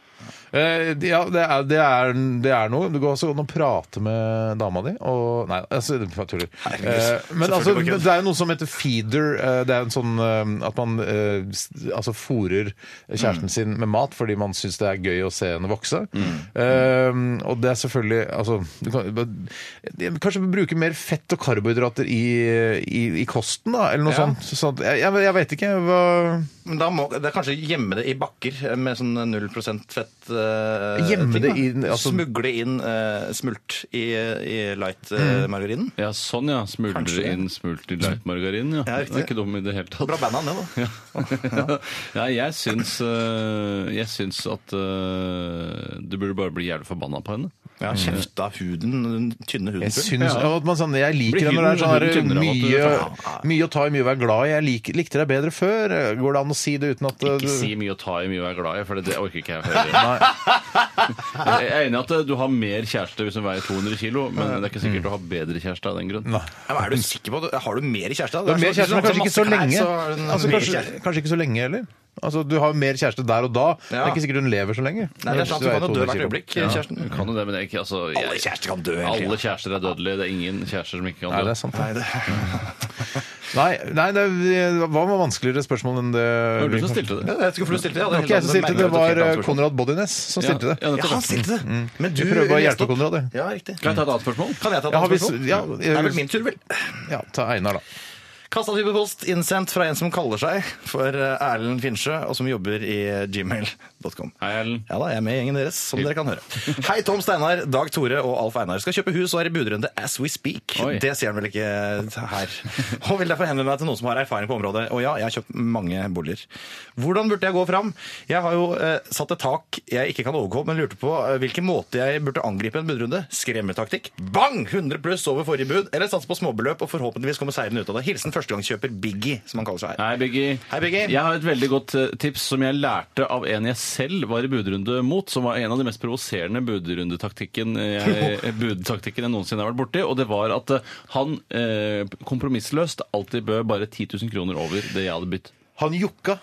C: Eh, ja, det er, det, er, det er noe. Det går også an å prate med dama di. Og, nei, altså, jeg tuller. Eh, men altså,
D: Selvfølgelig går ikke det.
C: det er jo noe som heter feeder. eh, Det er en sånn eh, at man eh, s- altså fôrer
D: Mm.
C: kjæresten sin med mat fordi man syns det er gøy å se henne vokse.
D: Mm.
C: Eh, og det er selvfølgelig altså, du kan, Kanskje bruke mer fett og karbohydrater i, i, i kosten, da? Eller noe
D: Ja.
C: sånt. Sånn at- jeg, jeg, jeg vet ikke hva
D: Men da må, det er kanskje gjemme det i bakker med sånn 0 fett. eh,
C: Gjemme
D: ting,
C: det
D: da.
C: i- altså-
D: Smugle inn eh, smult i, i eh,
C: Mm.
D: light-margarinen.
E: Ja, sånn ja.
D: Kanskje
E: Smuldre
D: det.
E: inn smult i løkmargarin. Ja.
D: Ja, riktig.
E: det er ikke dum i det hele tatt.
D: Bra band av det, da.
E: ja, jeg syns, øh, jeg syns at øh, du burde bare bli jævlig forbanna på henne.
D: Ja, Kjefta huden, den tynne huden.
C: Jeg
D: full.
C: syns
E: Ja.
C: ja. at man sånn, Jeg
E: Blir
C: liker det når det er
E: huden-
C: sånn
E: huden tynnere
C: her
E: av at du-
C: mye, mye å ta i, mye å være glad i. Jeg lik, likte deg bedre før. Går det an å si det uten at
E: Ikke si mye å ta i, mye å være glad i, for det, det orker ikke jeg høre. jeg er enig i at øh, du har mer kjæreste hvis hun veier 200 kilo, men det er ikke sikkert du har bedre kjæreste av den grunn.
C: Nei.
D: Ja, men er du sikker på det? sånn- Har du mer kjæreste?
C: Du har mer kjæreste, men kanskje ikke så lenge. Altså, kanskje,
D: kjæreste.
C: kanskje ikke så lenge heller. Altså, Du har mer kjæreste der og da. Det
D: Ja.
C: er ikke sikkert hun lever så lenge.
D: Nei, det er sant,
C: Hvis
D: du kan jo
C: veier
D: dø
C: 200
D: hvert
C: kilo.
D: øyeblikk,
E: Ja,
D: kjæresten.
E: du kan jo det, men det er ikke altså jeg,
D: Alle kjærester kan dø hele
E: Alle
D: tiden.
E: kjærester er dødelige. Det er ingen kjærester som ikke kan
C: Nei,
E: dø.
C: det er sant.
D: Nei, det
C: Nei, nei det hva var vanskeligere spørsmål enn det
E: Det var du som stilte det.
D: Ja, Jeg vet ikke hvorfor du stilte det.
C: Det var ikke jeg som stilte det, det var eh,
D: Konrad.
C: Konrad Bodines som stilte det.
E: Ja,
D: Ja, han
E: nettopp.
D: stilte det. Men
C: Vi Mm. prøver å
D: leste
C: hjelpe
D: opp.
C: Konrad, jeg.
D: Ja, riktig.
E: Kan jeg ta et annet spørsmål?
D: Kan jeg
C: Ja,
D: ta et
C: har vi
D: annet
C: s-
D: spørsmål?
C: ja,
D: Det er vel min tur, vel?
C: Ja, ta Einar, da.
D: Kassatype post innsendt fra en som kaller seg for eh, Erlend Finnsjø, og som jobber i gmail.com.
E: Hei, Erlend.
D: Ja da, jeg er med i gjengen deres, som dere kan høre. Hei, Tom Steinar, Dag Tore og Alf Einar. Skal kjøpe hus og er i budrunde as we speak.
E: Oi.
D: Det sier han vel ikke her. Og vil derfor henvende meg til noen som har erfaring på området. Og ja, jeg har kjøpt mange boliger. Hvordan burde jeg gå fram? Jeg har jo eh, satt et tak jeg ikke kan overgå, men lurte på eh, hvilken måte jeg burde angripe en budrunde. Skremmetaktikk. Bang! 100 pluss over forrige bud. Eller satse på småbeløp og forhåpentligvis komme seirende ut av det. Hilsen førstegangskjøper Biggie, som han kaller seg her.
E: Hei, Biggie.
D: Hei, Biggie.
E: Jeg har et veldig godt eh, tips som jeg lærte av en jeg selv var i budrunde mot, som var en av de mest provoserende budrundetaktikken jeg, eh, budtaktikken jeg noensinne har vært borti. Og det var at eh, han eh, kompromissløst alltid bød bare 10 000 kroner over det jeg hadde bytt.
C: Han jukka.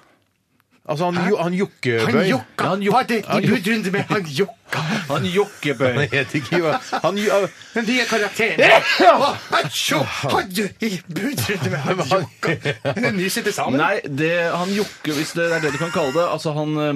C: Altså, han, ju, han jukkebøy.
E: Ja, han jok- han jok-
D: budrunde med han jokka!
E: Han
C: Han
E: jokkebøy.
C: heter ikke jo- han, ju-
D: Den nye karakteren! Hatsjo! Hadde i budrunde med han jokka! Den nye sitter sammen.
E: Nei, det, han jokker, hvis det er det du kan kalle det. Altså, han eh,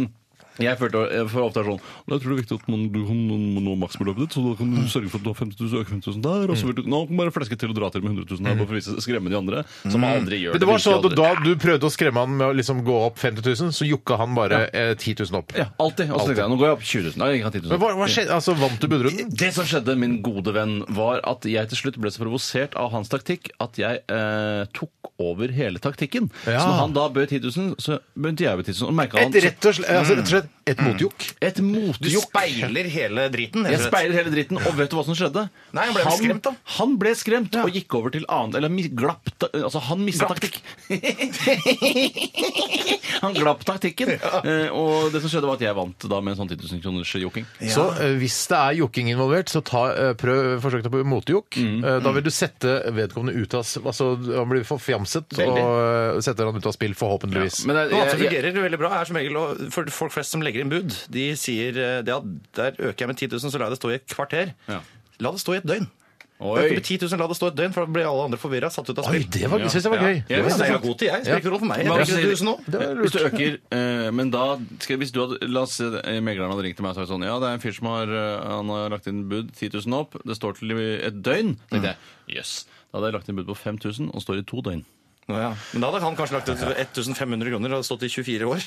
E: jeg følte eh, for ofte er sånn Jeg tror det er viktig at man, du kan nå- nå maksbeløpet ditt, så da kan
C: Mm.
E: du sørge for at du har 50 000, øke 50 000 der, og så vil du Nå kan du bare fleske til og dra til med 100 000 her, bare for å vise, skremme de andre, som aldri gjør
C: Mm. Men det var
E: virkelig
C: sånn at
E: aldri.
C: Da du prøvde å skremme han med å liksom gå opp 50 000, så jukka han bare eh, 10 000 opp.
E: Ja, alltid. Og så tenkte jeg nå går jeg opp 20 000. Nei, jeg kan 10 000.
C: Men hva, hva skjedde? Altså, Vant du budrunden?
E: Det som skjedde, min gode venn, var at jeg til slutt ble så provosert av hans taktikk at jeg eh, tok over hele taktikken.
C: Ja.
E: Så når han da bød 10 000, så begynte jeg å bød 10 000. Og merket
C: Et
E: han
C: rett og slett, altså, rett og slett et motjukk.
E: et
D: Du
E: motjokk.
D: speiler hele driten.
E: Jeg speiler hele dritten, og vet du hva som skjedde?
D: Nei, han ble skremt, da.
E: Han ble skremt og gikk over til annen Eller mi- glapp ta- Altså, han mista taktikk. han glapp taktikken. Eh, Og det som skjedde, var at jeg vant da med en sånn 10 000 kroners joking.
C: Så eh, hvis det er jukking involvert, så ta, eh, prøv forsøk deg på motjukk. Eh, da vil du sette vedkommende ut av s- Altså, han blir forfjamset,
E: Veldig.
C: og eh, setter han ut av spill, forhåpentligvis.
E: Men det-
D: Noe annet
E: jeg-
D: som
E: jeg-
D: fungerer veldig bra, er som regel å- for folk flest som legger inn bud. De sier eh, det at der øker jeg med 10 000, så lar jeg det stå i et kvarter.
E: Ja.
D: La det stå i et døgn.
E: Oi.
D: Øker med 10 000, la det stå i et døgn, for da blir alle andre forvirra. Satt ut av
C: Oi,
D: spill.
C: det var, jeg synes det var
E: Ja.
C: gøy.
E: Ja,
D: Ja,
E: det
D: men
E: er
D: jeg er
E: sant.
D: god til jeg. Spiller ikke noe for meg. Jeg
E: Men
D: trenger
E: altså,
D: 1000 nå.
C: Det var
E: Hvis du øker, eh, men da skal, Hvis du hadde, la oss si eh, megleren hadde ringt til meg og sagt sånn Ja, det er en fyr som har, eh, han har lagt inn bud 10 000 opp. Det står til i et døgn.
D: Mm.
E: tenkte jeg, jøss. Da hadde jeg lagt inn bud på 5000, og det står i to døgn.
D: Nå, ja. Men da hadde han kanskje lagt ut 1500 kroner og stått i 24 år.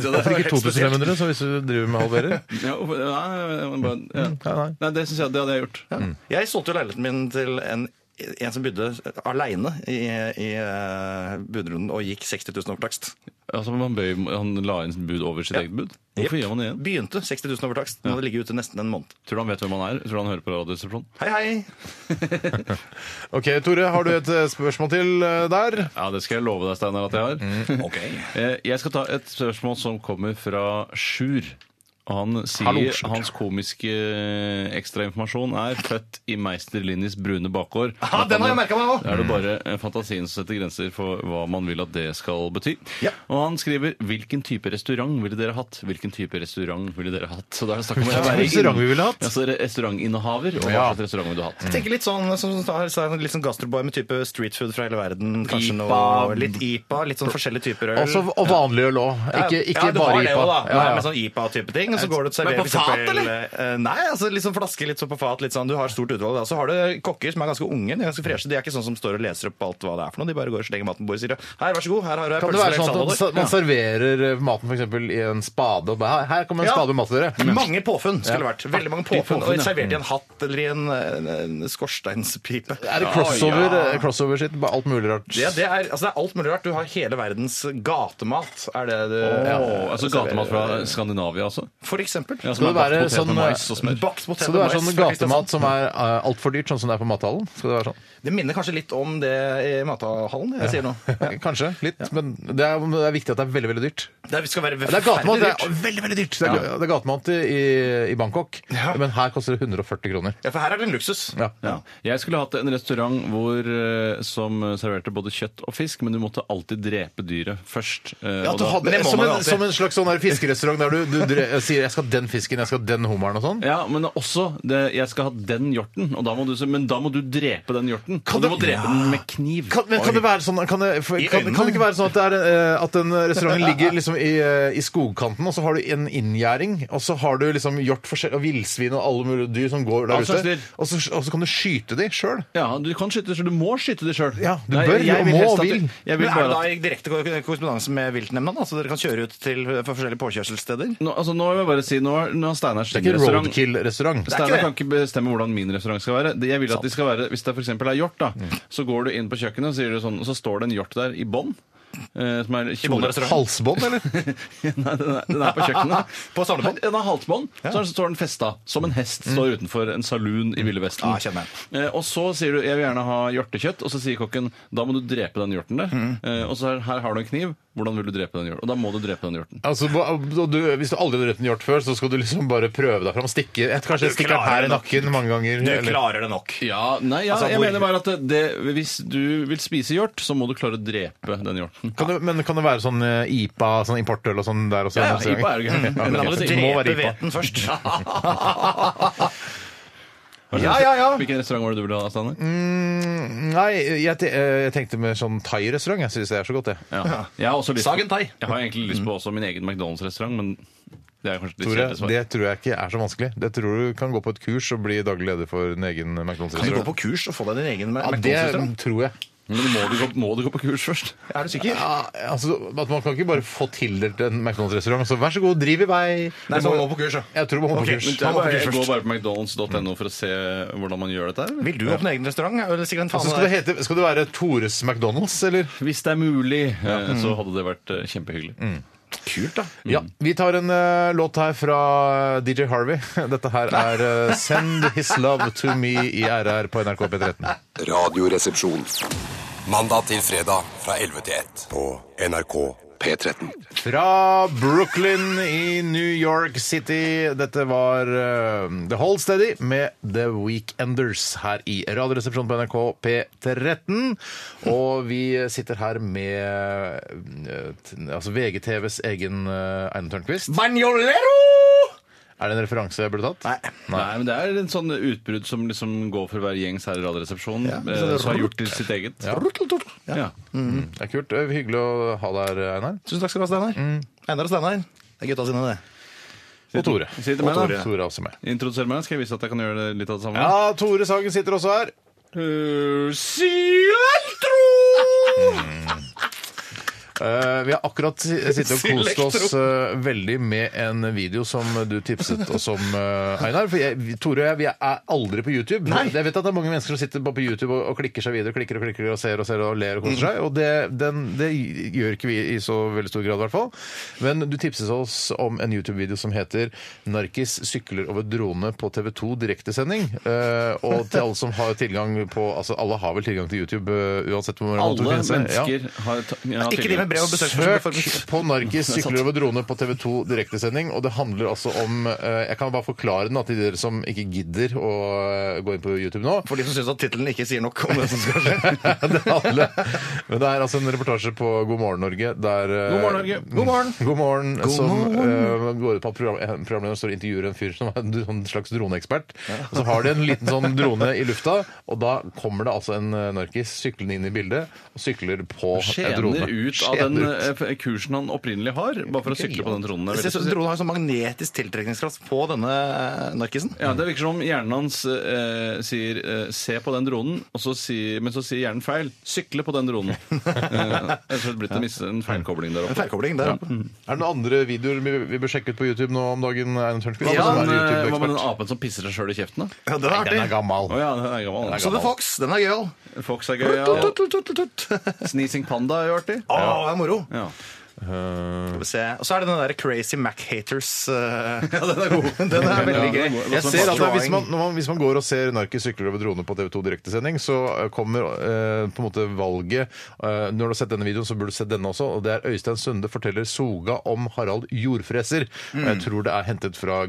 C: Hvorfor ikke 2500, så hvis du driver med halverer?
E: Ja, hvorfor- nei, men bare- ja.
C: nei, nei.
E: Nei, det syns jeg det hadde jeg gjort.
D: Jeg solgte jo leiligheten min til en, en som bodde aleine i, i eh, budrunden og gikk 60 000 over takst.
E: Altså, man bøy, han la inn sitt bud over sitt eget bud. Hvorfor
D: Jepp.
E: gjør man det igjen?
D: Begynte 60 000 over takst. Nå hadde det ligget ute nesten en måned.
E: Tror du han vet hvem han er? Tror du han hører på Radioresepsjonen?
D: Hei, hei!
C: Ok, Tore, har du et eh, spørsmål til eh, der?
E: Ja, det skal jeg love deg, Steinar, at jeg har. Eh, Jeg skal ta et spørsmål som kommer fra Sjur. Han sier
C: Hallo, Sjur.
E: hans komiske ekstrainformasjon er født i Meister Linnis brune bakgård.
D: Ah, den har jeg merket meg også.
E: Da er det bare eh, fantasien som setter grenser for hva man vil at det skal bety.
D: Ja.
E: Og han skriver 'Hvilken type restaurant ville dere hatt?' Hvilken type restaurant ville dere hatt? Så da er det snakk om å
C: Hvilken
E: være
C: restaurant vi ville hatt?
E: Altså, restaurantinnehaver, og hva
C: Ja.
E: slags restaurant ville du hatt?
D: Jeg tenker litt sånn som Steinar sa, litt sånn gastrobar med type street food fra hele verden. Kanskje
E: Ipa.
D: noe litt IPA, litt sånn forskjellige typer øl.
E: Altså,
C: Også, og vanlig øl òg. Ikke, ikke
D: ja, du
C: bare
D: har det
C: IPA.
D: jo da.
C: Ja, ja.
D: Med sånn IPA-type ting. Og så går du til
E: Men på
D: servering, for eksempel,
E: fat, eller?
D: eh, Nei, altså liksom flaske litt sånn på fat. Litt sånn, du har stort utvalg. da. Så har du kokker som er ganske unge. De er ganske freshe. De er ikke sånn som står og leser opp alt hva det er for noe. De bare går og slenger maten på bordet og sier her, vær så god, her har du
C: Kan det være
D: pølse med
C: sånn at man,
D: salater.
C: man serverer eh, maten for eksempel, i en spade og bare, her kommer en
D: Ja. Mm.
C: spade med mat til dere?
D: Mange påfunn skulle det vært. Veldig mange påfunn.
E: påfunn,
D: Og
E: ja.
D: servert i en hatt eller i en, en, en skorsteinspipe.
C: Er det crossover, eh, crossover sitt? Bare alt mulig rart.
D: Det, det, er, altså det er alt mulig rart. Du har hele verdens gatemat. Er det du
E: Åh, altså Gatemat fra Skandinavia, altså?
D: For eksempel.
E: Ja,
C: Skal det
E: er bakt
C: være
E: potet med
C: sånn,
E: mais og smør.
D: Bakt potet
C: Så det
D: med
C: er sånn
D: mais fra Kristiansand.
C: gatemat som er uh, altfor dyrt, sånn som det er på mathallen? Skal det være sånn?
D: Det minner kanskje litt om det i mathallen jeg sier nå.
C: Kanskje. Litt. Men det er, det er viktig at det er veldig, veldig dyrt.
D: Det skal være
C: Det er gatemat. Det er
D: dyrt.
C: veldig, veldig dyrt. Det er, det er gatemat i, i Bangkok, men her koster det 140 kroner.
D: Ja, for her er det en luksus.
C: Ja.
E: Ja. Jeg skulle hatt en restaurant hvor, eh, som serverte både kjøtt og fisk, men du måtte alltid drepe dyret først. eh, og
C: du
E: da-
C: hadde,
D: Men det må
C: som,
D: man
C: en,
D: jo alltid.
C: som en slags sånn her fiskerestaurant der du, du dre, sier 'jeg skal ha den fisken, jeg skal ha den hummeren' og sånn.
E: Ja, men også det, 'jeg skal ha den hjorten', og da må du, si, men da må du drepe den hjorten.
C: Kan
E: og du
C: det-
E: må drepe den med kniv.
C: Kan, men kan det være sånn kan det, for, kan, kan det ikke være sånn at, det er, eh, at den restauranten ligger liksom i, eh, i skogkanten, og så har du en inngjerding, og så har du liksom hjort forskjell- og villsvin og alle mulige dyr som går der
E: All slags
C: ute,
E: dyr.
C: og så, og så kan du skyte de sjøl?
E: Ja, du kan skyte det sjøl. Du må skyte det sjøl.
C: Ja, du bør, og må, og vil.
E: Jeg vil
D: Men er det
E: bare
D: da
E: at
D: i direkte ko- korrespondanse med viltnemnda, da, så dere kan kjøre ut til for forskjellige påkjørselssteder?
E: nå, altså, nå vil jeg bare si Nå har- nå har Steinar
C: Det
E: sin
C: er ikke
E: restaurant.
C: roadkill-restaurant.
E: Steinar kan ikke bestemme hvordan min restaurant skal være. Det- Jeg vil at de skal være, Hvis det for eksempel er hjort, da,
C: Mm.
E: så går du inn på kjøkkenet, og, sier du sånn, og så står det en hjort der i bånd. eh, Som er I
C: Halsbånd, eller?
E: Nei, den er, den er på kjøkkenet.
D: På samlebånd?
E: Den har halsbånd, så er den- står den festa som en hest står utenfor en saloon i Ville Vesten.
D: Ja, jeg kjenner
E: Eh, og så sier du 'jeg vil gjerne ha hjortekjøtt', og så sier kokken 'da må du drepe den hjorten der'. Eh, og så her, her har du en kniv, hvordan vil du drepe den hjorten? Og da må du drepe den hjorten.
C: Altså, ba- og du, hvis du aldri har drept en hjort før, så skal du liksom bare prøve deg fram. Stikke, et, kanskje
D: Du
C: stikke den
D: klarer
C: her
D: det
C: i
D: nok.
C: nakken mange ganger.
D: Du
C: eller-
D: klarer det nok.
E: Ja, nei, ja,
D: Altså,
E: jeg
D: hvor-
E: mener bare at det, det, hvis du vil spise hjort, så må du klare å drepe den hjorten.
C: Kan det, men kan det være sånn eh, IPA, sånn importøl og sånn der også?
E: Ja, ja,
C: Noen steder?
E: IPA er jo gøy.
C: Mm, ja,
E: Men da må
C: ok.
E: du
C: Det må være
D: Drepe
C: IPA.
D: hveten først.
E: Ja, ja, ja. Hvilken restaurant var det du ville ha, Steinar?
C: Mm, Nei, jeg, te- eh, jeg tenkte med sånn thai-restaurant. Jeg syns det er så godt, det.
E: Ja. Jeg har også lyst
D: Sagen
E: på,
D: thai.
E: jeg har egentlig lyst på også min egen McDonald's-restaurant, men det er kanskje litt
C: Tore,
E: kjedelig svar.
C: det tror jeg ikke er så vanskelig. Det tror du kan gå på et kurs og bli daglig leder for din egen
D: Kan du gå
C: McDonald's-restaurant.
D: på kurs og få deg din egen
C: Ja,
D: McDonald's-restaurant?
C: det tror jeg.
E: Men må du, gå, må du gå på kurs først?
D: Er du sikker?
C: Ja, altså, at man kan ikke bare få tildelt en McDonald's-restaurant. Så vær så god, driv i vei.
D: Nei,
C: Du
D: så
C: må-
D: man må på kurs, ja.
C: Jeg tror man må
D: Ok,
C: på kurs.
D: men
E: Det er
D: Man må
E: bare,
D: på kurs
E: jeg
D: først.
E: går bare på mcdonalds.no for å se hvordan man gjør dette her.
D: Vil du åpne egen restaurant? Eller sikkert en
C: Så
D: faen
C: skal, det
D: der.
C: hete, skal det være Tores McDonald's, eller?
E: Hvis det er mulig,
C: Mm.
E: eh, så hadde det vært eh, kjempehyggelig.
D: Kult, da.
C: Ja. Vi tar en eh, låt her fra DJ Harvey. Dette her er eh, Send His Love To Me i RR på NRK P13.
F: Radioresepsjon.
H: Mandag til fredag fra 11 til 1.
F: På NRK P13.
C: Fra Brooklyn i New York City. Dette var eh, The Hold Steady med The Weekenders her i Radioresepsjonen på NRK P13. Og vi sitter her med eh, t- altså VGTVs egen eh, Einar Tørnquist.
D: Banjolero!
C: Er det en referanse jeg burde tatt?
D: Nei.
E: Nei, men Det er en sånn utbrudd som liksom går for hver gjengs her i Radioresepsjonen, eh, som har gjort til sitt eget.
C: Ja.
E: Ja.
C: Det er kult. Eh, Hyggelig å ha deg her, Einar.
D: Tusen takk skal du ha, Steinar.
C: Mm.
D: Einar og Steinar. Det er gutta sine, det.
C: Og Tore.
E: Si det til meg, da.
C: Og Tore. Tore er også med.
E: Introduser meg, skal jeg vise at jeg kan gjøre det litt av det samme?
C: Ja, Tore Sagen sitter også her.
E: Eh, si-
C: Eh, vi har akkurat si- sittet og kost oss eh, veldig med en video som du tipset oss om, eh, Einar. For jeg, vi- Tore og jeg vi er aldri på YouTube. Jeg vet at det er mange mennesker som sitter bare på YouTube og, og klikker seg videre, klikker og klikker og ser og ser og ler og
E: Mm.
C: koser seg. Og det, den, det gjør ikke vi i så veldig stor grad, i hvert fall. Men du tipset oss om en YouTube-video som heter 'Narkis sykler over drone' på TV2 direktesending. Eh, og til alle som har tilgang på Altså, alle har vel tilgang til YouTube eh, uansett hvor man
E: Alle
C: måtte finne seg. Ja.
E: mennesker har ta- ja,
D: Ikke de med brev og besøksforbud.
C: Søk på 'Narkis sykler over drone' på TV2 direktesending. Og det handler altså om eh, Jeg kan bare forklare den da, til dere som ikke gidder å eh, gå inn på YouTube nå.
D: For de som syns at tittelen ikke sier nok om det som skal skje.
C: det, handler, men det er altså en reportasje på God morgen, Norge. Der, eh,
E: God morgen, Norge. God morgen.
C: God morgen, som eh, går ut på at program, en programleder står og intervjuer en fyr som er en sånn slags droneekspert. Og så har de en liten sånn drone i lufta, og da kommer det altså en eh, narkis syklende inn i bildet og sykler på en drone.
E: Tjener ut av
C: Skjener
E: den
C: ut.
E: eh, kursen han opprinnelig har, bare for å sykle på den tronen. Det er
D: Jeg
E: veldig
D: synes
E: spesielt.
D: Dronen har en sånn magnetisk tiltrekningskraft på denne eh, narkisen.
E: Ja, Det virker som om hjernen hans eh, sier eh, 'se på den dronen', og så sier, men så sier hjernen feil. 'Sykle på den dronen'. eh, jeg tror det blitt en, mis- en feilkobling der
D: En
E: oppe.
D: feilkobling der oppe.
E: Mm.
C: Er det noen andre videoer vi, vi bør sjekke ut på YouTube nå om dagen? Einar Tørnquist?
E: Hva
C: som er
E: med den, eh, hva
C: YouTube-ekspert?
E: med den apen som pisser seg sjøl i kjeften? da?
D: Ja, den er
C: Den er
D: artig.
C: gammel.
E: Å ja, den er gammel. Den er
D: Så det er
E: gammel.
D: Fox. Den er gøyal.
E: Fox er gøy.
D: Tut,
E: Ja.
D: tut, tut, tut, tut.
E: Sneezing panda er jo artig.
D: Å, det er moro.
E: Ja.
D: Skal vi se. Og så er det den der Crazy Mac Haters. eh, den er veldig
E: Ja, den er sånn
D: gøy.
E: god.
C: Jeg
E: Som
C: ser at
D: drawing.
C: altså, hvis man, når man, hvis man går og ser Narkis sykler over drone på TV2 direktesending, så eh, kommer eh, på en måte valget eh, Når du har sett denne videoen, så burde du sett denne også. Og det er Øystein Sunde forteller Soga om Harald Jordfreser.
E: Mm.
C: Og Jeg tror det er hentet fra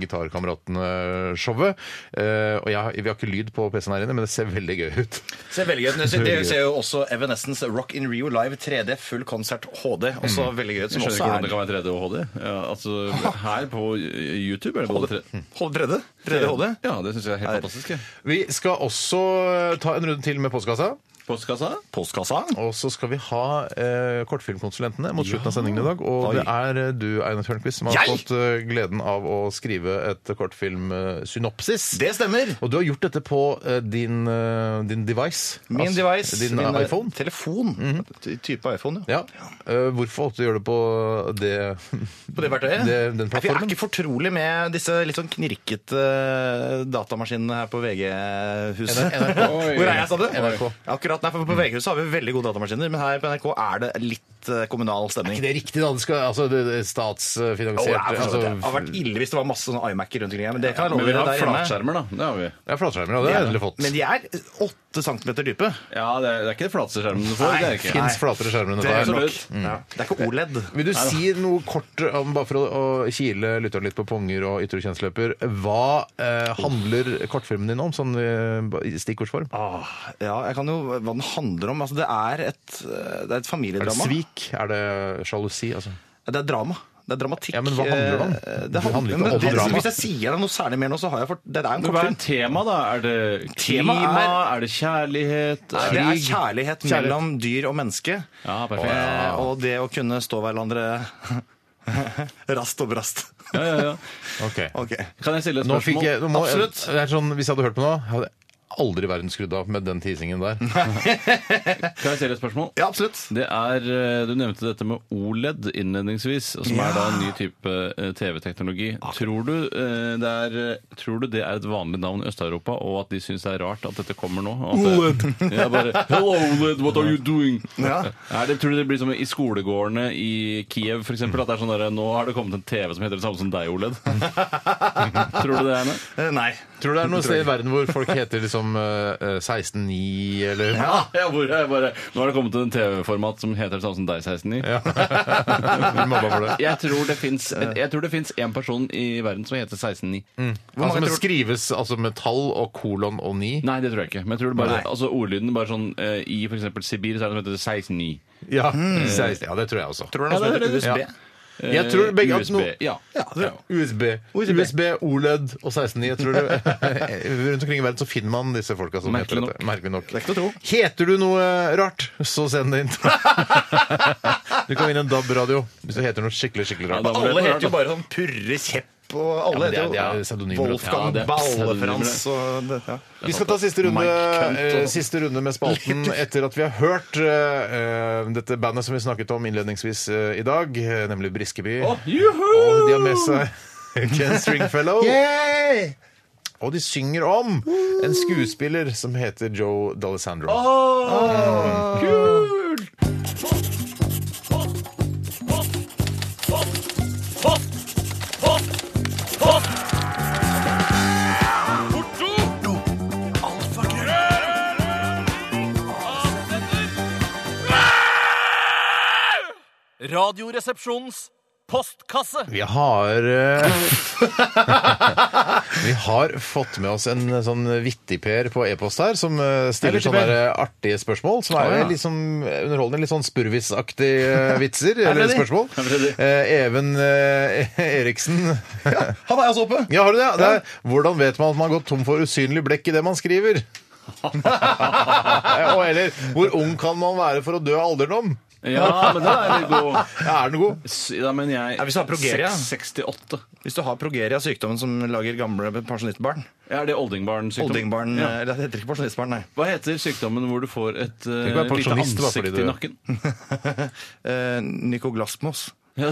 C: Gitarkameratene-showet. Eh, og jeg, vi har ikke lyd på PC-en her inne, men det ser veldig gøy ut.
D: Ser veldig gøy ut. Det ser jo også Evanescence Rock in Rio live 3D, full konsert HD. Også veldig gøy ut. Som
E: Mm. Jeg skjønner
D: også
E: ikke hvordan det kan være 3D og HD. Ja, altså, her på eh, YouTube er det både 3D
D: Hold bredde. Bredde HD.
E: Ja, det syns jeg er helt fantastisk. jeg.
C: Vi skal også eh, ta en runde til med postkassa.
E: Postkassa?
D: Postkassa.
C: Og så skal vi ha eh, kortfilmkonsulentene mot slutten av sendingen i dag. Og det er eh, du, Einar Tørnquist, som har
D: Jeg?
C: fått eh, gleden av å skrive et kortfilmsynopsis.
D: Det stemmer.
C: Og du har gjort dette på eh, din, eh, din device.
D: Min
C: Altså,
D: device.
C: Din
D: min, eh,
C: iPhone. Mhm.
D: Telefon. Ty- Type iPhone,
C: Ja. Eh, hvorfor valgte du å gjøre det på det
D: På det verktøyet?
C: Det, den
D: Nei, for jeg er
C: plattformen?
D: ikke fortrolig med disse litt sånn knirkete eh, datamaskinene her på VG-huset.
C: NRK. Oi.
D: Hvor er jeg, sa du?
C: NRK.
D: Akkurat, nei, for På VG-huset har vi veldig gode datamaskiner, men her på NRK er det litt eh, kommunal
C: Er
D: stemning.
C: ikke det riktig, da? Det skal, altså, det, det er
D: Å,
C: statsfinansiert
D: det, er for så vidt det. det hadde
C: altså,
D: vært ille hvis det var masse sånne iMac-er rundt omkring. Men det kan jeg
E: Men
D: love
E: vi
D: dere
E: har
D: der hjemme.
E: flatskjermer, da. Det har vi.
C: Det er flatskjermer, og det har jeg endelig fått.
D: Men de er åtte centimeter dype.
E: Ja, det er, det er ikke det flateste skjermen du får.
D: Nei,
E: det er ikke.
D: fint.
C: Fins flatere skjermer enn
D: Det er,
C: dette. her.
D: nok. Ja. det er
C: Mm.
D: ikke E OLED.
C: Vil du si noe kort, om, bare for å, å kile lytteren litt på ponger og ytre kjennsløper, hva eh, handler kortfilmen din om, sånn eh, i stikkordsform?
D: Ah, ja, jeg kan jo hva den handler om. Altså, det, er et, eh, det er et
C: Er det
D: familiedrama.
C: svik? Er det sjalusi? Altså?
D: Ja, Det er drama. Det er dramatikk.
C: Ja, men hva handler det om?
D: Eh,
C: Det
D: Det handler
C: handler ikke
D: men
C: om
D: det,
C: drama.
D: Hvis jeg sier deg noe særlig mer nå, så har jeg fått Det er en
E: Men Hva er
D: kortfilm.
E: tema, da? Er det klima?
D: Tema er-
E: Er... det kjærlighet?
D: Nei,
E: Er
D: Det er
E: krig?
D: kjærlighet mellom dyr og menneske.
E: Ja, perfekt.
D: Eh, Og det å kunne stå hverandre rast og brast.
E: Ja, ja, ja.
C: Ok.
D: Ok.
E: Kan jeg stille et
C: Nå fikk
E: spørsmål?
C: jeg, nå må,
D: Absolutt.
C: Det er sånn, hvis jeg hadde hørt på nå, hadde jeg aldri i verden skrudd av med den teasingen der.
E: Kan jeg stille et spørsmål?
D: Ja, absolutt.
E: Det er, eh, Du nevnte dette med OLED innledningsvis, som er da en ny type eh, TV-teknologi. Tror, du, eh, det er, eh, tror du det er et vanlig navn i Øst-Europa, og at de syns det er rart at dette kommer nå? og at det- Ja, bare, Hello, OLED, what are you doing?
D: Ja.
E: Er det, tror du det blir som i skolegårdene i Kiev, f.eks.? At det er sånn der, nå har det kommet en TV som heter det samme som deg, OLED? tror du det er det?
D: Eh, Nei.
C: Tror du det er noe sted i verden hvor folk heter liksom eh, 16-9 eller
E: Ja, hvor jeg bare, Nå har det kommet en TV-format som heter det samme som deg, 169.
C: Ja. Blir mobba for det.
E: Jeg tror det fins Jeg tror det fins én person i verden som heter 169.
C: Altså, men skrives altså med tall og kolon og 9?
E: Nei, det tror jeg ikke. Men jeg tror det bare,
D: Nei.
E: altså ordlyden bare sånn eh, I f.eks. Sibir så er det noe som heter 169.
C: Ja. 16, ja, det tror jeg også.
D: Tror du det er noe som heter
C: Ja.
D: USB?
E: Eh,
C: Jeg tror begge at
E: USB.
C: noe-
E: Ja.
C: USB. USB, OLED E og 16.9. Jeg tror det. Rundt omkring i verden så finner man disse folka som
E: Merkelig
C: heter dette. Merkelig nok.
D: Det er ikke til å tro.
C: Heter du noe eh, rart, så send det inn. du kan vinne en DAB-radio hvis du heter noe skikkelig skikkelig
E: Ja, da
C: rart.
E: må det
D: Alle
E: være
D: heter jo
E: rart,
D: bare sånn Purre Kjepp og alle
C: Ja, men det er- det er
D: heter jo
C: pseudonymer, da.
D: Wolfgang
E: Ja, det er
D: Ballefrans og det, ja.
C: Vi skal ta siste runde,
D: Mike Hunt og- sånn.
C: eh, siste runde med spalten etter at vi har hørt eh, eh, dette bandet som vi snakket om innledningsvis eh, i dag, eh, nemlig Briskeby.
E: Å, juhu!
C: Og de har med seg Ken Stringfellow. Og de synger om en skuespiller som heter Joe D'Alessandro.
G: Radioresepsjonens postkasse.
C: Vi har eh, Vi har fått med oss en sånn vittigper på e-post her, som eh, stiller
D: Hei,
C: sånne
D: vittigper.
C: der artige spørsmål. Som er litt sånn underholdende, litt sånn spurvisaktige eh, vitser eller
D: ready.
C: spørsmål. Eh, Even eh, Eriksen
D: Han er altså oppe!
C: Ja, har du det? det er, hvordan vet man at man har gått tom for usynlig blekk i det man skriver? Og eller hvor ung kan man være for å dø av alderdom?
E: Ja, men da er det god.
C: Ja, er den god?
E: S- Da mener jeg
D: Ja, hvis du har progeria.
E: 668.
D: Hvis du har progeria, sykdommen som lager gamle pensjonistbarn
E: Er det oldingbarn-sykdom?
D: Oldingbarn eh.
E: Ja.
D: eller Det heter ikke pensjonistbarn, nei.
E: Hva heter sykdommen hvor du får et eh,
C: kan være
E: lite
C: pensjonist, da, fordi
E: ansikt
C: du-
E: i nakken?
D: Eh, Nykoglasmos.
E: Ja,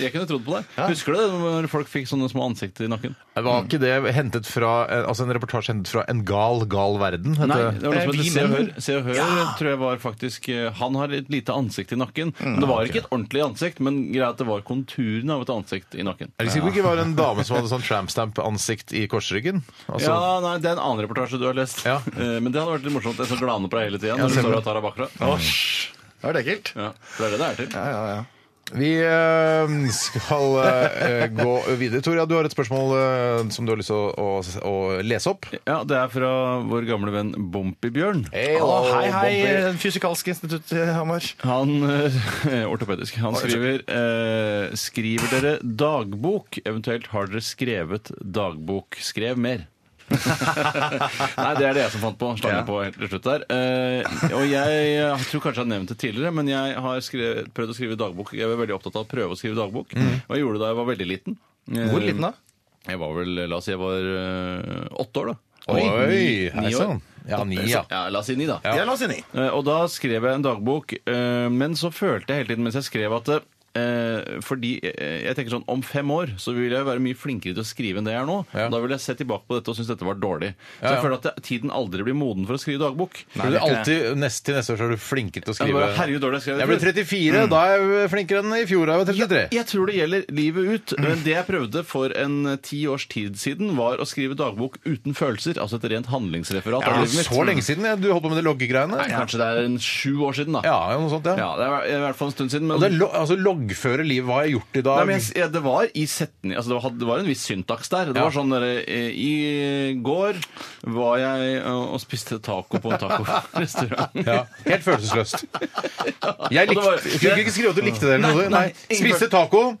E: jeg kunne trodd på deg. Husker du det når folk fikk sånne små ansikter i nakken?
C: Var ikke det hentet fra altså en reportasje hentet fra En gal, gal verden? heter
E: Nei,
C: det?
E: det var noe som
D: Eh,
E: heter
D: vi
E: Se og
D: menn.
E: Hør. Se og Hør tror jeg var faktisk eh, Han har et lite ansikt i nakken. Men det var ikke et ordentlig ansikt, men greia at det var konturen av et ansikt i nakken.
C: Er du sikker på ikke det var en dame som hadde sånn trampstamp-ansikt i korsryggen? Altså,
E: ja, nei, Det er en annen reportasje du har lest.
C: Ja.
E: Eh, Men det hadde vært litt morsomt. Jeg så glane på deg hele tida. når du står og tar av bakfra.
D: Det er det ekkelt.
E: Ja, for det er det det er til.
D: Ja, ja, ja.
C: Vi eh, skal eh, gå videre. Tor, ja, du har et spørsmål eh, som du har lyst til å, å, å lese opp.
E: Ja, Det er fra vår gamle venn Bompibjørn.
C: Å,
D: hei, hei, eh,
C: Bomper.
D: Fysikalsk institutt i Hamar.
E: Han eh, Ortopedisk. Han skriver eh, Skriver dere dagbok? Eventuelt har dere skrevet dagbok? Skrev mer. Nei, det er det jeg som fant på. Slang på helt til slutt der. Eh, og jeg, eh, tror kanskje jeg har nevnt det tidligere, men jeg har skrevet, prøvd å skrive dagbok. Jeg var veldig opptatt av å prøve å skrive dagbok, og jeg gjorde det da jeg var veldig liten.
D: Mm.
E: Eh,
D: Hvor liten da?
E: Jeg var vel, la oss si jeg var eh, åtte år, da.
C: Oi,
E: Ni-
C: hei
E: ni år.
C: sann. Ja, ni, ja.
E: Ja, la oss si ni, da.
D: sånn? Ja, la oss inn i.
E: Eh, Og da skrev jeg en dagbok, eh, men så følte jeg hele tiden mens jeg skrev at eh, fordi eh, jeg tenker sånn, Om fem år så vil jeg være mye flinkere til å skrive enn det jeg er nå.
C: Ja.
E: Da vil jeg se tilbake på dette og synes dette var dårlig. Så
C: Ja, ja.
E: jeg føler at det- tiden aldri blir moden for å skrive dagbok.
C: Nei, det er alltid, nest, til neste år så er du flinkere til å
E: Jeg
C: skrive.
E: bare, herregud, dårlig jeg Mm. skrev det
C: Jeg ble
E: før.
C: 34, da er jeg flinkere enn i fjor. da Jeg var 33.
E: Jeg tror det gjelder livet ut. Men det jeg prøvde for en eh, ti års tid siden, var å skrive dagbok uten følelser. Altså et rent handlingsreferat.
C: Ja,
E: av
C: det er
E: livet mitt.
C: så lenge siden ja, du holdt på med de loggegreiene.
E: Nei, kanskje det er en sju år siden, da.
C: Ja, ja, noe sånt, ja.
E: Ja, det er i hvert fall en stund siden. Men
C: Og det er lo altså, loggføre livet. Hva har jeg gjort i dag?
E: Nei, men jeg, ja, det var i setning altså det, var, det var en viss syntaks der. Det
C: Ja.
E: var sånn der, eh, I går var jeg eh, og spiste taco på en tacorestaurant.
C: ja, helt følelsesløst. Jeg
E: Og det
C: likte,
E: var-
C: jeg kunne ikke skrive at du likte det. eller noe. Nei,
E: Nei, nei,
C: Spiste taco.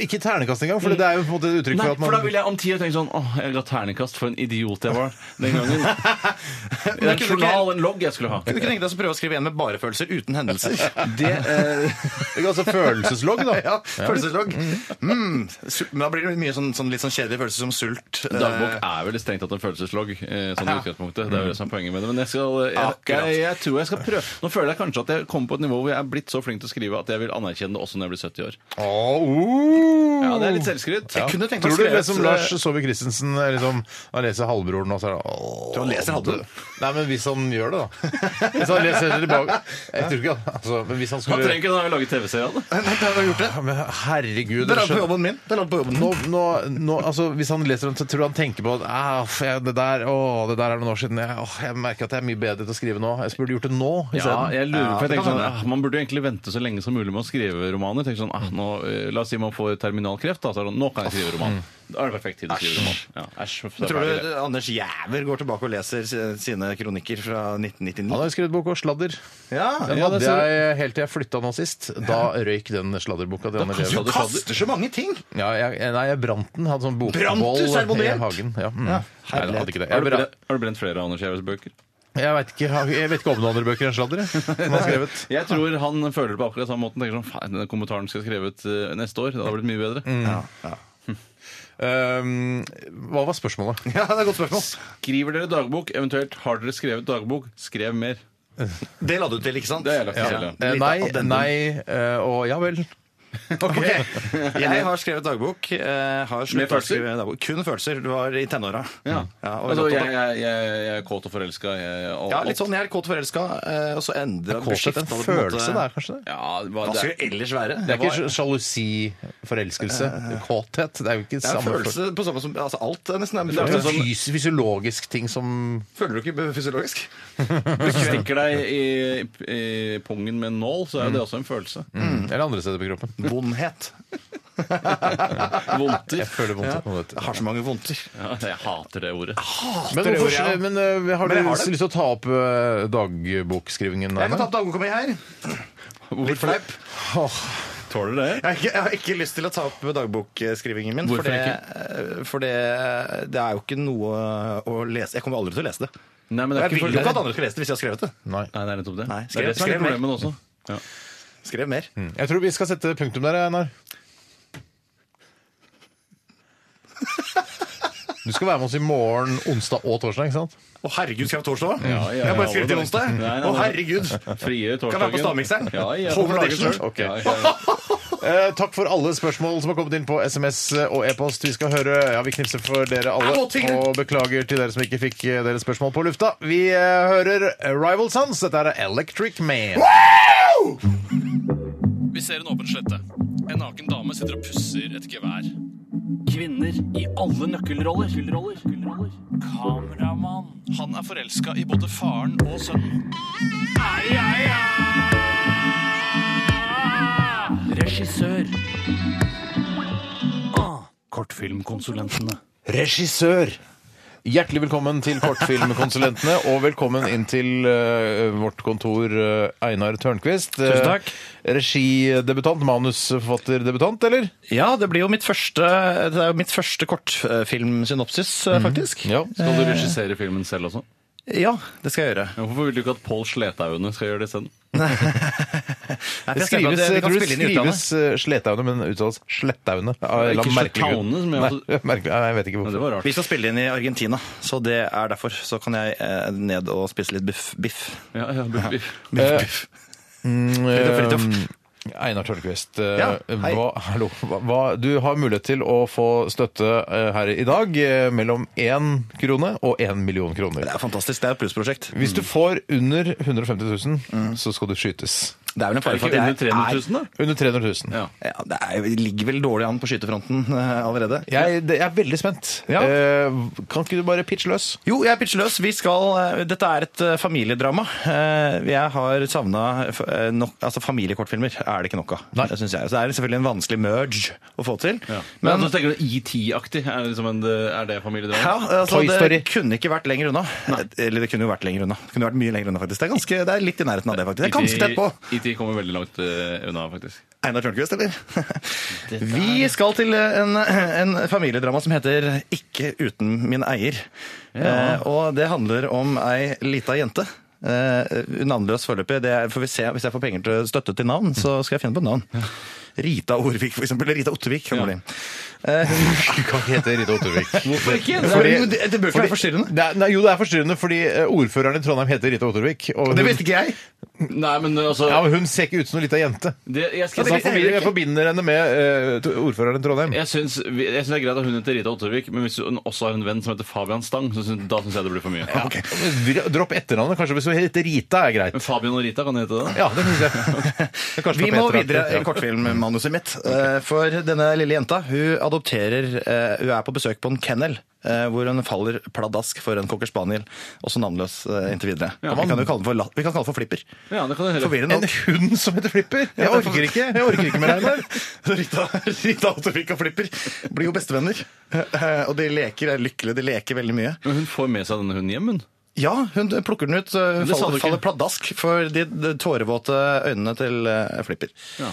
C: Ikke ternekast engang, for det er jo på en måte et uttrykk
E: Nei,
C: for at
E: for da
C: man
E: ville jeg om ti år tenke sånn Åh, jeg ga terningkast for en idiot jeg var den gangen. Det er
D: kunne
E: en
D: du
E: journal, en logg jeg skulle ha.
D: Kunne du ikke tenke deg å prøve å skrive en med bare følelser uten hendelser?
C: det, eh, Altså følelseslogg, da.
D: Ja, følelseslogg. Mm. su- Men da blir det mye sånn, sånn litt sånn kjedelige følelser som sult. eh,
E: Dagbok er vel strengt tatt en følelseslogg. eh, Sånn i utgangspunktet. Det er jo det som er poenget med det. Men jeg, skal, eh, jeg,
D: Akkurat.
E: jeg, jeg tror jeg skal prøve. Nå føler jeg kanskje at jeg kommer på et nivå hvor jeg er blitt så flink til å skrive at jeg vil anerkjenne det også når jeg blir 70 år.
C: Å, oh.
E: Ja, det er litt selvskryt.
D: Jeg kunne tenkt meg å
C: Tror du
D: skrive eh,
C: liksom Lars Saabye Christensen er liksom, han leser halvbroren og så er det åh.
D: Tror han leser halvbroren?
C: Nei, men hvis han gjør det, da. Hvis han leser tilbake Jeg tror ikke han altså, Men hvis han
E: Man
C: skulle
E: trenger ikke da lage TV-serie av det.
C: Ja, Men herregud
D: Det er
C: dere
D: lov på
C: skjønner-
D: jobben min. Det er lov på jobben
C: nå, nå, nå, altså, hvis han leser den, så tror du han tenker på at «Ah, f- jeg- det der, å, det der er noen år siden. Jeg, åh, jeg merker at jeg er mye bedre til å skrive nå. Jeg burde gjort det nå
E: Ja,
C: isteden.
E: jeg lurer, for jeg
D: det
E: tenker
D: kan
E: sånn,
D: hende.
E: ah, Man burde jo egentlig vente så lenge som mulig med å skrive romaner. Tenk sånn, ah, nå, eh, La oss si man får terminalkreft. Da, så er det, sånn, nå kan jeg skrive roman. Da er det perfekt tid å skrive roman. Ja, æsj. så er det
D: mm. Tror
E: ferdig,
D: du Anders Jæver går tilbake og leser si- sine kronikker fra
C: Han
D: 1999?
C: har jo skrevet bok om sladder. Den
D: Ja,
E: Ja, det
C: hadde
E: ser du.
C: jeg helt til jeg flytta nå sist. Da røyk den sladderboka. til Anne Leve.
D: Du kaster så mange ting!
C: Ja, jeg, nei, jeg brant den. Hadde sånn
D: Brant du
C: bokboll i
D: sermonert?
C: hagen. Ja, mm.
D: Ja,
C: nei, jeg hadde ikke det.
E: det. Har
C: Jeg,
E: du,
C: bra,
E: brent, har du brent flere av Anders Jævers bøker?
C: jeg, vet ikke, jeg vet ikke om noen andre bøker enn sladder. jeg, som han har skrevet.
E: Jeg tror han føler det på akkurat samme måten. Tenker sånn, faen, denne kommentaren skal jeg skrevet eh, neste år. Det hadde blitt mye bedre.
D: Mm.
C: Um, hva var spørsmålet?
D: Ja, Det er et godt spørsmål.
E: Skriver dere dagbok? Eventuelt har dere skrevet dagbok? Skrev mer.
D: Det la du til, ikke sant?
E: Det har jeg lagt til selv, ja.
C: Eh,
D: Litt
C: nei,
D: addendum.
C: nei eh, og ja vel.
D: Ok. Jeg har skrevet dagbok. eh, har
E: Med
D: sluttet å
E: følelser?
D: skrive dagbok. Kun følelser. Det var i tenåra.
E: Ja.
D: og
E: altså,
D: jeg-
E: jeg, jeg, jeg, jeg er kåt og forelska.
D: Ja, litt sånn. Jeg er kåt forelska, eh, og så endra
C: Kåthet, en følelse, det er kanskje det?
E: Ja, det var-
D: Hva skulle det ellers være?
C: Det er ikke sjalusi, forelskelse, kåthet. Det er jo ikke
D: Det er en
C: samme følelse.
D: følelse på samme som altså Alt er nesten er en
E: er
C: Det er
D: følelse.
E: sånn-
C: en fys fysiologisk ting som
D: Føler du ikke fysiologisk?
E: Hvis du stikker deg i, i, i pungen med en nål, så er jo det også en følelse.
D: Mm.
C: Eller andre steder på kroppen.
D: Vondhet.
E: Vondter.
C: Jeg føler vondt. av noe, vet du.
D: Jeg har så mange vondter.
E: Ja, jeg hater det ordet.
C: Men,
D: det
C: hvorfor,
D: gjorde jeg.
C: men eh, har du
D: Men jeg har
C: lyst til å ta opp eh, dagbokskrivingen?
D: Jeg
C: Einar?
D: kan ta opp dagboka mi her. Litt fleip.
E: Tåler det?
D: Jeg, har ikke- jeg har ikke lyst til å ta opp dagbokskrivingen min.
E: Hvorfor
D: for det, For det, det er jo ikke noe å lese. Jeg kommer aldri til å lese det.
E: Nei, men det
D: Jeg
E: er ikke
D: vil jo
E: følelse.
D: ikke at andre skal lese det hvis jeg har skrevet det.
C: Nei.
E: Nei, det er nettopp det.
D: Nei,
E: det er det som er
D: skrev-
E: litt problemet også. Ja.
D: Skrev mer.
E: Mm.
C: Jeg tror vi skal sette punktum der, eh, Einar. Du skal være med oss i morgen, onsdag og torsdag, ikke sant?
D: Å, herregud, skrev jeg torsdag òg?
E: Ja, ja,
D: jeg har bare
E: ja,
D: skrevet til
E: alle
D: onsdag.
E: dager. Nei, nei,
D: Å,
E: nei.
D: herregud.
E: Frigjør torsdagen.
D: Kan være på stavmikseren.
E: Ja, ja,
D: Home
E: på dagen
D: edition.
E: selv.
C: Ok.
E: Ja, ja, ja.
C: Eh, takk for alle spørsmål som har kommet inn på SMS eh, og e-post. Vi skal høre Ja, vi knipser for dere alle. Og beklager til dere som ikke fikk eh, deres spørsmål på lufta. Vi eh, hører Rival Sons. Dette er Electric Man.
I: Vi ser en åpen slette. En naken dame sitter og pusser et gevær. Kvinner i alle nøkkelroller. Kameramann. Han er forelska i både faren og sønnen. Ai, ai, ai! Regissør. Ah, kortfilmkonsulentene.
C: Regissør! Hjertelig velkommen til Kortfilmkonsulentene, og velkommen inn til eh, vårt kontor, eh, Einar Tørnquist. Eh,
E: Tusen takk.
C: Regidebutant, manusforfatterdebutant, eller?
D: Ja, det blir jo mitt første, det er jo mitt første kortfilmsynopsis, eh, faktisk.
C: Ja.
E: Skal du regissere filmen selv også?
D: Ja, det skal jeg gjøre.
E: Hvorfor vil du ikke at Pål Sletaune skal gjøre det isteden?
D: Nei, for
C: Det
D: jeg tenker at
C: skrives,
D: det- vi
C: jeg
D: kan
C: tror det
D: spille inn i utlandet.
C: skrives eh, Sletaune, men uttales Slettaune. av en eller
E: Ikke
C: annen merkelig grunn.
E: Sletaune, som jeg
C: Nei, merkelig. Nei, jeg vet ikke
E: Det
C: hvorfor.
E: var rart.
D: Vi skal spille inn i Argentina, så det er derfor. Så kan jeg eh, ned og spise litt biff. biff.
E: Ja, ja, bu- bu-
C: Eh,
D: Fridtjof,
C: Eh,
D: Fridtjof.
C: Einar Tørnquist, eh,
D: Ja, hei.
C: hva, hallo, hva, hva- du har mulighet til å få støtte eh, her i dag eh, mellom én krone og én million kroner.
D: Det er fantastisk. Det er et plussprosjekt.
C: Hvis du får under 150 000, så skal du skytes.
D: Det er vel en fare for
E: Ikke
D: at
E: under
D: jeg
E: 300 000, da?
C: Under 300 000.
E: Ja.
D: Ja, det er, jeg ligger vel dårlig an på skytefronten eh, allerede.
C: Jeg, det, jeg er veldig spent.
D: Ja.
C: Eh, kan ikke du bare pitche løs?
D: Jo, jeg er pitchløs. Vi skal, eh, dette er et eh, familiedrama. Eh, Jeg har savna altså familiekortfilmer. Er det ikke nok av?
C: Nei.
D: Det synes jeg. Så det er selvfølgelig en vanskelig merge å få til.
E: Ja. altså, Men,
D: Men
E: så tenker du ET-aktig? Er, det liksom en- er det
D: ja,
E: familiedrama?
D: altså,
C: Toy Story.
D: det kunne ikke vært lenger unna. Eller det kunne jo vært lenger unna. Det kunne vært mye lenger unna, faktisk. Det er, ganske, det er litt i nærheten av det,
E: E
D: faktisk. Det er ganske tett på.
E: ET kommer veldig langt eh, unna, faktisk.
D: Einar Tørnquist, eller? Vi skal til en, en familiedrama som heter Ikke uten min eier. Eh, og det handler om ei lita jente. Eh, navnløs foreløpig. Det er- får vi se, hvis jeg får penger til støtte til navn, så skal jeg finne på et navn. Rita Orvik, for eksempel. Eller Rita Ottervik. kan det bli. Eh,
C: Du kan ikke hete Rita Ottervik. Hvorfor ikke?
D: jo, det- det bør ikke være forstyrrende.
C: Det er, nei, jo, det er forstyrrende fordi eh, ordføreren i Trondheim heter Rita Ottervik. Og
D: det
C: hun,
D: vet ikke jeg!
E: Nei, men eh, altså
C: ja, men hun ser ikke ut som noen lita jente.
E: det, jeg, skal,
C: Jeg
E: jeg,
C: forbinder, jeg forbinder henne med eh, t- ordføreren i Trondheim.
E: Altså, jeg syns vi- jeg syns det er greit at hun heter Rita Ottervik, men hvis hun også har en venn som heter Fabian Stang, så syns, da syns jeg det blir for mye.
C: Dropp etternavnet. Kanskje hvis hun heter Rita, er greit.
E: Men Fabian og Rita, kan det hete det?
C: Ja, det synes jeg. Det er kanskje
D: Vi
C: på
D: må
C: etternavnet,
D: videre
C: ja.
D: i kortfilmmanuset mitt. Eh, For denne lille jenta hun adopterer eh, Hun er på besøk på en kennel. eh, Hvor hun faller pladask for en cocker spaniel. Også navnløs eh, inntil videre. Vi kan jo kalle den for, la- vi kan kalle den for flipper.
E: Ja, det kan det hete.
D: Forvirrende.
C: En hund som heter Flipper? Jeg orker ikke jeg orker ikke mer, Einar.
D: Rita, Rita Ottervik og Flipper blir jo bestevenner. Eh, Og de leker, er lykkelige, de leker veldig mye.
E: Men hun får med seg denne hunden hjem, hun.
D: Ja, hun plukker den ut. så Hun
E: det sa
D: faller,
E: du ikke.
D: faller pladask for de, de tårevåte øynene til eh, Flipper.
E: Ja.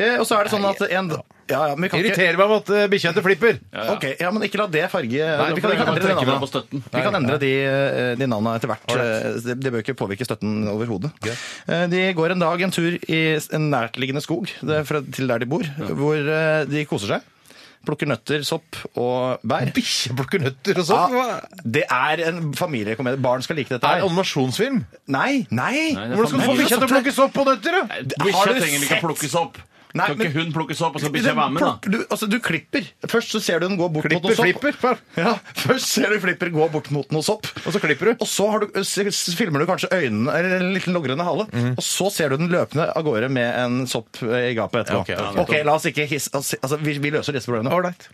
D: Eh, Og så er det sånn at en ja, ja, men vi kan ikke-
C: Irriterer meg med at eh, bikkja heter Flipper.
E: ja.
D: Ok, ja, men ikke la det farge Vi
E: for
D: kan ikke
E: da kan man
D: endre de
E: trekke
D: navnene.
E: fra på støtten.
D: Vi kan endre de, eh, de navnene etter hvert.
C: Alright.
D: Eh, Det det bør ikke påvirke støtten overhodet. Eh, De går en dag en tur i en nærtliggende skog det er fra- til der de bor, hvor eh, de koser seg. Plukker nøtter, sopp og bær.
C: Bikkje plukker nøtter og sånn.
D: Ja, det er en familiekomedie. Barn skal like dette.
C: Er det
D: her.
C: animasjonsfilm?
D: Nei! nei.
E: Nei, det er
C: Hvordan skal du få
E: familie.
C: bikkja til å plukke sopp og nøtter? da?
E: Bikkja trenger ikke å plukkes opp.
D: Nei,
E: kan
D: men-
E: ikke hun plukkes opp, og så skal bikkja
D: Den
E: være med, da?
D: plukker Du, altså, du klipper. Først så ser du den gå bort mot
C: Flipper,
D: noe sopp.
C: flipper.
D: Ja, Først ser du Flipper gå bort mot noe sopp,
C: Og så klipper du.
D: og så har du, s- s- filmer du kanskje øynene eller en liten logrende hale,
C: Mhm.
D: og så ser du den løpende av gårde med en sopp eh, i gapet etterpå.
C: Ja, ok,
D: ok, la oss ikke hisse altså, vi, vi løser disse problemene.
C: Ålreit.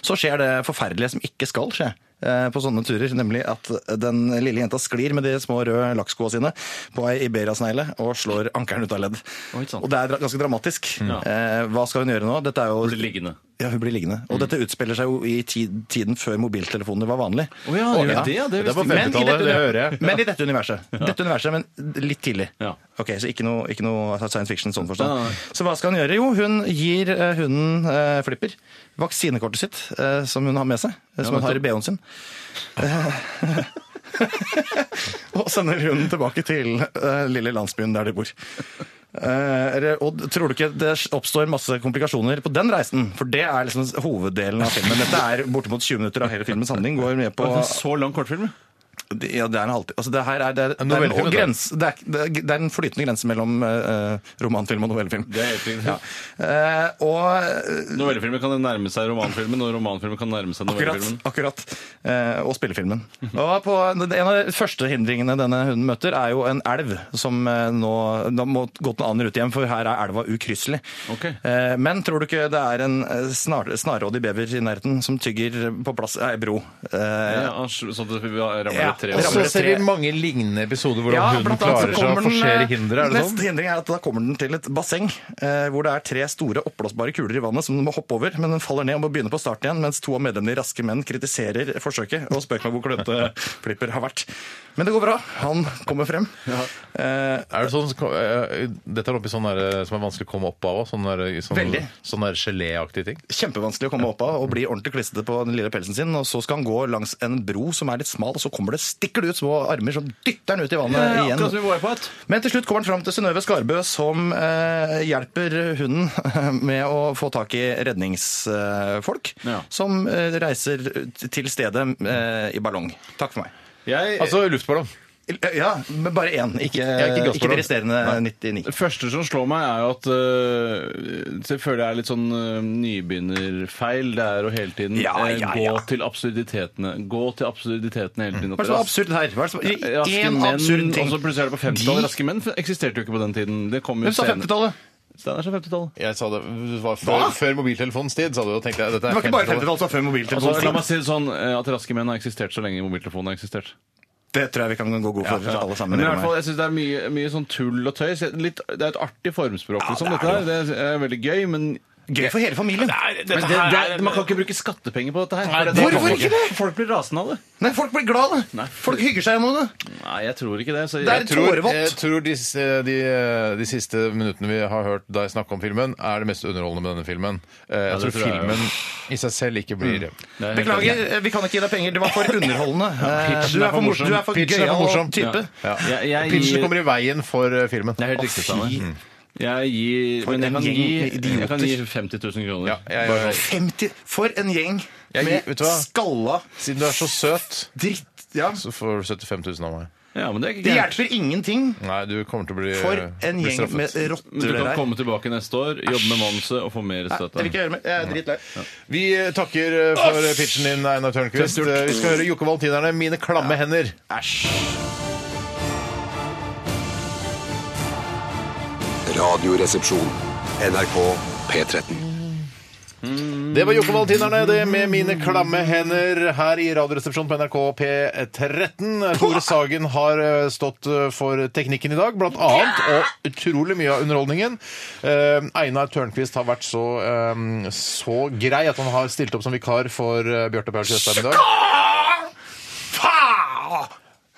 D: Så skjer det forferdelige som ikke skal skje eh, på sånne turer, nemlig at den lille jenta sklir med de små røde lakkskoa sine på ei Iberia-snegle og slår ankelen ut av ledd.
E: Oi, sant.
D: Og det er dra- ganske dramatisk. Eh, Hva skal hun gjøre nå? Dette er jo...
E: Blir liggende. Mm.
D: Ja, hun blir liggende. Og dette utspiller seg jo i tid, tiden før mobiltelefoner var vanlig.
E: Å ja,
D: Og-
E: gjør det det? Ja, det
C: jeg
D: Men i
E: visste
C: ikke.
D: dette
C: 50-tallet, det
D: uni-
C: hører jeg.
D: Men i dette universet. Dette universet, men litt tidlig.
E: Ja.
D: Ok, Så ikke noe, ikke noe science fiction sånn forstand.
E: Nei, nei, nei.
D: Så hva skal hun gjøre? Jo, hun gir eh, hunden eh, Flipper vaksinekortet sitt, eh, som hun har med seg. eh, Som hun har i BH-en sin. Eh, og sender hunden tilbake til eh, lille landsbyen der de bor. Eh, er det- og tror du ikke det oppstår masse komplikasjoner på den reisen? For det er liksom hoveddelen av filmen. Dette er bortimot 20 minutter av hele filmens handling. Går med på
E: Det er en så lang kortfilm. ja.
D: det- Ja, det er en halvtime. Altså, det her er, det er, det er,
C: novellefilm,
D: en,
C: da.
D: grense, det er, det er- det er en flytende grense mellom eh, romanfilm og novellefilm.
E: Det er helt riktig.
D: Ja. Eh, og eh,
E: Novellefilmer kan nærme seg romanfilmen, og romanfilmen kan nærme seg
D: akkurat.
E: novellefilmen.
D: akkurat eh, og spillefilmen. Og på, en av de første hindringene denne hunden møter, er jo en elv som eh, nå Da må gått en annen rute hjem, for her er elva ukrysselig.
E: Ok.
D: Eh, men tror du ikke det er en eh, snar, snarrådig bever i nærheten som tygger på plass ei bro? Eh,
E: Ja, sånn at vi ramler
D: Ja,
E: opp tre
C: Og
E: år.
C: så
D: ramler det
C: ser vi
D: tre-
C: mange lignende episoder hvordan huden
D: blant annet så
C: klarer seg
D: kommer eh,
C: å forsere hindre. Er det
D: Neste
C: sånn?
D: hindring er at da kommer den til et basseng eh, hvor det er tre store oppblåsbare kuler i vannet som den må hoppe over, men den faller ned og må begynne på start igjen, mens to av medlemmene i Raske menn kritiserer forsøket og spør meg hvor klønete Flipper har vært. Men det går bra. Han kommer frem. Eh,
C: Er det sånn, eh, dette er oppi sånn der, som er vanskelig å komme opp av òg? Sånn, der- sånn,
D: Veldig.
C: sånn der geléaktig ting?
D: Kjempevanskelig å komme opp av og bli ordentlig klissete på den lille pelsen sin. Og så skal han gå langs en bro som er litt smal, og så kommer det, stikker det ut små armer som dytter han ut i vannet
E: Ja,
D: igjen.
E: akkurat som i Wipeout.
D: Men til slutt kommer han fram til Synnøve Skarbø, som eh, hjelper hunden med å få tak i redningsfolk.
E: Ja.
D: Som eh, reiser til stedet eh, i ballong. Takk for meg.
E: Jeg,
C: Altså luftballong.
D: Ja, men bare én, ikke,
C: Ja, ikke
D: ikke,
C: gassballong.
D: de resterende 99.
E: det første som slår meg, er jo at øh, Jeg føler jeg er litt sånn øh, nybegynnerfeil. Det er å hele tiden
D: Ja,
E: eh,
D: ja,
E: gå
D: ja.
E: til absurditetene. Gå til absurditetene hele tiden.
D: Hva er det som er absurd her? Hva er det som,
E: Raske
D: én
E: menn,
D: absurd ting.
E: Og så plutselig er det på 50-tallet. Raske menn eksisterte jo ikke på den tiden. Det kom jo
D: Hvem sa 50-tallet?
E: Steinar sa 50-tallet.
C: Jeg sa det var før, før mobiltelefonens tid, sa du. Og tenkte jeg, dette
D: Det
C: er
D: var ikke bare
C: 50-tallet.
D: 50-tallet som var før
E: Altså, la meg
D: mobiltelefonen.
E: si det sånn eh, at Raske menn har eksistert så lenge mobiltelefonen har eksistert.
D: Det tror jeg vi kan gå god for, alle sammen.
E: Men i
D: eller
E: hvert
D: meg.
E: fall, jeg synes Det er mye, mye sånn tull og tøys. Litt, det er et artig formspråk. liksom,
D: det er
E: dette her. Det er veldig gøy, men
D: Gøy for hele familien.
E: men det, det, er- man kan ikke bruke skattepenger på dette her. for
D: hvorfor
E: kommer
D: ikke det?
E: Folk blir rasende av det.
D: Nei, folk blir glad. da.
E: Nei.
D: Folk hygger seg gjennom det.
E: Nei, jeg tror ikke det. Så
D: Det er
E: jeg,
D: et
C: tror,
D: tårevått.
C: jeg tror de, de, de siste minuttene vi har hørt deg snakke om filmen, er det mest underholdende med denne filmen. Eh, Jeg tror
E: tror jeg
C: filmen i seg selv ikke blir
E: det er helt enig.
D: Beklager, eh, vi kan ikke gi deg penger. Det var for underholdende. Eh, Du er for morsom. Du er for
C: Pitchen er for morsom.
D: gøyal type.
C: Ja.
E: Jeg- jeg
C: Pitchen
E: gir-
C: kommer i veien for eh, filmen.
E: Det er helt riktig. Steinar. Jeg gir, men jeg
D: en
E: kan
D: gjeng med
E: gi,
D: idioter.
E: jeg kan gi 50 000 kroner.
C: Ja, jeg, jeg,
D: 50 For en gjeng
C: Jeg gir- vet
D: med
C: du hva?
D: skalla
C: siden du er så søt,
D: dritt. Ja.
C: så får du 75 000 av meg.
E: Ja, men det er ikke
D: Det
E: gærent.
D: hjelper ingenting
C: Nei, du kommer til å bli,
D: for en
C: bli
D: gjeng
C: Eh, straffet.
D: med
E: Men
D: rotter
E: Du kan
D: der.
E: komme tilbake neste år, jobbe med manuset og få mer
D: Det vil ikke
E: støtte.
D: jeg gjøre mer. Jeg er drittlei.
C: Vi eh, takker eh, for eh, pitchen din, Einar Tørnquist.
E: Fett gjort.
C: Eh, Vi skal høre Jokke Valentinerne, 'Mine klamme hender'.
F: Radioresepsjon. NRK P13.
C: Det var Jokke Valentinerne, det med 'Mine klamme hender' her i Radioresepsjonen på NRK P13. Tore Sagen har eh, stått eh, for teknikken i dag, blant annet, og utrolig mye av underholdningen. Eh, Einar Tørnquist har vært så, eh, så grei at han har stilt opp som vikar for eh, Bjarte Paul Tjøstheim i dag.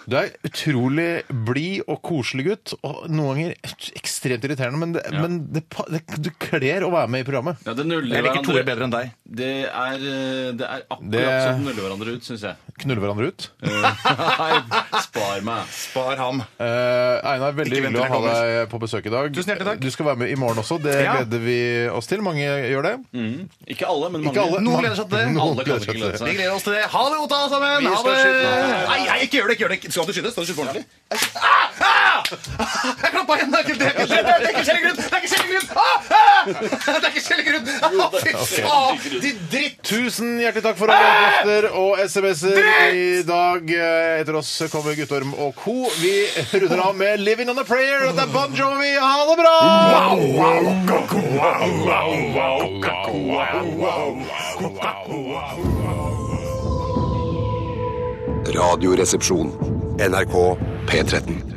C: Du er utrolig blid og koselig gutt, og noen ganger et- ekstremt irriterende, men, det, men det, pa- det, du kler å være med i programmet.
E: Ja, det nuller
D: Jeg liker Tore
E: hverandre.
D: bedre enn deg.
E: Det er, eh, det er akkurat
C: Det-
E: som de nuller hverandre ut, syns jeg.
C: Knuller hverandre ut.
E: Nei, spar meg.
D: Spar ham.
C: Eh, Einar, veldig
D: Ikke vent
C: hyggelig å
D: til
C: ha
D: jeg
C: deg på besøk i dag.
D: Tusen hjertelig takk.
C: Du skal være med i morgen også. Det
D: Ja. Mm.
C: gleder vi oss til. Mange gjør det.
E: Ikke alle, men mange.
C: Ikke alle.
D: Noen gleder seg til det.
C: Noen
E: Alle
C: gleder
E: kan
C: seg til
E: ikke glede
C: det.
E: seg.
D: Vi gleder oss til det. Ha det, Otta, alle sammen! Ha
E: skal
D: det.
E: skyte.
D: Nei, nei, ikke gjør det! ikke gjør det. ikke- Skal du skyte? Skal du skyte på ordentlig? Ah! Ah! Jeg klappa igjen! Det er ikke- det er ikke- det er ikke skjellegrunn! Det er ikke skjellegrunn! Ah! Ah! Det er ikke skjellegrunn! Ah, Fy faen! De dritt...
C: Tusen hjertelig takk for overraskelser og SMS-er i dag. Eh, Etter oss kommer Guttorm og co. Vi runder av med 'Living on a Prayer'. Og det er Bon Jovi. Ha det bra!
F: Radioresepsjon. NRK P13.